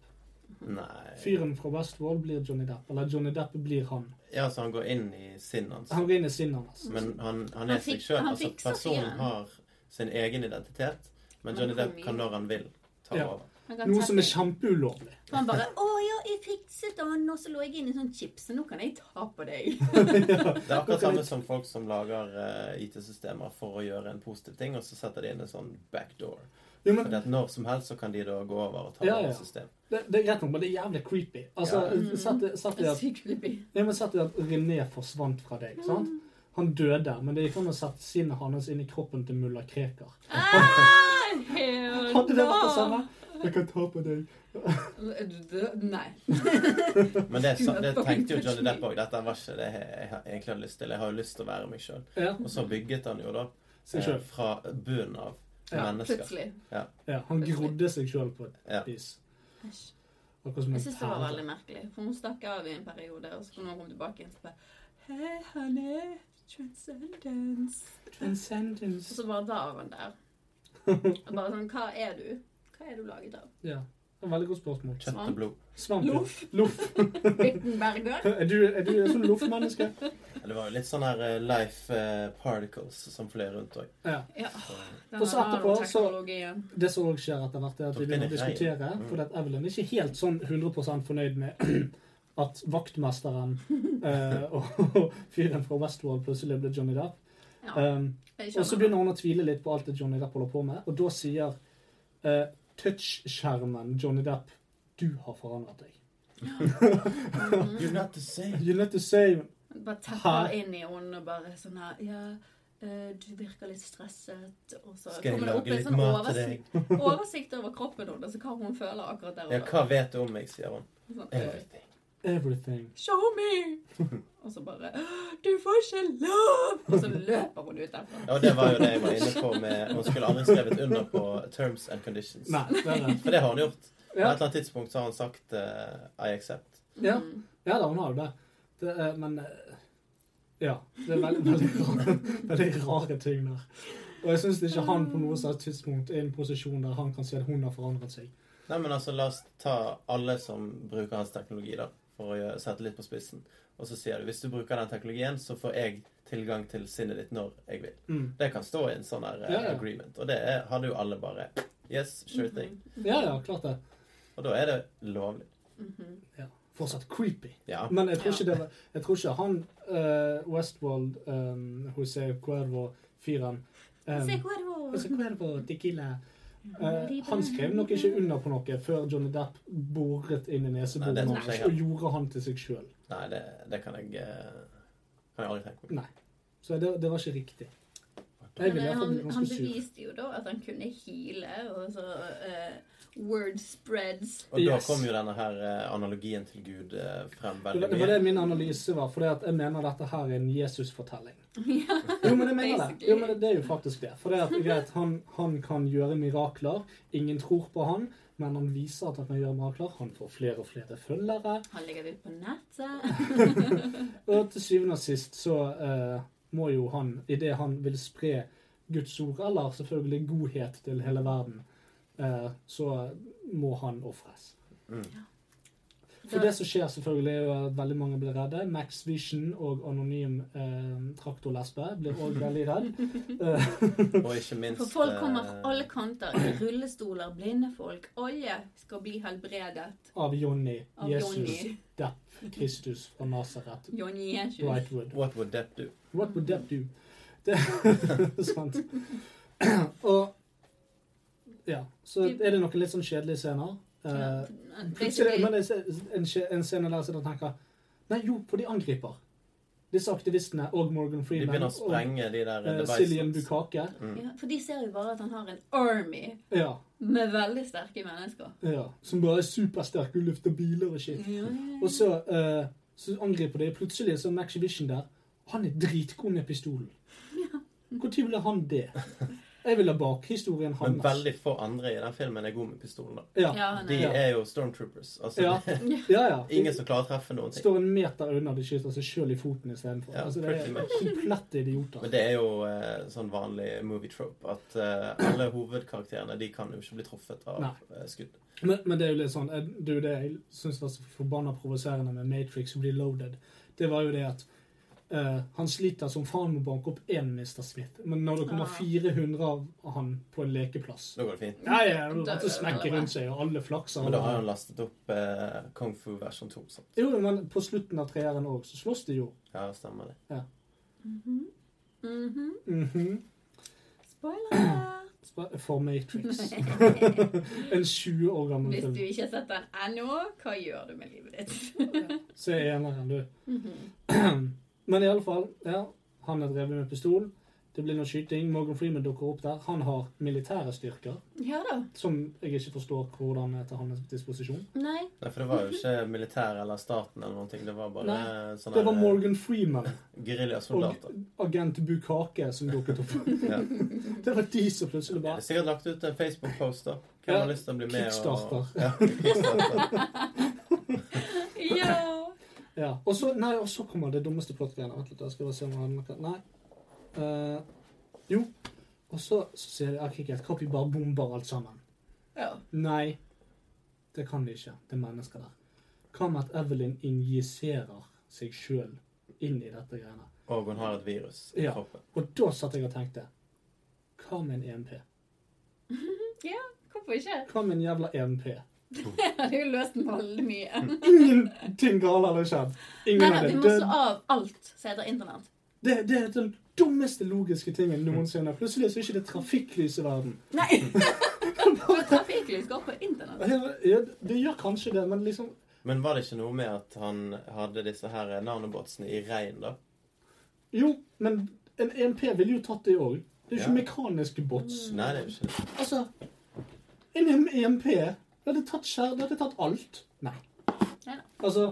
Speaker 4: nei.
Speaker 3: Fyren fra Westworld blir Johnny Depp. Eller Johnny Depp blir han.
Speaker 4: Ja, så han går inn i sinnet hans.
Speaker 3: Han går inn i sinnet hans.
Speaker 4: Men han, han
Speaker 5: Han
Speaker 4: er seg
Speaker 5: fik-
Speaker 4: sjøl.
Speaker 5: han
Speaker 4: Altså,
Speaker 5: fikser
Speaker 4: personen
Speaker 5: fyren.
Speaker 4: har sin egen identitet, men
Speaker 5: Men
Speaker 4: Johnny Depp
Speaker 5: kongen-
Speaker 4: kan når han vil ta
Speaker 3: Ja.
Speaker 4: over.
Speaker 5: Han kan
Speaker 3: Noe
Speaker 5: ta
Speaker 3: som er
Speaker 5: seg-
Speaker 3: kjempeulovlig.
Speaker 5: For han bare 'Å ja, jeg fikset den, og så lå jeg inne i sånn chips, så nå kan jeg ta på deg'.
Speaker 4: Det er akkurat samme som folk som lager eh, IT-systemer for å gjøre en positiv ting, og så setter de inn en sånn backdoor.
Speaker 3: Jo, men
Speaker 4: Fordi at når som helst så kan de da gå over og ta
Speaker 3: Ja,
Speaker 4: over
Speaker 3: ja.
Speaker 4: et system.
Speaker 3: det, det er greit nok, men det er jævlig creepy. Altså, satt det- satt det at
Speaker 5: Sykt creepy.
Speaker 3: Nei, men sett det at René forsvant fra deg, sant?
Speaker 5: Mm.
Speaker 3: Han døde, men det gikk an å sette sinnet hans inn i kroppen til mulla Krekar.
Speaker 5: Ah, hell
Speaker 3: Hadde det vært det
Speaker 5: no.
Speaker 3: samme? Jeg kan ta på deg.
Speaker 5: Nei.
Speaker 4: Men det, er sa- det
Speaker 5: Skulle
Speaker 4: tenkte jo
Speaker 5: bare
Speaker 4: Johnny
Speaker 5: touch
Speaker 4: Depp òg. Dette var ikke det jeg, jeg har- egentlig hadde lyst til. Jeg har jo lyst til å være meg sjøl.
Speaker 3: Ja,
Speaker 4: Og så bygget han jo da
Speaker 3: Seg
Speaker 4: eh,
Speaker 3: selv.
Speaker 4: fra bunnen av
Speaker 3: Ja,
Speaker 4: mennesker.
Speaker 5: Plutselig.
Speaker 4: Ja.
Speaker 3: ja, han grodde seg sjøl på et
Speaker 4: Ja.
Speaker 3: vis.
Speaker 5: Æsj.
Speaker 3: Akkurat som en
Speaker 5: Jeg syns det var
Speaker 3: perle.
Speaker 5: veldig merkelig. For hun stakk av i en periode, og så kunne hun komme tilbake igjen og bare Hei, honey. Transcendence. Og
Speaker 3: Transcendence.
Speaker 5: så bare var han der. Og bare sånn Hva er du? Hva er du laget av?
Speaker 3: Ja, det var et veldig godt spørsmål.
Speaker 4: Kjøtt
Speaker 5: liksom.
Speaker 4: og blod.
Speaker 3: Svamp. ja.
Speaker 5: Loff.
Speaker 3: Loff.
Speaker 5: Wittenberger?
Speaker 3: Er du, er du et sånt loff-menneske?
Speaker 4: Det var jo litt sånn her eh, life eh, particles som fløy rundt òg.
Speaker 3: Ja.
Speaker 5: Ja.
Speaker 3: Og så etterpå så-
Speaker 5: teknologien.
Speaker 3: Det som også skjer etter hvert, er at vi begynner å diskutere, fordi at Evelyn er ikke helt sånn 100 fornøyd med at vaktmesteren eh, og og fyren fra Westworld plutselig ble Johnny Depp.
Speaker 5: Ja,
Speaker 4: Eh,
Speaker 3: Um,
Speaker 5: jeg
Speaker 3: og så
Speaker 5: skjønner.
Speaker 3: begynner hun å tvile litt på alt det Johnny Depp holder på med, og da sier eh, touchskjermen Johnny Depp du har forandret deg.
Speaker 4: You're not the same.
Speaker 3: You let to say
Speaker 5: Bare tepper inn i henne og bare sånn her Ja, eh, du virker litt stresset. Og så
Speaker 4: Skal jeg
Speaker 5: kommer det opp
Speaker 4: lage
Speaker 5: en
Speaker 4: litt
Speaker 5: sånn
Speaker 4: mat til
Speaker 5: oversikt, oversikt over kroppen hennes og hva hun føler akkurat der
Speaker 4: Ja,
Speaker 5: og
Speaker 4: hva vet du om meg, sier hun.
Speaker 5: da. Sånn, eh,
Speaker 4: Everything.
Speaker 3: everything.
Speaker 5: Show me! Og så bare Du får ikke lov! Og så løper hun ut derfra.
Speaker 4: Ja, og det var jo det jeg var inne på med Hun skulle aldri skrevet under på terms and conditions.
Speaker 3: Nei, det er det.
Speaker 4: For det har hun gjort. På et
Speaker 3: Ja.
Speaker 4: eller annet tidspunkt så har hun sagt eh, I accept.
Speaker 3: Ja,
Speaker 5: Mm,
Speaker 3: ja da, hun har jo det. det eh, men eh, Ja. Det er veldig, veldig, rare, veldig rare ting der. Og jeg syns ikke han på noe slags tidspunkt er i en posisjon der han kan si at hun har forandret seg.
Speaker 4: Nei, men altså, la oss ta alle som bruker hans teknologi, da, for å gjøre- sette litt på spissen. Og så sier du hvis du bruker den teknologien, så får jeg tilgang til sinnet ditt når jeg vil.
Speaker 3: Mm.
Speaker 4: Det kan stå i en sånn her eh,
Speaker 3: Ja, ja.
Speaker 4: agreement. Og det er, hadde jo alle bare Yes, sure
Speaker 5: Mhm.
Speaker 4: thing.
Speaker 3: Ja, ja, klart det.
Speaker 4: Og da er det lovlig.
Speaker 5: mhm.
Speaker 3: Ja. Fortsatt creepy.
Speaker 4: Ja.
Speaker 3: Men jeg tror ikke, det var, jeg tror ikke han eh, Westworld, um, José Cuervo-fyren eh,
Speaker 5: Se hvor er
Speaker 3: José
Speaker 5: hun?
Speaker 3: Cuervo, tequila eh, Han skrev nok ikke under på noe før Johnny Depp boret inn i
Speaker 4: Nei, det tror
Speaker 3: neseboren
Speaker 4: jeg
Speaker 3: hans
Speaker 4: ikke.
Speaker 3: og gjorde han til seg sjøl.
Speaker 4: Nei, det, det kan jeg eh, Kan jeg aldri tenke meg.
Speaker 3: Nei. Så det, det var ikke riktig. Jeg
Speaker 5: Men,
Speaker 3: ville
Speaker 5: eh,
Speaker 3: iallfall
Speaker 5: han,
Speaker 3: blitt
Speaker 5: han
Speaker 3: ganske sur.
Speaker 5: beviste jo da at han kunne heale, og så eh, Word spreads.
Speaker 4: Og da
Speaker 3: Yes.
Speaker 4: kom jo denne her eh, analogien til Gud eh, frem
Speaker 3: Det var-
Speaker 4: veldig
Speaker 3: det
Speaker 4: mye.
Speaker 3: var det min analyse var, for jeg mener dette her er en Jesus-fortelling. Jo, men jeg mener det. Jo, men det- det er jo faktisk det. For det at, greit, han, han kan gjøre mirakler. Ingen tror på han, men han viser at han kan gjøre mirakler. Han får flere og flere følgere.
Speaker 5: Han legger det ut på nettet.
Speaker 3: Og til syvende og sist så eh, må jo han, idet han vil spre Guds ord, eller selvfølgelig godhet til
Speaker 4: Mm.
Speaker 3: hele verden, eh, så må han ofres. For det som skjer, selvfølgelig er jo at veldig mange blir redde. Max Vision og anonym eh, traktorlesbe blir òg veldig redd. Eh,
Speaker 4: Og ikke minst
Speaker 5: For folk
Speaker 4: eh,
Speaker 5: kommer fra alle kanter. Rullestoler, blinde folk. Alle skal bli helbredet
Speaker 3: av Jonny.
Speaker 5: av
Speaker 3: Jesus
Speaker 5: Johnny.
Speaker 3: Depp. Kristus fra Nazaret.
Speaker 5: Johnny Jesus.
Speaker 3: Brightwood.
Speaker 4: What would that do?
Speaker 3: What would that do? Det sant. Og Ja. Så er det noen litt sånn kjedelige scener. Eh, Plutselig er
Speaker 5: Basically,
Speaker 3: det en, skje- en scene der som jeg tenker Nei, jo, for de angriper. Disse aktivistene og Morgan
Speaker 4: De
Speaker 3: Freeman
Speaker 4: begynner å
Speaker 3: og
Speaker 4: sprenge Mm. de der
Speaker 3: eh, Cillian
Speaker 4: devicene.
Speaker 3: Bukake.
Speaker 5: ja, for de ser jo bare at han har en army
Speaker 3: Ja,
Speaker 5: med veldig sterke mennesker.
Speaker 3: ja. Som bare er supersterke og løfter biler og shit.
Speaker 5: Ja,
Speaker 3: Og så, eh, så angriper de. Plutselig så er Max Vision der. Han er dritgod med pistolen. Når ville han det? Jeg vil ha bakhistorien
Speaker 4: Men
Speaker 3: hans.
Speaker 4: veldig få andre i den filmen er gode med pistol. da.
Speaker 3: Ja,
Speaker 5: ja,
Speaker 4: De
Speaker 5: nei.
Speaker 4: er jo stormtroopers. Altså,
Speaker 3: ja, ja. ja.
Speaker 4: ingen som klarer å treffe noen ting.
Speaker 3: står en meter unna de skyter seg sjøl i foten istedenfor.
Speaker 4: Ja,
Speaker 3: altså, det
Speaker 4: pretty
Speaker 3: er
Speaker 4: much.
Speaker 3: komplette idioter.
Speaker 4: Men det er jo eh, sånn vanlig movie trope at eh, alle hovedkarakterene de kan jo ikke bli truffet av
Speaker 3: Nei.
Speaker 4: eh, skudd.
Speaker 3: Men, men det er jo litt sånn eh, Det er jo det jeg syns var så forbanna provoserende med Matrix Reloaded. Det var jo det at eh, han sliter som faen med å banke opp én Mr. Smith, men når det kommer
Speaker 5: Ah.
Speaker 3: 400 av han på en lekeplass
Speaker 4: Da går det fint.
Speaker 3: Nei, ja,
Speaker 5: Da-
Speaker 3: så smekker rundt seg, og alle flakser.
Speaker 4: Men da har han lastet opp eh, Kung Fu versjon 2. Sant?
Speaker 3: Jo, men på slutten av treeren òg, så slåss de jo.
Speaker 4: Ja, stemmer det.
Speaker 5: Mhm.
Speaker 3: Mhm.
Speaker 5: Spoiler alert!
Speaker 3: For Matrix. en 20 år gammel
Speaker 5: Hvis du
Speaker 3: film.
Speaker 5: ikke har sett den ennå, hva gjør du med livet ditt?
Speaker 3: Se eneren, du.
Speaker 5: Mhm.
Speaker 3: Men i alle fall, ja, han er drevet med pistol. Det blir noe skyting. Morgan Freeman dukker opp der. Han har militære styrker,
Speaker 5: Ja da.
Speaker 3: som jeg ikke forstår hvordan er til hans disposisjon.
Speaker 5: Nei.
Speaker 4: Nei, for det var jo ikke militæret eller staten eller noen ting. Det var bare
Speaker 3: Mhm. Nei,
Speaker 4: sånne
Speaker 3: Det var
Speaker 4: eh,
Speaker 3: Morgan Freeman og
Speaker 4: geriljasoldater.
Speaker 3: agent Bukake som dukket opp.
Speaker 4: Ja.
Speaker 3: Det var de som plutselig
Speaker 4: Det er
Speaker 3: bare
Speaker 4: sikkert lagt ut en Facebook-post, da. Hvem
Speaker 3: Ja,
Speaker 4: har lyst til å bli med
Speaker 3: Kickstarter.
Speaker 4: og ja, Kickstarter.
Speaker 5: Ja.
Speaker 3: Ja. Og så, nei, og så kommer det dummeste plottgreiene. Vent litt, jeg skal bare se om jeg hadde noe Nei. Eh, jo. Og så, så sier de «Ah, Kikkert, hva om vi bare bomber alt sammen?
Speaker 5: ja.
Speaker 3: Nei, det kan de ikke. Det er mennesker der. Hva med at Evelyn injiserer seg sjøl inn i dette greiene?
Speaker 4: Og hun har et virus i
Speaker 3: Ja.
Speaker 4: kroppen.
Speaker 3: Og da satt jeg og tenkte Hva med en EMP?
Speaker 5: Hvorfor ikke?
Speaker 3: Hva med en jævla E EMP?
Speaker 5: Jeg hadde jo løst veldig mye.
Speaker 3: Mm. Ingenting galt hadde skjedd.
Speaker 5: Nei,
Speaker 3: Ingen
Speaker 5: nei,
Speaker 3: av
Speaker 5: vi
Speaker 3: det.
Speaker 5: må
Speaker 3: Det,
Speaker 5: slå av alt som heter internett.
Speaker 3: det, det er den dummeste logiske tingen noensinne. Plutselig så er ikke det trafikklys i verden.
Speaker 5: Nei! For trafikklys går på internett.
Speaker 3: Ja, Det gjør kanskje det, men liksom
Speaker 4: Men var det ikke noe med at han hadde disse her nanobotsene i regn, da?
Speaker 3: Jo, men en EMP ville jo tatt det òg. Det er jo ikke
Speaker 4: Ja.
Speaker 3: mekaniske bots.
Speaker 4: Nei, det er jo ikke det.
Speaker 3: Altså En EMP Det hadde tatt skjær, det hadde tatt alt. Nei.
Speaker 5: Nei da.
Speaker 3: Altså,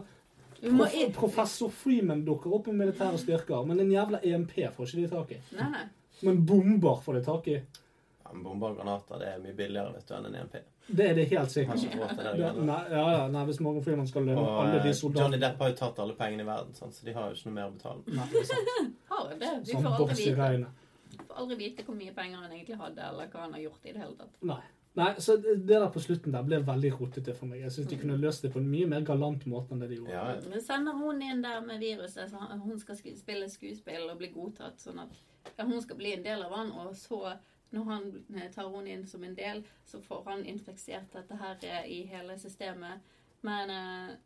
Speaker 5: Vi må
Speaker 3: prof-
Speaker 5: i...
Speaker 3: Professor Freeman dukker opp med militære styrker, men en jævla EMP får ikke de tak i.
Speaker 5: Nei, nei.
Speaker 3: Men bomber får de tak i.
Speaker 4: Ja, men bomber og granater det er mye billigere vet du, enn en E EMP.
Speaker 3: Det er det helt
Speaker 4: Har
Speaker 3: sikkert.
Speaker 4: ikke råd til det.
Speaker 3: Ja,
Speaker 4: der greiene.
Speaker 3: nei, ja, ja, nei, hvis Morgan Freeman skal lønne
Speaker 4: Og
Speaker 3: alle de
Speaker 4: eh, Johnny
Speaker 3: soldatene
Speaker 4: Depp har jo tatt alle pengene i verden, sant? så de har jo ikke noe mer å betale.
Speaker 3: Nei, det er sant.
Speaker 5: Har det. Vi
Speaker 3: Sånn
Speaker 5: får aldri
Speaker 3: boss i
Speaker 5: vite,
Speaker 3: regnet.
Speaker 5: får aldri vite hvor mye penger han egentlig hadde, eller hva han har gjort i det hele tatt.
Speaker 3: Nei. Nei, så det det der på slutten der ble veldig rotete for meg. Jeg syns de kunne løst det på en mye mer galant måte enn det de gjorde.
Speaker 4: Ja, ja.
Speaker 5: Vi sender hun inn der med viruset, så han- hun skal sku- spille skuespill og bli godtatt, sånn at ja, hun skal bli en del av han, og så når han eh, tar hun inn som en del, så får han infeksert dette her eh, i hele systemet. Men eh,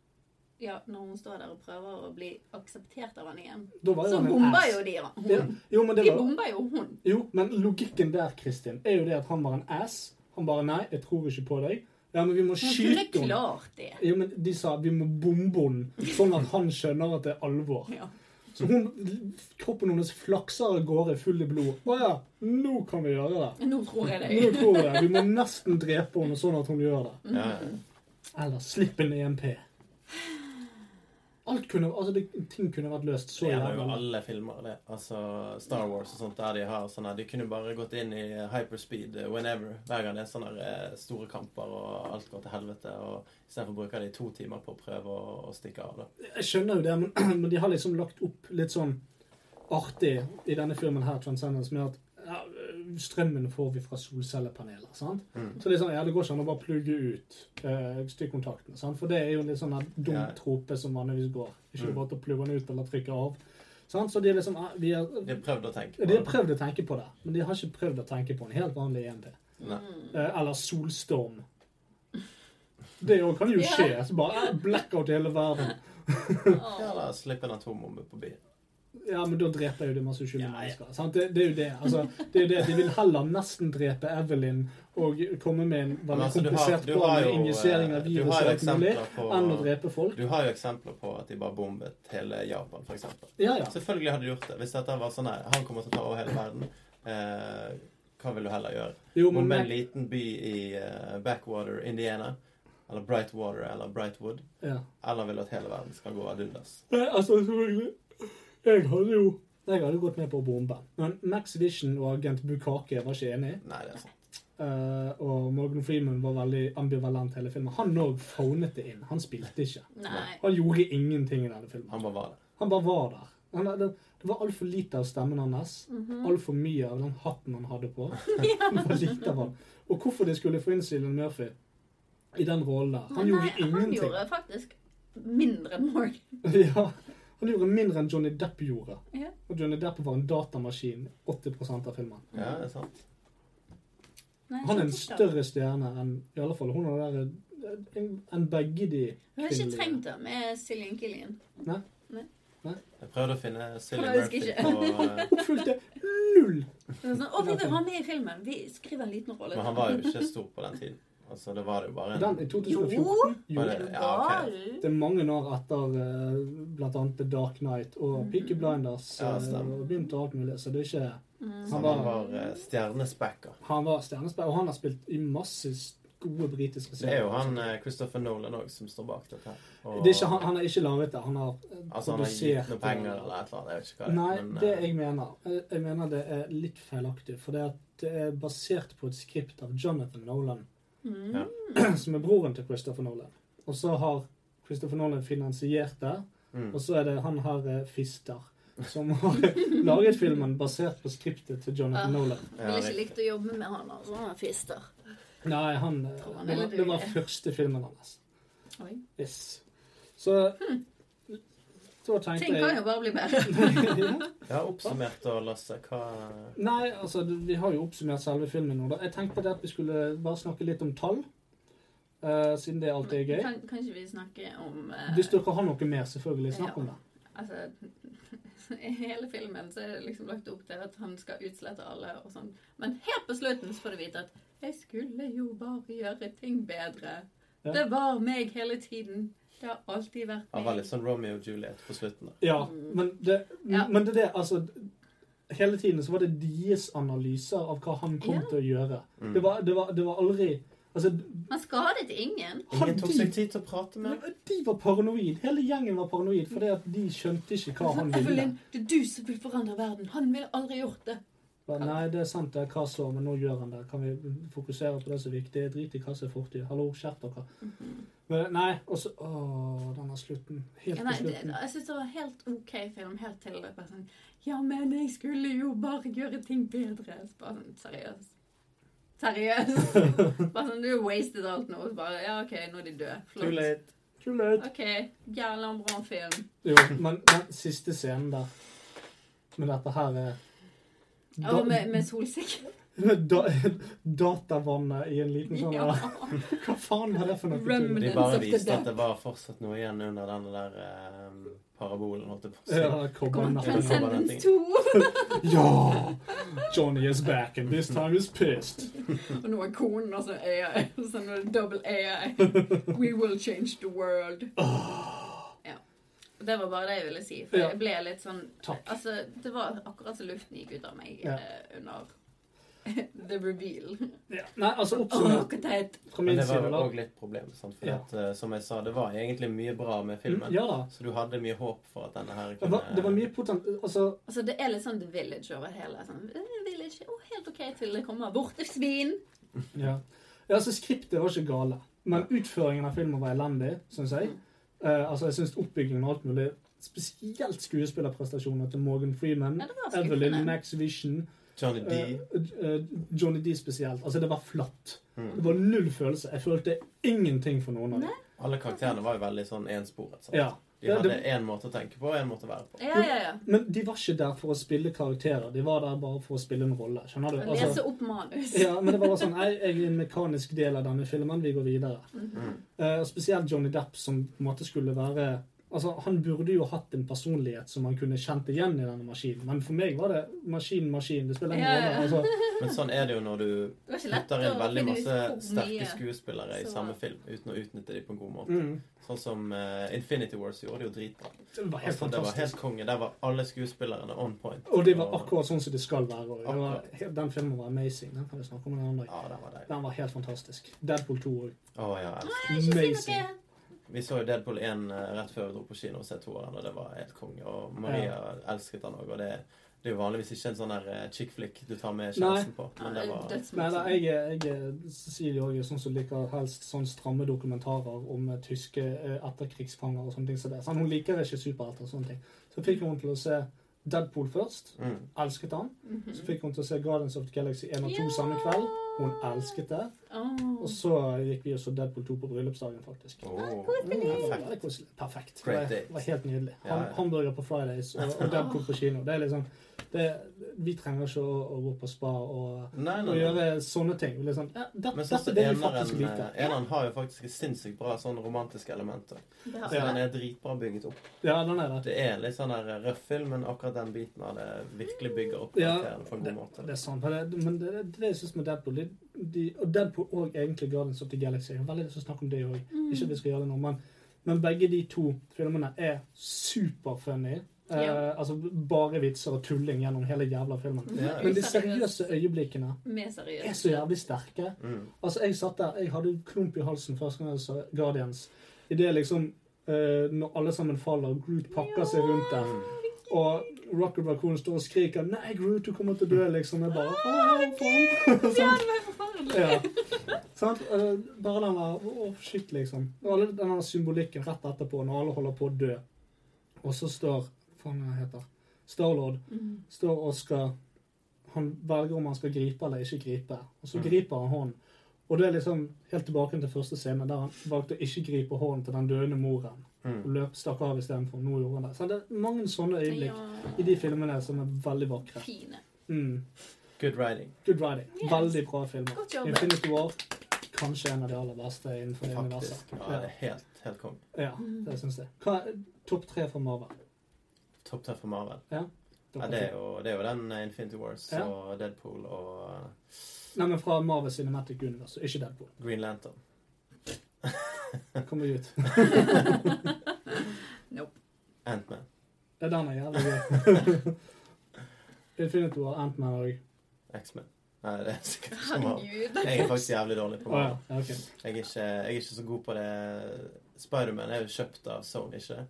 Speaker 5: ja, når hun står der og prøver å bli akseptert av han igjen,
Speaker 3: Da var jo
Speaker 5: så
Speaker 3: han en
Speaker 5: bomber
Speaker 3: ass.
Speaker 5: jo de han.
Speaker 3: Ja, jo, men det
Speaker 5: De
Speaker 3: var,
Speaker 5: bomber jo hun.
Speaker 3: Jo, men logikken der, Kristin, er jo det at han var en ass. Han bare Nei, jeg tror ikke på deg. Ja, men vi må
Speaker 5: Hun kunne
Speaker 3: skyte henne.
Speaker 5: klart det.
Speaker 3: Jo, men de sa vi må bombe henne, sånn at han skjønner at det er alvor.
Speaker 5: Ja.
Speaker 3: Så hun, kroppen hennes flakser av gårde full i blod. Å ja, nå kan vi gjøre det.
Speaker 5: Nå tror jeg
Speaker 3: Nå
Speaker 5: det.
Speaker 3: tror jeg det. Vi må nesten drepe henne sånn at hun gjør det.
Speaker 4: Ja, ja.
Speaker 3: Eller slipp en EMP. Alt kunne, altså det, Ting kunne vært løst så
Speaker 4: Det gjelder jo
Speaker 3: jævla
Speaker 4: alle filmer, det. Altså Star Wars og sånt, der de har sånn her De kunne bare gått inn i hyperspeed eh, whenever. Hver gang det er sånne her, eh, store kamper og alt går til helvete. Og istedenfor bruker de to timer på å prøve å, å stikke av, da.
Speaker 3: Jeg skjønner jo det, men, men de har liksom lagt opp litt sånn artig i denne filmen her, Transcendence, med at ja, strømmen får vi fra solcellepaneler. sant?
Speaker 4: Mm.
Speaker 3: Så det er sånn, ja, det går ikke an å bare plugge ut eh, stikkontaktene. sant? For det er jo en litt sånn her dum
Speaker 4: Ja.
Speaker 3: trope som vanligvis går. Ikke
Speaker 4: Mm.
Speaker 3: bare til å plugge den ut eller trykke av. sant? Så de er liksom, ah, vi er,
Speaker 4: De har prøvd å tenke på
Speaker 3: de har prøvd å tenke på det, men de har ikke prøvd å tenke på en helt vanlig EMP.
Speaker 4: Nei.
Speaker 3: Eh, eller solstorm. Det jo, kan jo
Speaker 5: Ja.
Speaker 3: skje. Så bare blackout i hele verden.
Speaker 4: Ja,
Speaker 5: Åh.
Speaker 4: Eller slippe en atombombe på byen.
Speaker 3: Ja, men da dreper jo det masse uskyldige
Speaker 4: Ja, ja.
Speaker 3: mennesker. Sant? Det, det er jo det. Altså, det er jo det. De vil heller nesten drepe Evelyn og komme med en
Speaker 4: Men
Speaker 3: veldig
Speaker 4: altså, du har-
Speaker 3: komplisert
Speaker 4: du
Speaker 3: plan
Speaker 4: har
Speaker 3: med
Speaker 4: jo,
Speaker 3: injisering av
Speaker 4: eh, du har jo
Speaker 3: virus og alt mulig,
Speaker 4: eksempler på-
Speaker 3: enn å drepe folk.
Speaker 4: Du har jo eksempler på at de bare bombet hele Japan, for eksempel.
Speaker 3: Ja, ja.
Speaker 4: Selvfølgelig hadde de gjort det. Hvis dette var sånn her, han kommer til å ta over hele verden, eh, hva vil du heller gjøre?
Speaker 3: Jo, men
Speaker 4: Om en
Speaker 3: Mac,
Speaker 4: liten by i eh, Backwater, Indiana, eller Brightwater eller Brightwood,
Speaker 3: ja.
Speaker 4: eller vil du at hele verden skal gå ad undas?
Speaker 3: Nei, altså, selvfølgelig. Jeg hadde jo Jeg hadde gått med på å bombe. Men Max Vision og agent Bukake var ikke enig.
Speaker 4: Nei, det er sant.
Speaker 3: eh, og Morgan Freeman var veldig ambivalent hele filmen. Han òg fonet det inn. Han spilte ikke.
Speaker 5: Nei.
Speaker 3: Han gjorde ingenting i denne filmen.
Speaker 4: Han bare var det.
Speaker 3: Han bare var der. Han, det, det var altfor lite av stemmen hans.
Speaker 5: Mhm.
Speaker 3: Altfor mye av den hatten han hadde på. For lite av han. Og hvorfor de skulle få inn Cillian Murphy i den rollen der. Han
Speaker 5: Men
Speaker 3: gjorde
Speaker 5: nei, Han
Speaker 3: ingenting.
Speaker 5: gjorde faktisk mindre enn Morgan.
Speaker 3: ja, han gjorde mindre enn Johnny Depp gjorde.
Speaker 5: Ja.
Speaker 3: Og Johnny Depp var en datamaskin 80 av filmen.
Speaker 4: Ja, det er sant.
Speaker 5: Nei,
Speaker 3: Han er en
Speaker 5: sant, da.
Speaker 3: større stjerne enn i alle fall hun og der, enn enn begge de
Speaker 5: Hun har ikke
Speaker 3: kvinnelige.
Speaker 5: trengt det med Cillian Killian.
Speaker 4: Jeg prøvde å finne Silly
Speaker 5: Jeg
Speaker 4: Murphy
Speaker 5: husker
Speaker 4: på eh,
Speaker 3: Hun fulgte null!
Speaker 5: Det var Sånn, å, vi vil ha med i filmen! Vi skriver en liten rolle.
Speaker 4: Men han var jo ikke stor på den tiden. Altså, det var det jo bare
Speaker 3: Den
Speaker 4: en
Speaker 3: i
Speaker 5: Jo!
Speaker 3: 2014.
Speaker 4: Var det-
Speaker 5: Er du
Speaker 4: ja, ok.
Speaker 5: gal?
Speaker 3: Det er mange år etter eh, blant annet The Dark Knight og Peaky Blinders.
Speaker 4: Ja,
Speaker 3: eh,
Speaker 4: stemmer.
Speaker 3: og begynte alt mulig, så det er ikke
Speaker 4: Så
Speaker 3: Han
Speaker 4: han
Speaker 3: var,
Speaker 4: var eh, stjernespekka.
Speaker 3: han var stjernespill, og han har spilt i masse gode britiske
Speaker 4: Det er
Speaker 3: serier.
Speaker 4: jo han eh, Christopher Nolan òg som står bak dette. her. Og-
Speaker 3: Det er ikke, han, han har ikke laget det. Han har eh,
Speaker 4: Altså, han har gitt noe penger eller et eller annet. Jeg vet ikke hva det er.
Speaker 3: Nei,
Speaker 4: men,
Speaker 3: det
Speaker 4: eh,
Speaker 3: jeg mener eh, Jeg mener det er litt feilaktig. For det, at det er basert på et skript av Jonathan Nolan,
Speaker 5: Mm.
Speaker 4: Ja.
Speaker 3: som er broren til Christopher Nolan. Og så har Christopher Nolan finansiert det,
Speaker 4: Mm.
Speaker 3: og så er det han her eh, Fister. Som har laget filmen basert på skriptet til
Speaker 5: Ah.
Speaker 3: Jonathan Nolan.
Speaker 5: Jeg ville ikke likt å jobbe med han, altså. Han er fister.
Speaker 3: Nei, han, eh,
Speaker 5: Tror han
Speaker 3: det,
Speaker 5: ville
Speaker 3: var, det var
Speaker 5: duge.
Speaker 3: første filmen hans.
Speaker 5: Oi. Hm.
Speaker 3: Yes. Så Så tenkte
Speaker 5: Ting kan jo
Speaker 3: jeg
Speaker 5: bare bli bedre.
Speaker 3: Ja.
Speaker 4: Jeg har oppsummert og Lasse, hva
Speaker 3: Nei, altså, det- vi har jo oppsummert selve filmen nå. da. Jeg tenkte på det at vi skulle bare snakke litt om tall. eh, siden det alltid er gøy.
Speaker 5: Kan, kan ikke vi snakke om eh,
Speaker 3: Hvis dere har noe mer, selvfølgelig, snakk om det.
Speaker 5: Altså, I hele filmen så er det liksom lagt opp til at han skal utslette alle og sånn. Men helt på slutten så får du vite at 'Jeg skulle jo bare gjøre ting bedre'.
Speaker 3: Ja.
Speaker 5: Det var meg hele tiden. Det har alltid vært
Speaker 4: Han var
Speaker 5: meg.
Speaker 4: litt sånn Romeo og Juliet på slutten. der.
Speaker 3: Ja, men det,
Speaker 5: Ja.
Speaker 3: men det er det, altså Hele tiden så var det deres analyser av hva han kom
Speaker 5: Ja.
Speaker 3: til å gjøre. Det, var, det, var, det var aldri Altså,
Speaker 5: Han skadet ingen.
Speaker 4: Ingen
Speaker 3: han
Speaker 4: tok seg tid til å prate med ham.
Speaker 3: Men De var paranoid. Hele gjengen var paranoid fordi at de skjønte ikke hva han ville.
Speaker 5: Evelyn, det er du som vil forandre verden. Han ville aldri gjort det.
Speaker 3: Ba, Nei, det er sant, det er hva så, men nå gjør han det. Kan vi fokusere på det som er viktig? Drit i hva som er fortid. Hallo, skjerp dere. Men nei, og så Åh, denne slutten. Helt
Speaker 5: Mhm. Ja,
Speaker 3: på
Speaker 5: nei, det,
Speaker 3: slutten.
Speaker 5: jeg syns det var helt OK film helt til det bare sånn Ja, men jeg skulle jo bare gjøre ting bedre. Så bare sånn seriøst. Seriøst. bare sånn, du wasted alt nå. Så bare Ja, OK, nå er de døde.
Speaker 4: Too
Speaker 5: Flott.
Speaker 4: late.
Speaker 3: Too late.
Speaker 5: OK. Jævla bra film.
Speaker 3: Jo, men den siste scenen der med dette her er da,
Speaker 5: Og med, med solsikker.
Speaker 3: med da, Datavannet i en liten sånn
Speaker 5: Ja.
Speaker 3: Hva faen var det for noe? tull?
Speaker 5: Remnant.
Speaker 4: De
Speaker 5: Men
Speaker 4: bare
Speaker 5: så
Speaker 4: viste
Speaker 5: ofte
Speaker 4: at det var fortsatt noe igjen under denne der eh, parabolen, holdt jeg på å si.
Speaker 3: Ja,
Speaker 5: Kommer
Speaker 3: kobbernettet.
Speaker 5: Transcendence 2.
Speaker 3: Ja! Johnny is back, and this time he's pissed.
Speaker 5: Og nå er konen også AI. Så nå er det double AI. We will change the world. Ja. Og Det var bare det jeg ville si. For
Speaker 3: Ja.
Speaker 5: jeg ble litt sånn
Speaker 3: Takk.
Speaker 5: Altså, det var akkurat som luften gikk ut av meg
Speaker 3: Ja.
Speaker 5: eh, under the reveal.
Speaker 3: Ja. Nei, altså
Speaker 5: Åh,
Speaker 3: oppsummert
Speaker 5: hvor teit!
Speaker 3: fra
Speaker 4: Men
Speaker 3: min
Speaker 4: det var
Speaker 3: side,
Speaker 4: vel
Speaker 3: da.
Speaker 4: òg litt problem. Sant? For
Speaker 3: Ja. Mm,
Speaker 4: at, eh, som jeg sa, det var egentlig mye bra med filmen.
Speaker 3: Ja da.
Speaker 4: Så du hadde mye håp for at denne her
Speaker 3: Det
Speaker 4: kunne
Speaker 3: var, det var mye potent... Altså,
Speaker 5: Altså, det er litt sånn The Village over hele. Sånn, eh, village, oh, Helt OK til det kommer vortesvin.
Speaker 3: ja. ja altså, skriptet var ikke gale. Men utføringen av filmen var elendig, syns jeg. Eh, altså, jeg syns oppbyggingen og alt mulig Spesielt skuespillerprestasjoner til Morgan Freeman,
Speaker 5: Ja, det var skuffende.
Speaker 3: Evelyn, Max Vision
Speaker 4: Johnny D.
Speaker 3: Eh, eh, Johnny D spesielt. Altså, det var flatt.
Speaker 4: Mm.
Speaker 3: Det var null følelse. Jeg følte ingenting for noen av dem.
Speaker 4: Alle karakterene var jo veldig sånn ensporet. sant?
Speaker 3: Ja.
Speaker 4: De
Speaker 3: Ja, det-
Speaker 4: hadde én måte å tenke på og én måte å være på.
Speaker 5: Ja, ja, ja.
Speaker 3: Men de var ikke der for å spille karakterer. De var der bare for å spille en rolle. Skjønner du? Altså-
Speaker 5: Lese opp manus.
Speaker 3: Ja, men det var bare sånn Nei, jeg er en mekanisk del av denne filmen. Vi går videre.
Speaker 5: Mhm.
Speaker 3: Eh, og spesielt Johnny Depp, som på en måte skulle være Altså, Han burde jo hatt en personlighet som han kunne kjent igjen i denne maskinen, men for meg var det maskin, maskin. Det spiller ingen
Speaker 5: Ja, ja,
Speaker 3: rolle.
Speaker 5: ja.
Speaker 3: Altså,
Speaker 4: Men sånn er det jo når du
Speaker 5: Det var ikke lett
Speaker 4: putter
Speaker 5: å
Speaker 4: inn veldig
Speaker 5: finne ut
Speaker 4: masse
Speaker 5: hvor
Speaker 4: sterke
Speaker 5: mye.
Speaker 4: skuespillere i
Speaker 5: Så-
Speaker 4: samme film uten å utnytte dem på en god måte.
Speaker 3: mm,
Speaker 4: Sånn som eh, Infinity Wars gjorde det jo dritbra.
Speaker 3: det var helt
Speaker 4: Altså, det var helt
Speaker 3: fantastisk.
Speaker 4: konge. Der var alle skuespillerne on point.
Speaker 3: Og det var akkurat sånn som det skal være. Og det var,
Speaker 4: Akkurat.
Speaker 3: helt- den filmen var amazing. Den kan vi snakke om en annen dag.
Speaker 4: Ja, det var deilig.
Speaker 3: Den var helt fantastisk. Deadpool 2 òg.
Speaker 4: Å, ja, jeg elsker.
Speaker 5: Ikke si
Speaker 3: Amazing.
Speaker 5: noe.
Speaker 4: Vi så jo Deadpool 1 eh, rett før vi dro på kino og så toeren, og det var helt konge. Og Maria elsket han òg, og det, det er jo vanligvis ikke en sånn der eh, chick flick du tar med kjæresten på.
Speaker 5: Ja,
Speaker 4: Men
Speaker 5: det
Speaker 4: det
Speaker 5: er
Speaker 4: var
Speaker 3: Nei,
Speaker 5: dødsmorsomt.
Speaker 3: nei, jeg, er- jeg er Cecilie òg, sånn som liker helst sånn stramme dokumentarer om eh, tyske eh, etterkrigsfanger og sånne ting. som det. Sånn, hun liker ikke superhelter og sånne ting. Så fikk hun til å se Deadpool først.
Speaker 4: mm.
Speaker 3: Elsket han.
Speaker 5: Mhm.
Speaker 3: Så fikk hun til å se Guardians of the Galaxy 1 og 2 samme kveld. Hun elsket det.
Speaker 5: Åh.
Speaker 3: Og så gikk vi og så Deadpool 2 på bryllupsdagen, faktisk.
Speaker 4: Åh,
Speaker 3: Perfekt.
Speaker 4: Perfekt.
Speaker 3: Perfekt. Det
Speaker 4: Great
Speaker 3: var,
Speaker 4: date.
Speaker 3: det var helt nydelig.
Speaker 4: Ja, ja.
Speaker 3: Ham- Hamburger på Fridays og, og Deadpool på kino. Det er liksom det, Vi trenger ikke å, å gå på spa og
Speaker 4: Nei, nei,
Speaker 3: å
Speaker 4: nei.
Speaker 3: gjøre sånne ting. Og liksom, ja, det,
Speaker 4: Men
Speaker 3: dette
Speaker 4: sånn som
Speaker 3: er det vi faktisk
Speaker 4: eneren,
Speaker 3: liker.
Speaker 4: eh, eneren har jo faktisk et sinnssykt bra sånn romantiske elementer.
Speaker 5: Ja.
Speaker 4: Så den er dritbra bygget opp.
Speaker 3: Ja, den er det.
Speaker 4: Det er litt sånn der røff film, men akkurat den biten av det virkelig bygger opp
Speaker 3: Ja,
Speaker 4: karakteren på en god måte.
Speaker 3: Det er sant. Men det, men det, det, er det jeg synes med Deadpool de, de, Og Deadpool og egentlig Guardians of the Galaxy. Jeg har veldig lyst til å snakke om det òg. Ikke at vi skal gjøre det nå, men, men begge de to filmene er superfunny. Eh,
Speaker 5: Ja.
Speaker 3: altså bare vitser og tulling gjennom hele jævla filmen.
Speaker 4: Ja,
Speaker 3: Men de seriøse øyeblikkene
Speaker 5: Mer
Speaker 3: er
Speaker 5: seriøst.
Speaker 3: så jævlig sterke.
Speaker 4: Mm.
Speaker 3: Altså, jeg satt der, jeg hadde klump i halsen første gang jeg så Guardians. I det liksom eh, Når alle sammen faller, og Groot pakker seg rundt der,
Speaker 4: mm.
Speaker 3: og Rocket Raccoon står og skriker 'Nei, Groot, du kommer til å dø', liksom. Jeg bare Åh, faen. Sant? Ja. Sant? Eh, Bare den der Å, shit, liksom. Og alle den der symbolikken rett etterpå, når alle holder på å dø, og så står Faen, hva heter han? Starlord
Speaker 5: Mm.
Speaker 3: står og skal Han velger om han skal gripe eller ikke gripe, og så griper han hånden. Og det er liksom helt tilbake til første scene, der han valgte å ikke gripe hånden til den døende moren. Og løp, stakk av istedenfor. Nå gjorde han det. Så det er mange sånne øyeblikk
Speaker 5: Mm. Ja.
Speaker 3: i de filmene som er veldig vakre.
Speaker 5: Fine.
Speaker 3: Mm.
Speaker 4: Good writing.
Speaker 3: Good Riding.
Speaker 5: Yes.
Speaker 3: Veldig bra filmer.
Speaker 5: Godt jobbet.
Speaker 3: Infinity War, kanskje en av de aller beste innenfor det universet.
Speaker 4: Faktisk. Ja, det er helt, helt konge.
Speaker 3: Ja,
Speaker 5: Mhm.
Speaker 3: det syns jeg. Hva er topp tre for Marvel?
Speaker 4: Topp tre for Marvel.
Speaker 3: Ja,
Speaker 4: Ja,
Speaker 3: Dere
Speaker 4: det, er
Speaker 3: to.
Speaker 4: jo, det er jo den eh, Infinity Wars
Speaker 3: Ja.
Speaker 4: og Deadpool og eh,
Speaker 3: Nei, men fra Marvel Cinematic Universe, ikke Deadpool.
Speaker 4: Green Lantern.
Speaker 3: Kommer ut.
Speaker 5: Nope.
Speaker 4: Ant-Man.
Speaker 3: Det er den er jævlig gøy. Infinity War, Ant-Man og
Speaker 4: X-Man. Nei, det er sikkert ikke Marvel.
Speaker 5: Herregud.
Speaker 4: Jeg er faktisk jævlig dårlig på
Speaker 3: Å ja.
Speaker 4: Marvel.
Speaker 3: ja, OK.
Speaker 4: Jeg er ikke, jeg er ikke så god på det. Spiderman er jo kjøpt av Sony, ikke det?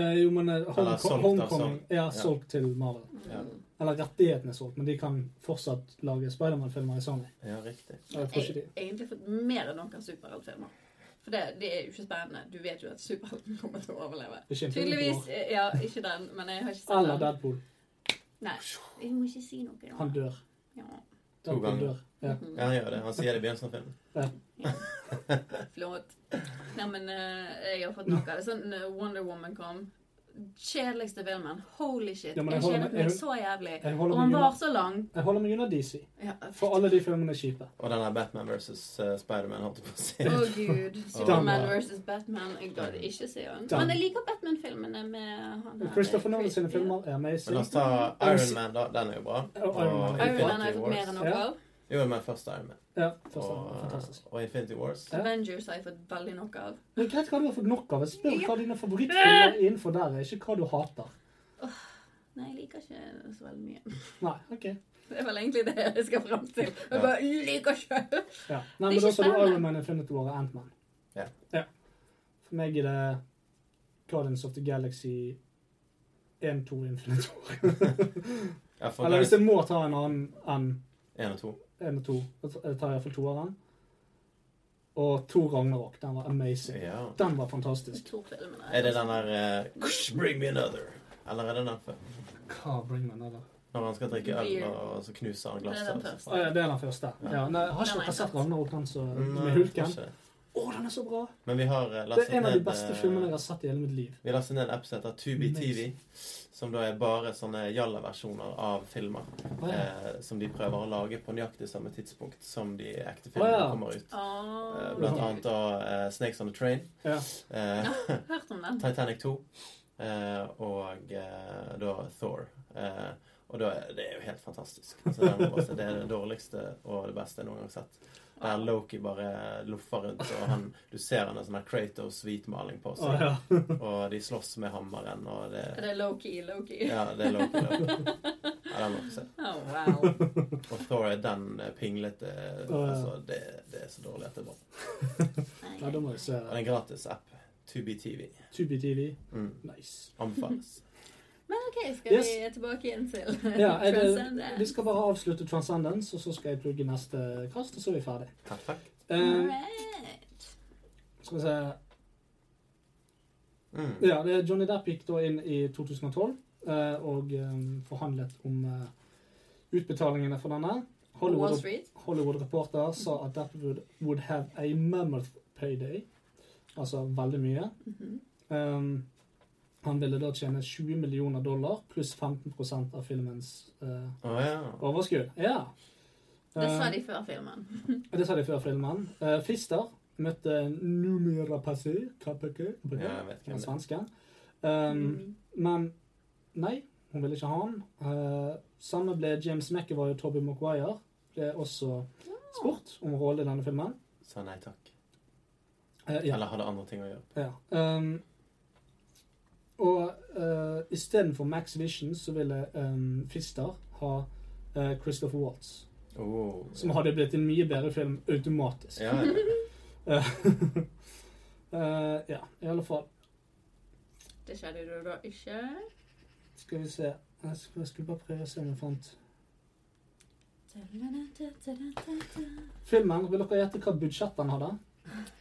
Speaker 3: Eh, jo, men eh, Home
Speaker 4: Eller solgt,
Speaker 3: Homecoming
Speaker 4: altså.
Speaker 3: er solgt til Marvel.
Speaker 4: Ja,
Speaker 3: Eller rettighetene er solgt, men de kan fortsatt lage Spiderman-filmer i Sony.
Speaker 4: ja riktig.
Speaker 3: Jeg tror ikke de
Speaker 5: Jeg har egentlig fått mer enn noen superheltfilmer. For det, det er jo ikke spennende. Du vet jo at superhelten kommer til å overleve.
Speaker 3: Det er ikke en film
Speaker 5: Tydeligvis. eh,
Speaker 3: på
Speaker 5: Ja, ikke den, men jeg har ikke
Speaker 3: Eller
Speaker 5: sett den.
Speaker 3: Deadpool.
Speaker 5: Nei. Jeg må ikke si noe nå.
Speaker 3: Han dør.
Speaker 5: Ja. Mhm.
Speaker 4: To
Speaker 3: Deadpool
Speaker 4: ganger.
Speaker 3: dør. Ja.
Speaker 4: Ja, han gjør det. Han sier det i begynnelsen av filmen.
Speaker 5: Flott. Nei, men eh, jeg har fått nok av det. Sånn eh, Wonder Woman kom. Kjedeligste filmen. Holy shit.
Speaker 3: Ja, men
Speaker 5: jeg
Speaker 3: jeg holder
Speaker 5: kjedet
Speaker 3: meg-
Speaker 5: meg
Speaker 3: jeg-
Speaker 5: så jævlig.
Speaker 3: jeg holder
Speaker 5: Og han
Speaker 3: meg
Speaker 5: var
Speaker 3: unna.
Speaker 5: så lang.
Speaker 3: Jeg holder meg unna DC,
Speaker 5: Ja.
Speaker 3: for alle de filmene er kjipe.
Speaker 4: Og den her Batman versus eh, Spiderman holdt jeg på å si.
Speaker 5: Å gud.
Speaker 3: Stemmer.
Speaker 5: Superman versus Batman. Jeg gadd ikke se han.
Speaker 3: Stemmer.
Speaker 5: Men jeg liker Batman-filmene med han her.
Speaker 3: Christopher Nolan sine
Speaker 5: Ja.
Speaker 3: filmer
Speaker 4: Men
Speaker 3: er
Speaker 4: la
Speaker 3: amazing.
Speaker 4: oss ta Iron Man, da. Den er jo bra.
Speaker 3: Ja, Iron Man.
Speaker 5: Iron Man har jeg fått mer enn
Speaker 4: Wars.
Speaker 5: nok
Speaker 3: Ja.
Speaker 5: av.
Speaker 4: Jo, men først Iron Man.
Speaker 3: Ja, forstår. fantastisk.
Speaker 4: Og, og Infinity Wars.
Speaker 3: Ja.
Speaker 5: Avengers har jeg fått veldig nok av.
Speaker 3: Det er greit hva du har fått nok av. Jeg spør hva dine favorittfilmer
Speaker 5: Eh.
Speaker 3: er innenfor der er, ikke hva du hater.
Speaker 5: Nei, jeg liker ikke så veldig mye.
Speaker 3: Nei, OK.
Speaker 5: Det er vel egentlig det jeg skal fram til.
Speaker 4: Ja.
Speaker 5: Jeg bare liker ikke.
Speaker 3: Ja. Nei,
Speaker 5: Det er
Speaker 3: men da
Speaker 5: ikke
Speaker 3: sa du
Speaker 5: spennende.
Speaker 3: Iron Man, Infinity War og Ant-Man.
Speaker 4: Ja.
Speaker 3: ja. For meg er det Guardians of the Galaxy 1, 2, Infinity War.
Speaker 4: Ja, for
Speaker 3: Eller
Speaker 4: Guardians
Speaker 3: hvis jeg må ta en annen enn
Speaker 4: 1 og 2.
Speaker 3: 1 og 2, da tar jeg iallfall toeren. Og to Ragnarok. Den var amazing.
Speaker 4: Ja.
Speaker 3: Den var fantastisk.
Speaker 5: To filmene.
Speaker 4: Er det den der eh, Bring me another? Eller er det den før?
Speaker 3: Hva bringer man der?
Speaker 4: Når han skal drikke øl,
Speaker 5: Beer.
Speaker 4: og så knuser han
Speaker 5: Det er den
Speaker 4: glasset.
Speaker 5: første.
Speaker 4: og så-
Speaker 3: Å, ja, det er den første. Ja. Mm, Nei, jeg har
Speaker 5: Den
Speaker 3: ikke
Speaker 5: er
Speaker 3: dere sett
Speaker 5: sant.
Speaker 3: Ragnarok Hansen med
Speaker 4: Nei,
Speaker 3: Hulken?
Speaker 4: kanskje.
Speaker 3: Å, den er så bra!
Speaker 4: Men vi har eh,
Speaker 3: Det
Speaker 4: lastet
Speaker 3: er en av de
Speaker 4: ned,
Speaker 3: beste
Speaker 4: eh,
Speaker 3: filmene jeg har sett i hele mitt liv.
Speaker 4: Vi lastet ned en app som heter Tubi
Speaker 3: Amazing.
Speaker 4: TV, som da er bare sånne jalla-versjoner av filmer.
Speaker 3: Å, ja.
Speaker 4: Eh, som de prøver å lage på nøyaktig samme tidspunkt som de ekte
Speaker 3: Å,
Speaker 4: filmene
Speaker 3: ja.
Speaker 4: kommer ut. Eh,
Speaker 5: Åh.
Speaker 4: blant annet da eh, Snakes on the Train,
Speaker 3: Ja.
Speaker 4: eh,
Speaker 5: Hørt om den.
Speaker 4: Titanic 2 eh, og eh, da Thor. Eh, og da, er- det er jo helt fantastisk. Altså, den må bare si, det er det dårligste og det beste jeg noen gang har sett. Der Loki bare loffer rundt, og han, du ser han har sånn her Kratos-hvitmaling på
Speaker 3: Å,
Speaker 4: seg.
Speaker 3: ja.
Speaker 4: Og de slåss med hammeren, og det
Speaker 5: Er det Loki, Loki?
Speaker 4: Ja, det er Loki. Loki. Ja, den må vi se.
Speaker 5: Åh, Oh, wow.
Speaker 4: Og Thor er den eh, pinglete
Speaker 3: Å, ja.
Speaker 4: altså, det, det er så dårlig at det er bra.
Speaker 3: ja, da må jeg se
Speaker 4: Og det er en gratis app. TubiTV.
Speaker 3: Tubi TV.
Speaker 4: Mm.
Speaker 3: Nice.
Speaker 4: Anbefales.
Speaker 5: Men OK, skal
Speaker 3: Yes.
Speaker 5: vi tilbake igjen til
Speaker 3: Ja, er det- Vi
Speaker 5: Transcendence?
Speaker 3: skal bare avslutte Transcendence, og så skal jeg plugge neste kast, og så er vi ferdig.
Speaker 4: Perfekt.
Speaker 3: Eh,
Speaker 5: Alright.
Speaker 3: skal vi se
Speaker 4: Mm.
Speaker 3: Ja, det er Johnny Depp gikk da inn i 2012 eh, og eh, forhandlet om eh, utbetalingene for denne.
Speaker 5: Wall
Speaker 3: Hollywood,
Speaker 5: Street.
Speaker 3: Hollywood Reporter sa at Depp would, would have a mammoth payday, altså veldig mye.
Speaker 5: Mhm.
Speaker 3: Um, han ville da tjene 20 millioner dollar pluss 15 av filmens eh,
Speaker 4: Å ja.
Speaker 3: overskudd. Ja.
Speaker 5: Det sa
Speaker 3: Eh,
Speaker 5: de før filmen.
Speaker 3: det sa de før filmen. Eh, Fister møtte Numira Passé, KPK,
Speaker 4: Ja, jeg vet hvem
Speaker 3: den
Speaker 4: det er.
Speaker 3: svenske. Um,
Speaker 5: Mm.
Speaker 3: men nei, hun ville ikke ha han. Eh, samme ble James McAvoy og Tobey Maguire. Ble også spurt om rollen i denne filmen.
Speaker 4: Sa nei takk.
Speaker 3: Eh, ja.
Speaker 4: Eller hadde andre ting å gjøre.
Speaker 3: Ja. ehm, og uh, istedenfor Max Vision så ville ehm, Fister ha eh, Christopher Waltz.
Speaker 4: Oh,
Speaker 3: Som hadde blitt en mye bedre film automatisk.
Speaker 4: ja, ja.
Speaker 3: Eh, eh, ja, i alle fall.
Speaker 5: Det skjedde jo da ikke.
Speaker 3: Skal vi se Jeg skulle, jeg skulle bare prøve å se om jeg fant Filmen, vil dere gjette hva budsjett den hadde?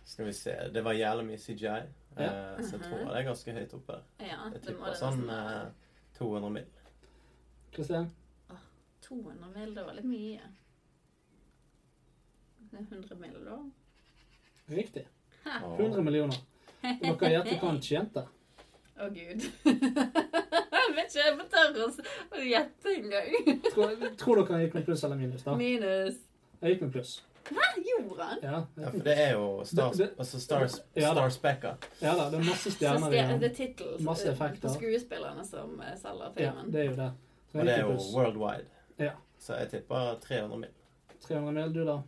Speaker 4: Skal vi se. Det var jævlig mye CGI, eh, så jeg tror
Speaker 5: Mhm.
Speaker 4: det er ganske høyt oppe.
Speaker 5: Ja,
Speaker 4: Jeg
Speaker 5: det må
Speaker 4: tipper
Speaker 5: det
Speaker 4: sånn
Speaker 3: uh,
Speaker 5: nesten være.
Speaker 4: eh, 200 mill.
Speaker 3: Kristian?
Speaker 5: 200 mil, det var litt mye. Det er 100 mil, da.
Speaker 3: Riktig.
Speaker 4: Å.
Speaker 3: 100 millioner. Og dere gjetter hva han tjente?
Speaker 5: Å, gud. jeg vet ikke, jeg får tørre å s- å gjette engang.
Speaker 3: Tror, tror dere han gikk med pluss eller minus? da?
Speaker 5: Minus
Speaker 3: Jeg gikk med pluss.
Speaker 5: jorden.
Speaker 3: Ja, jeg
Speaker 4: Ja,
Speaker 3: gikk
Speaker 4: for
Speaker 3: med
Speaker 4: det er jo Star,
Speaker 3: Det- det-
Speaker 4: altså Star,
Speaker 3: Ja
Speaker 4: Star
Speaker 3: da.
Speaker 4: Specker.
Speaker 3: Ja da, det er masse
Speaker 5: Så
Speaker 3: stjerner
Speaker 5: stjer-
Speaker 3: igjen.
Speaker 5: det er tittel
Speaker 3: Masse
Speaker 5: eh,
Speaker 3: effekter.
Speaker 5: på skuespillerne som eh, selger
Speaker 3: Ja,
Speaker 5: filmen.
Speaker 3: det er jo det.
Speaker 4: Og det er jo
Speaker 3: Røykepus.
Speaker 4: worldwide.
Speaker 3: Ja.
Speaker 4: Så jeg tipper 300 mill.
Speaker 3: 300 mil, du da?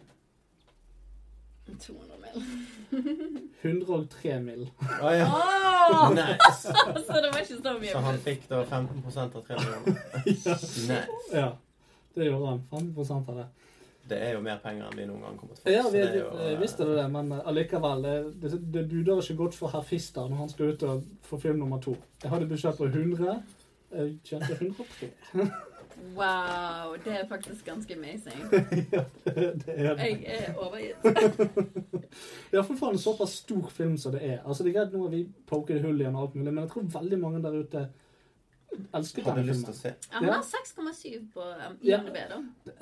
Speaker 5: 200 mil.
Speaker 3: 103 mil.
Speaker 4: Å ja.
Speaker 5: Åh!
Speaker 4: Nice.
Speaker 5: Så det var ikke så mye.
Speaker 4: Så han fikk da 15 av 3 millioner. Nice.
Speaker 3: Ja, det gjorde han. 15 av det.
Speaker 4: Det er jo mer penger enn vi noen gang kommer til å få.
Speaker 3: Ja,
Speaker 4: så
Speaker 3: vi,
Speaker 4: det er jo,
Speaker 3: vi
Speaker 4: eh,
Speaker 3: visste det, men eh, allikevel. det- Det, det duder ikke godt for herr Fister når han skal ut og få film nummer to. Jeg hadde budsjett på 100. Jeg tjente 103.
Speaker 5: Wow, det er faktisk ganske amazing.
Speaker 3: ja, det, det er det.
Speaker 5: Jeg er overgitt.
Speaker 3: Ja, for faen, en såpass stor film som det er. Altså, Det er greit nå at vi poker det hull i den, og alt mulig, men jeg tror veldig mange der ute elsket
Speaker 4: eh, Hadde
Speaker 3: denne
Speaker 4: lyst til
Speaker 3: filmen.
Speaker 4: å se.
Speaker 5: Ja, Han
Speaker 3: Ja.
Speaker 5: har 6,7 på um,
Speaker 3: Ja.
Speaker 5: IMDb, da.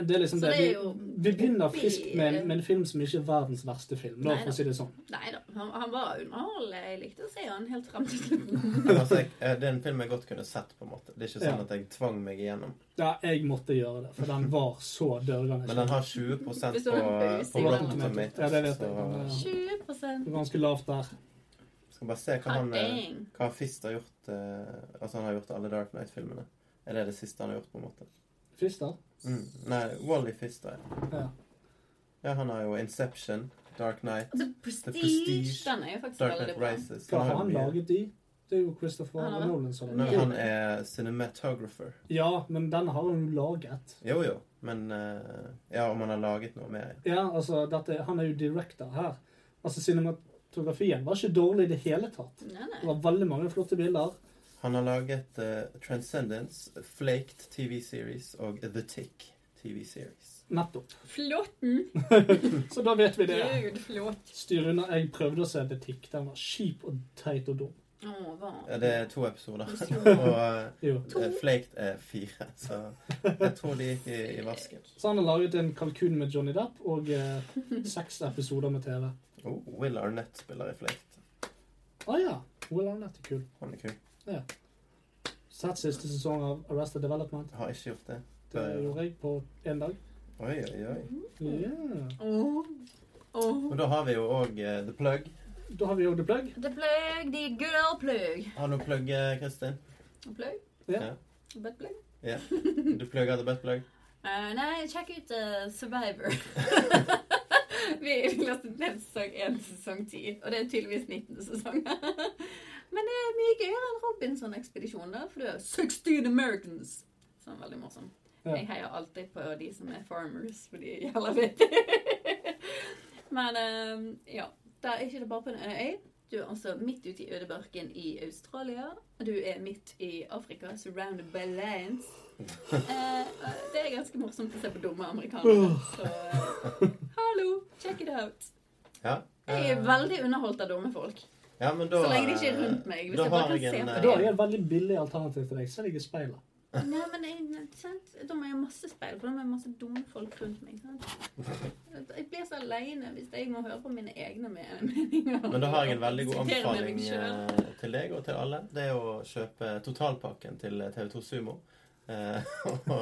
Speaker 3: Det er liksom
Speaker 5: Så
Speaker 3: det.
Speaker 5: det er jo-
Speaker 3: Vi, vi begynner friskt med, en- med en film som ikke er verdens verste film. Da,
Speaker 5: Nei
Speaker 3: for
Speaker 5: da.
Speaker 3: å si det sånn.
Speaker 5: Nei da, han, han var underholdende. Jeg likte å se han helt frem til slutten.
Speaker 4: Altså, jeg, eh, det er en film jeg godt kunne sett, på en måte. Det er ikke sånn
Speaker 3: Ja.
Speaker 4: at jeg tvang meg igjennom.
Speaker 3: Ja, jeg måtte gjøre det, for den var så dørgende.
Speaker 4: Men den har 20 på,
Speaker 5: Hvis du har en pause
Speaker 4: på
Speaker 5: i
Speaker 4: Rotten
Speaker 5: mellom.
Speaker 4: Tomatoes.
Speaker 3: Ja, det vet jeg.
Speaker 4: så-
Speaker 3: Men, eh,
Speaker 5: 20
Speaker 3: Det var ganske lavt der.
Speaker 4: Skal bare se hva han eh,
Speaker 5: Hot Ah, dang.
Speaker 4: Hva har Fist har gjort eh, Altså han har gjort alle Dark Knight-filmene. Er det det siste han har gjort, på en måte?
Speaker 3: Fister?
Speaker 4: Mm. Nei, Wally Fist, da. ja.
Speaker 3: Ja.
Speaker 4: Ja, han har jo Inception, Dark Knight,
Speaker 5: The
Speaker 4: The
Speaker 5: Altså, Prestige.
Speaker 4: Prestige,
Speaker 5: Den er jo faktisk
Speaker 4: Dark
Speaker 5: veldig
Speaker 4: Knight
Speaker 5: bra.
Speaker 4: Rises.
Speaker 3: Hva har
Speaker 4: jo
Speaker 3: han
Speaker 4: mye.
Speaker 3: laget i? Det er jo Christopher
Speaker 5: Han har-
Speaker 3: Nolan som har
Speaker 4: Nei,
Speaker 3: laget
Speaker 4: han er cinematographer.
Speaker 3: Ja, men den har han jo laget.
Speaker 4: Jo, jo. Men eh, Ja, om han har laget noe mer. ja.
Speaker 3: Ja, altså, dette, han er jo director her. Altså, cinematografien var ikke dårlig i det hele tatt.
Speaker 5: Nei,
Speaker 3: Det
Speaker 5: nei.
Speaker 3: var veldig mange flotte bilder.
Speaker 4: Han har laget eh, Transcendence, Flaked TV-series og The Tick TV-series.
Speaker 3: Nettopp.
Speaker 5: Flåtten!
Speaker 3: Så da vet vi det.
Speaker 5: Gud, flått.
Speaker 3: Styr unna. Jeg prøvde å se The Tick. Den var kjip og teit og dum.
Speaker 5: Åh, hva?
Speaker 4: Det er to episoder. Og eh,
Speaker 3: Jo.
Speaker 4: Flaked er fire, så jeg tror de gikk i, i vasken.
Speaker 3: Så han har laget en kalkun med Johnny Depp og eh, seks episoder med TV.
Speaker 4: Oh, Will Arnett spiller i Flaked.
Speaker 3: Å ah, ja. Will Arnett er kul.
Speaker 4: Han er kul.
Speaker 3: Sett siste sesong av Arrested Development.
Speaker 4: Jeg har ikke gjort det.
Speaker 3: Det gjorde jeg på én dag.
Speaker 4: Oi, oi, oi.
Speaker 3: Ja.
Speaker 5: Åh. Åh.
Speaker 4: Og da har vi jo òg The Plug.
Speaker 3: Da har vi jo The Plug.
Speaker 5: The plug, the good old plug.
Speaker 4: Har du plugg, eh, Kristin?
Speaker 5: Plug?
Speaker 3: Ja.
Speaker 4: Ja.
Speaker 5: Butt plug?
Speaker 4: Du plugger The Best Plug?
Speaker 5: Eh, nei, sjekk ut eh, Survivor. vi vi leste ned sesong 1 til sesong 10, og det er tydeligvis 19. sesong. Men det er mye gøyere enn Robinson-ekspedisjonen, da, for du har 16 Americans. Sånn veldig morsom.
Speaker 3: Ja.
Speaker 5: Jeg heier alltid på de som er farmers, for de er jævla vittige. Men eh, ja, da er ikke det bare på en øy. Du er altså midt ute i ødebørken i Australia. og Du er midt i Afrika, surrounded by lands. Eh, det er ganske morsomt å se på dumme amerikanere. Så eh, hallo, check it out.
Speaker 4: Ja.
Speaker 5: Jeg er
Speaker 4: Eh,
Speaker 5: veldig underholdt av dumme folk.
Speaker 4: ja, men da,
Speaker 5: så lenge de ikke er rundt meg, hvis
Speaker 4: da
Speaker 5: jeg bare
Speaker 4: har
Speaker 5: kan
Speaker 4: jeg
Speaker 5: se
Speaker 4: en,
Speaker 5: på
Speaker 4: eh,
Speaker 3: Da er det et veldig billig alternativ til deg. Se deg i speilet.
Speaker 5: Nei, men jeg, sant? Da må jeg ha masse speil, for da må jeg ha masse dumme folk rundt meg. Sant? Jeg blir så aleine hvis jeg må høre på mine egne me- meninger.
Speaker 4: Men da har jeg en veldig god
Speaker 5: Diskutere med
Speaker 4: anbefaling
Speaker 5: meg selv.
Speaker 4: eh, til deg og til alle. Det er å kjøpe totalpakken til TV2 Sumo. Eh, og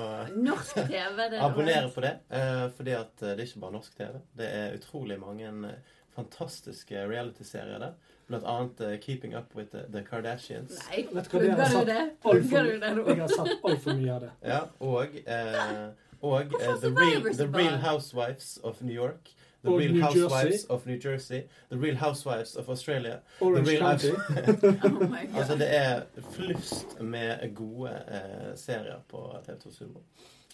Speaker 5: Norsk TV, det
Speaker 4: abonnere på det. eh, Fordi at eh, det er ikke bare norsk TV. Det er utrolig mange eh, fantastiske reality-serier der. Blant annet eh, Keeping Up With The, the Kardashians.
Speaker 5: Nei,
Speaker 3: Vet du hva, det har
Speaker 5: plugger
Speaker 3: jeg
Speaker 5: du det?
Speaker 3: Alt for-
Speaker 5: Plugger du det
Speaker 3: Jeg
Speaker 5: nå?
Speaker 3: har sett altfor mye av det.
Speaker 4: Ja, og eh, og eh,
Speaker 5: Hvorfor
Speaker 4: the, real,
Speaker 5: Survivor så
Speaker 4: the
Speaker 5: bra?
Speaker 4: Real Housewives of New York. The
Speaker 3: Og
Speaker 4: Real
Speaker 3: New Jersey.
Speaker 4: Housewives of New Jersey. The Real Housewives of Australia.
Speaker 3: Orange
Speaker 4: the real
Speaker 3: County.
Speaker 5: Oh my God.
Speaker 4: Altså, det er flust med gode eh, serier på TV2 Sumo.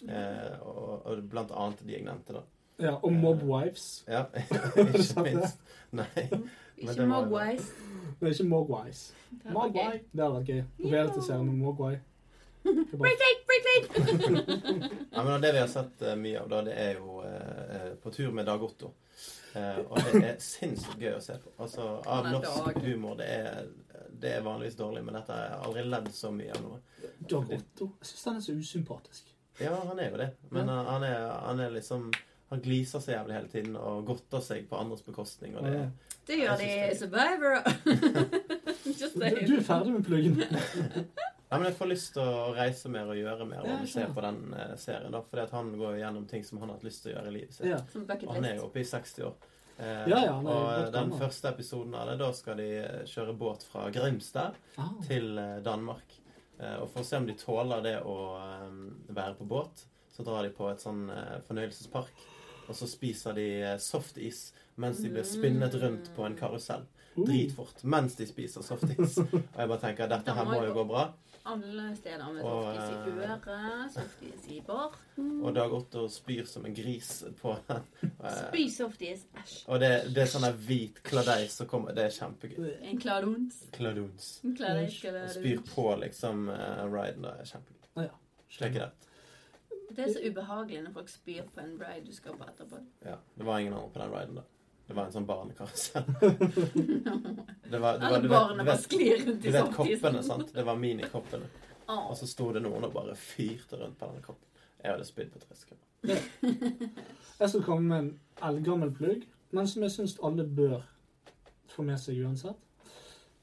Speaker 4: Eh, og, og blant annet de jeg nevnte, da.
Speaker 3: Ja, og Mob Wives.
Speaker 4: Ja,
Speaker 3: Sant
Speaker 4: ikke
Speaker 3: det?
Speaker 4: minst. Nei. Men
Speaker 5: Ikke
Speaker 4: det var-
Speaker 5: Mogwais.
Speaker 3: Det er ikke Mogwais.
Speaker 5: Det var
Speaker 3: Mogwai.
Speaker 5: gøy.
Speaker 3: Det hadde vært gøy.
Speaker 5: Ja.
Speaker 3: Realityserie med Mogwai. Det er bare-
Speaker 5: Break late, break late!
Speaker 4: Ja, men det vi har sett eh, mye av, da, det er jo eh, eh, På tur med Dag Otto. Eh, og det er sinnssykt gøy å se på. Altså, av
Speaker 5: Han er
Speaker 4: norsk
Speaker 5: Dag.
Speaker 4: humor. Det er, det er vanligvis dårlig, men dette har jeg aldri ledd så mye av noe.
Speaker 3: Dag Otto. Jeg syns den er så usympatisk.
Speaker 4: Ja, han er jo det. Men eh, han, er, han er liksom Han gliser så jævlig hele tiden og godter seg på andres bekostning. Og det,
Speaker 3: Ja.
Speaker 5: Det gjør de i Survivor. Just
Speaker 3: Du,
Speaker 5: saying.
Speaker 3: du er ferdig med pluggen.
Speaker 4: Ja, men Jeg får lyst til å reise mer og gjøre mer
Speaker 3: Ja,
Speaker 4: og
Speaker 3: jeg
Speaker 4: se
Speaker 3: skjønner.
Speaker 4: på den eh, serien. da, Fordi at han går jo gjennom ting som han har hatt lyst til å gjøre i livet sitt.
Speaker 3: Ja.
Speaker 5: Som
Speaker 4: Og
Speaker 5: bucket
Speaker 4: han er
Speaker 5: list.
Speaker 4: jo oppe i 60 år. Eh,
Speaker 3: Ja, ja, han er
Speaker 4: og
Speaker 3: godt
Speaker 4: eh, den
Speaker 3: gammel.
Speaker 4: første episoden av det, da skal de eh, kjøre båt fra Grimstad
Speaker 3: Ah.
Speaker 4: til eh, Danmark. Eh, og For å se om de tåler det å eh, være på båt, så drar de på et sånn eh, fornøyelsespark. Og så spiser de eh, softis mens de blir spinnet rundt på en karusell
Speaker 3: Uh.
Speaker 4: dritfort. Mens de spiser softis. Og jeg bare tenker dette her må jo gå bra.
Speaker 5: Alle steder med
Speaker 4: Og,
Speaker 5: softis i
Speaker 4: eh,
Speaker 5: øret, softis i barten.
Speaker 4: Og Dag Otto spyr som en gris på eh,
Speaker 5: Spy softis. Æsj.
Speaker 4: Og det, det er sånn der hvit kladeis som kommer. Det er kjempegøy.
Speaker 5: En kladons.
Speaker 4: Kladons.
Speaker 5: En kladeis,
Speaker 4: Og
Speaker 5: kladeis.
Speaker 4: spyr på liksom eh, riden. Det er kjempegøy.
Speaker 3: Ah, ja.
Speaker 4: Sjekk det. ut.
Speaker 5: Det er så ubehagelig når folk spyr på en bride du skal på etterpå.
Speaker 4: Ja, det var ingen andre på den riden da. Det var en sånn barnekarusell. Det var, det var,
Speaker 5: Alle
Speaker 4: du vet,
Speaker 5: barna
Speaker 4: du
Speaker 5: bare
Speaker 4: vet,
Speaker 5: sklir rundt
Speaker 4: du
Speaker 5: i
Speaker 4: vet
Speaker 5: softisen.
Speaker 4: koppene, sant? Det var minikoppene.
Speaker 5: Åh.
Speaker 4: Og så sto det noen og bare fyrte rundt på denne koppen. Jeg hadde spydd på tre sekunder.
Speaker 3: Jeg skal komme med en eldgammel plugg, men som jeg syns alle bør få med seg uansett.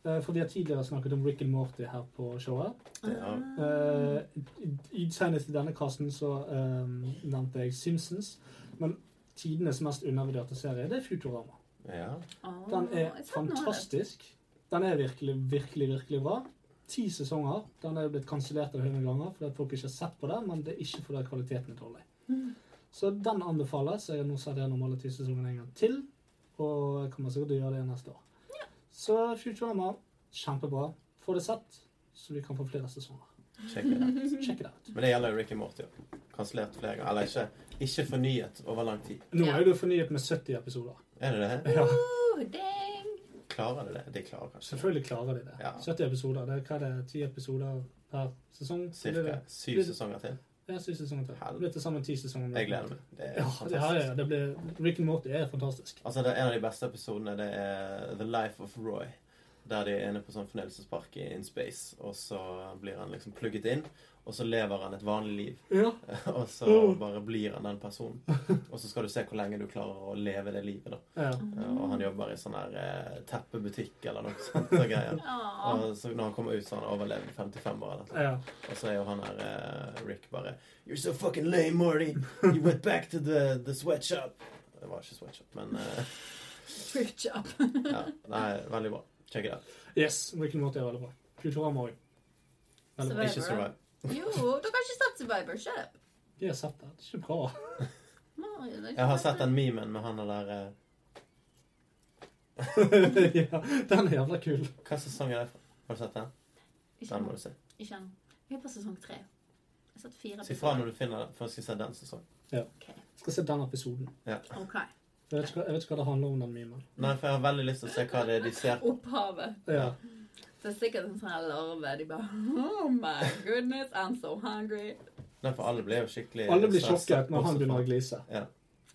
Speaker 3: Eh, Fordi jeg tidligere snakket om Rick and Morty her på showet.
Speaker 4: Det
Speaker 5: Ah,
Speaker 4: er-
Speaker 3: Eh, i- i- Senest i denne kassen så eh, nevnte jeg Simpsons. Men tidenes mest undervurderte serie, det er Futurama.
Speaker 4: Ja.
Speaker 5: Åh,
Speaker 3: Den er
Speaker 5: jeg tror den har det.
Speaker 3: fantastisk. Den er virkelig, virkelig, virkelig bra. Ti sesonger. Den er jo blitt kansellert av hundre ganger fordi at folk ikke har sett på det, men det er ikke fordi at kvaliteten er dårlig.
Speaker 5: Mm.
Speaker 3: Så den anbefales. Jeg har nå sett gjennom alle ti sesongene en gang til, og jeg kommer sikkert til å gjøre det neste år. Så Futurama, kjempebra. Få det sett, så vi kan få flere sesonger.
Speaker 4: Sjekk det. ut.
Speaker 5: Mhm.
Speaker 3: Check it out.
Speaker 4: Men det gjelder jo Ricky Morty. også. Kansellert flere ganger. Eller ikke, ikke fornyet over lang tid.
Speaker 3: Nå
Speaker 5: Ja.
Speaker 3: er jo det fornyet med 70 episoder.
Speaker 4: Er det det?
Speaker 3: Ja,
Speaker 5: Åh, Uh, dang!
Speaker 4: Klarer du det? De klarer kanskje det.
Speaker 3: selvfølgelig klarer de det.
Speaker 4: Ja.
Speaker 3: 70 episoder, det er hva det er, 10 episoder per sesong? Blir
Speaker 4: Cirka
Speaker 3: det?
Speaker 4: syv sesonger til.
Speaker 3: Ja, syv sesonger til. Det blir til sammen ti sesonger.
Speaker 4: Jeg gleder meg. Det er
Speaker 3: Ja, det her er,
Speaker 4: fantastisk.
Speaker 3: det blir, Rick and Morty er fantastisk.
Speaker 4: Altså, det er En av de beste episodene det er The Life of Roy. Der de er inne på sånn fornøyelsespark i In Space, og så blir han liksom plugget inn. Og så lever han et vanlig liv,
Speaker 3: Ja.
Speaker 4: og så
Speaker 3: Mm.
Speaker 4: bare blir han den personen. Og så skal du se hvor lenge du klarer å leve det livet, da.
Speaker 3: ja.
Speaker 4: Eh, Og han jobber i sånn her eh, teppebutikk eller noe sånt. Og greier.
Speaker 5: Ah, Åh.
Speaker 4: Og så når han kommer ut, så har han overlevd 55 år. Eller.
Speaker 3: ja.
Speaker 4: noe. Og så er jo han her eh, Rick bare You're so fucking lame, Morty. You went back to the, the sweatshop. Det var ikke sweatshop, men eh,
Speaker 5: Switch up.
Speaker 4: ja. Nei, veldig bra. Check it out.
Speaker 3: Yes, Rick and Morty er veldig bra. Futurama òg. Veldig bra.
Speaker 5: Survivor.
Speaker 4: Ikke survive.
Speaker 5: Jo, du har ikke sett Survivor. Shut up.
Speaker 3: De har sett det. Det er ikke bra.
Speaker 5: Marius,
Speaker 4: Jeg har sett den memen med han og der eh,
Speaker 3: ja, den er jævla kul.
Speaker 4: Hva sesong er det fra? Har du sett den?
Speaker 5: Ikke
Speaker 4: Den må
Speaker 5: ennå.
Speaker 4: du se.
Speaker 5: Ikke ennå. Jeg er på sesong tre. Jeg har sett fire
Speaker 4: Si fra når du finner den, for jeg skal se den sesongen.
Speaker 3: Skal se den episoden.
Speaker 5: Ok.
Speaker 3: Jeg vet ikke, hva- jeg vet ikke hva det handler om, den memen.
Speaker 4: Nei, for jeg har veldig lyst til å se hva det er de ser på.
Speaker 5: Opphavet.
Speaker 3: Ja.
Speaker 5: Det er sikkert en sånn her larve. De bare Oh my goodness, I'm so hungry.
Speaker 4: Nei, for alle ble jo skikkelig
Speaker 3: Alle blir
Speaker 4: stresset,
Speaker 3: sjokket når
Speaker 4: bortsett
Speaker 3: han
Speaker 4: fra-
Speaker 3: begynner å glise.
Speaker 4: Ja.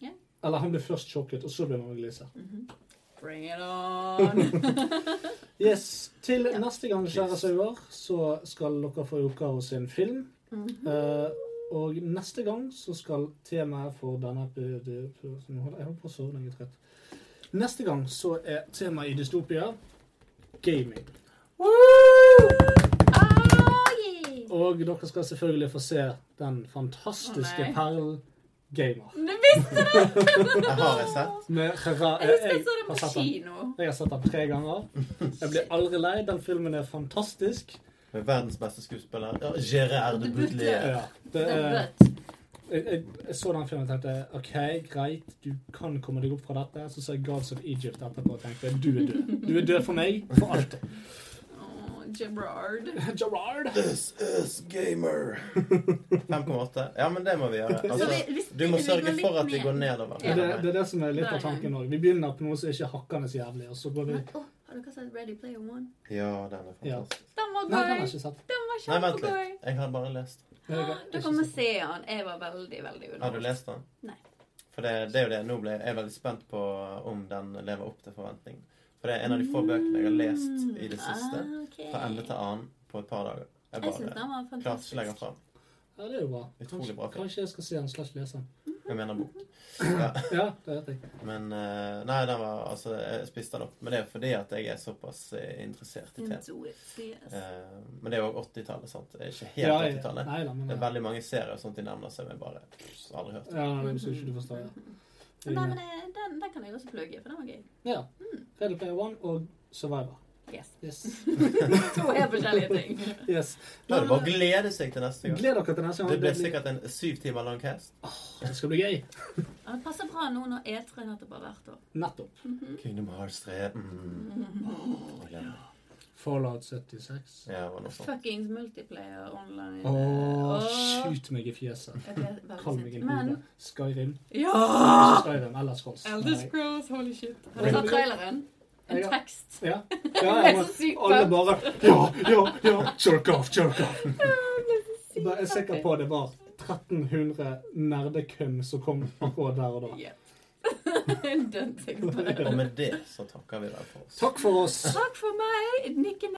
Speaker 5: Ja.
Speaker 3: Eller han blir først sjokket, og så begynner han å glise.
Speaker 5: Bring it on.
Speaker 3: Yes, Til neste gang, kjære sauer, så skal dere få Yokaro sin film.
Speaker 5: Mhm.
Speaker 3: Eh, og neste gang så skal temaet for denne episoden Jeg holder på å sove lenge trett. Neste gang så er temaet i Dystopia gaming.
Speaker 5: Oh, yeah.
Speaker 3: Og dere skal selvfølgelig få se den fantastiske
Speaker 5: Å, nei.
Speaker 3: perlen Gamer.
Speaker 5: Du visste det!
Speaker 4: Jeg har jeg sett.
Speaker 3: Med Gerard-
Speaker 5: Jeg husker jeg så det
Speaker 3: har
Speaker 5: på
Speaker 3: sett den.
Speaker 5: kino.
Speaker 3: Jeg har sett den tre ganger. Jeg blir aldri lei. Den filmen er fantastisk.
Speaker 4: Med verdens beste skuespiller. Ja, Gerard
Speaker 5: Det
Speaker 4: Butler.
Speaker 5: burde-
Speaker 3: Ja, det
Speaker 5: Det
Speaker 3: er,
Speaker 5: er
Speaker 3: jeg,
Speaker 5: rødt.
Speaker 3: jeg, jeg så den filmen og tenkte OK, greit, du kan komme deg opp fra dette. Så så jeg Gods of Egypt etterpå og tenkte du er død. Du er død for meg for alltid.
Speaker 5: Åh, Gerard.
Speaker 3: Gerard.
Speaker 4: This is gamer. 5,8. Ja, men det må vi gjøre.
Speaker 5: Så
Speaker 4: Altså,
Speaker 5: vi- hvis
Speaker 4: du må
Speaker 5: ikke vi
Speaker 4: sørge
Speaker 5: går
Speaker 4: for
Speaker 5: litt
Speaker 4: at vi går nedover.
Speaker 3: Det, det er det som er litt av
Speaker 5: Nei, nei.
Speaker 3: tanken òg. Vi begynner på noe som ikke er hakkende så jævlig, og så går vi
Speaker 5: Men, åh, har dere sett Ready Player One?
Speaker 4: Ja, den er fantastisk.
Speaker 5: Den var
Speaker 3: Nei, den har
Speaker 5: gøy!
Speaker 3: jeg ikke sett.
Speaker 5: Den var
Speaker 4: Nei, vent
Speaker 5: kjempegøy!
Speaker 4: litt. Jeg har bare lest.
Speaker 3: Det er- det er
Speaker 5: Du
Speaker 3: ikke
Speaker 5: kommer
Speaker 3: så-
Speaker 5: se han. Jeg var veldig, veldig
Speaker 4: Har du
Speaker 5: underholdt.
Speaker 4: lest den?
Speaker 5: Nei.
Speaker 4: For det, det er jo det. Nå ble jeg veldig spent på om den lever opp til forventningen. For det er en av de få bøkene jeg har lest i det siste.
Speaker 5: Ah, ok.
Speaker 4: Fra ende til annen på et par dager. Jeg
Speaker 5: Jeg syns
Speaker 4: bare
Speaker 5: den var
Speaker 4: klart ikke legger
Speaker 5: fantastisk.
Speaker 4: fram.
Speaker 3: Ja, det er jo bra.
Speaker 4: Utrolig bra film.
Speaker 3: Kanskje jeg skal se den slash lese den.
Speaker 4: Jeg mener bok. Ja.
Speaker 3: Ja, det vet jeg.
Speaker 4: Men eh, Nei, den var Altså, jeg spiste den opp. Men det er fordi at jeg er såpass eh, interessert i TV.
Speaker 5: Into it, yes.
Speaker 4: Eh, men det er jo også 80-tallet, sant? Det er ikke helt
Speaker 3: Ja, ja.
Speaker 4: 80-tallet.
Speaker 3: Nei da, men
Speaker 4: Det er
Speaker 3: ja.
Speaker 4: veldig mange serier og sånt de nevner som jeg bare pff, aldri hørt.
Speaker 3: Ja, nei, hvis du ikke du forstår, ja.
Speaker 5: Men Nei, men eh, den, den kan jeg også plugge, for den var gøy.
Speaker 3: Ja. Ready Player One og Survivor.
Speaker 5: Yes.
Speaker 3: Yes.
Speaker 5: Mm. To helt forskjellige ting.
Speaker 3: yes.
Speaker 4: Da er det bare å glede seg til neste gang.
Speaker 3: Gled dere til neste gang.
Speaker 4: Det blir sikkert en syv timer lang cast.
Speaker 3: Det skal bli gøy.
Speaker 5: Ja, Det passer bra nå når E3 nettopp har vært år.
Speaker 3: Nettopp.
Speaker 4: Kingdom Hearts 3. Mm. Jeg gleder meg.
Speaker 3: Fallout 76.
Speaker 4: Ja, det var noe sånt.
Speaker 5: Fuckings multiplayer online.
Speaker 3: Åh,
Speaker 5: Åh.
Speaker 3: skyt meg i fjeset.
Speaker 5: Jeg ble veldig
Speaker 3: Kall meg
Speaker 5: sint.
Speaker 3: en
Speaker 5: Men Ah!
Speaker 3: hode. Skyrim.
Speaker 5: ja!
Speaker 3: Ikke Skyrim, ellers Rolls.
Speaker 5: Elder
Speaker 3: Nei.
Speaker 5: Scrolls, holy shit. Har du sett traileren? En
Speaker 3: Ja.
Speaker 5: tekst.
Speaker 3: Ja.
Speaker 5: Det
Speaker 3: ja
Speaker 5: er
Speaker 3: jeg,
Speaker 5: så sykt,
Speaker 3: alle
Speaker 5: sant?
Speaker 3: bare Ja, ja, ja! Jerk off, jerk off!
Speaker 5: Jeg
Speaker 3: Bare, jeg er sikker på det var 1300 nerdekøm som kom akkurat der og da.
Speaker 5: Dønn sikkert på det.
Speaker 4: Og med det så takker vi deg for oss.
Speaker 3: Takk for oss.
Speaker 5: Takk for meg, Nikke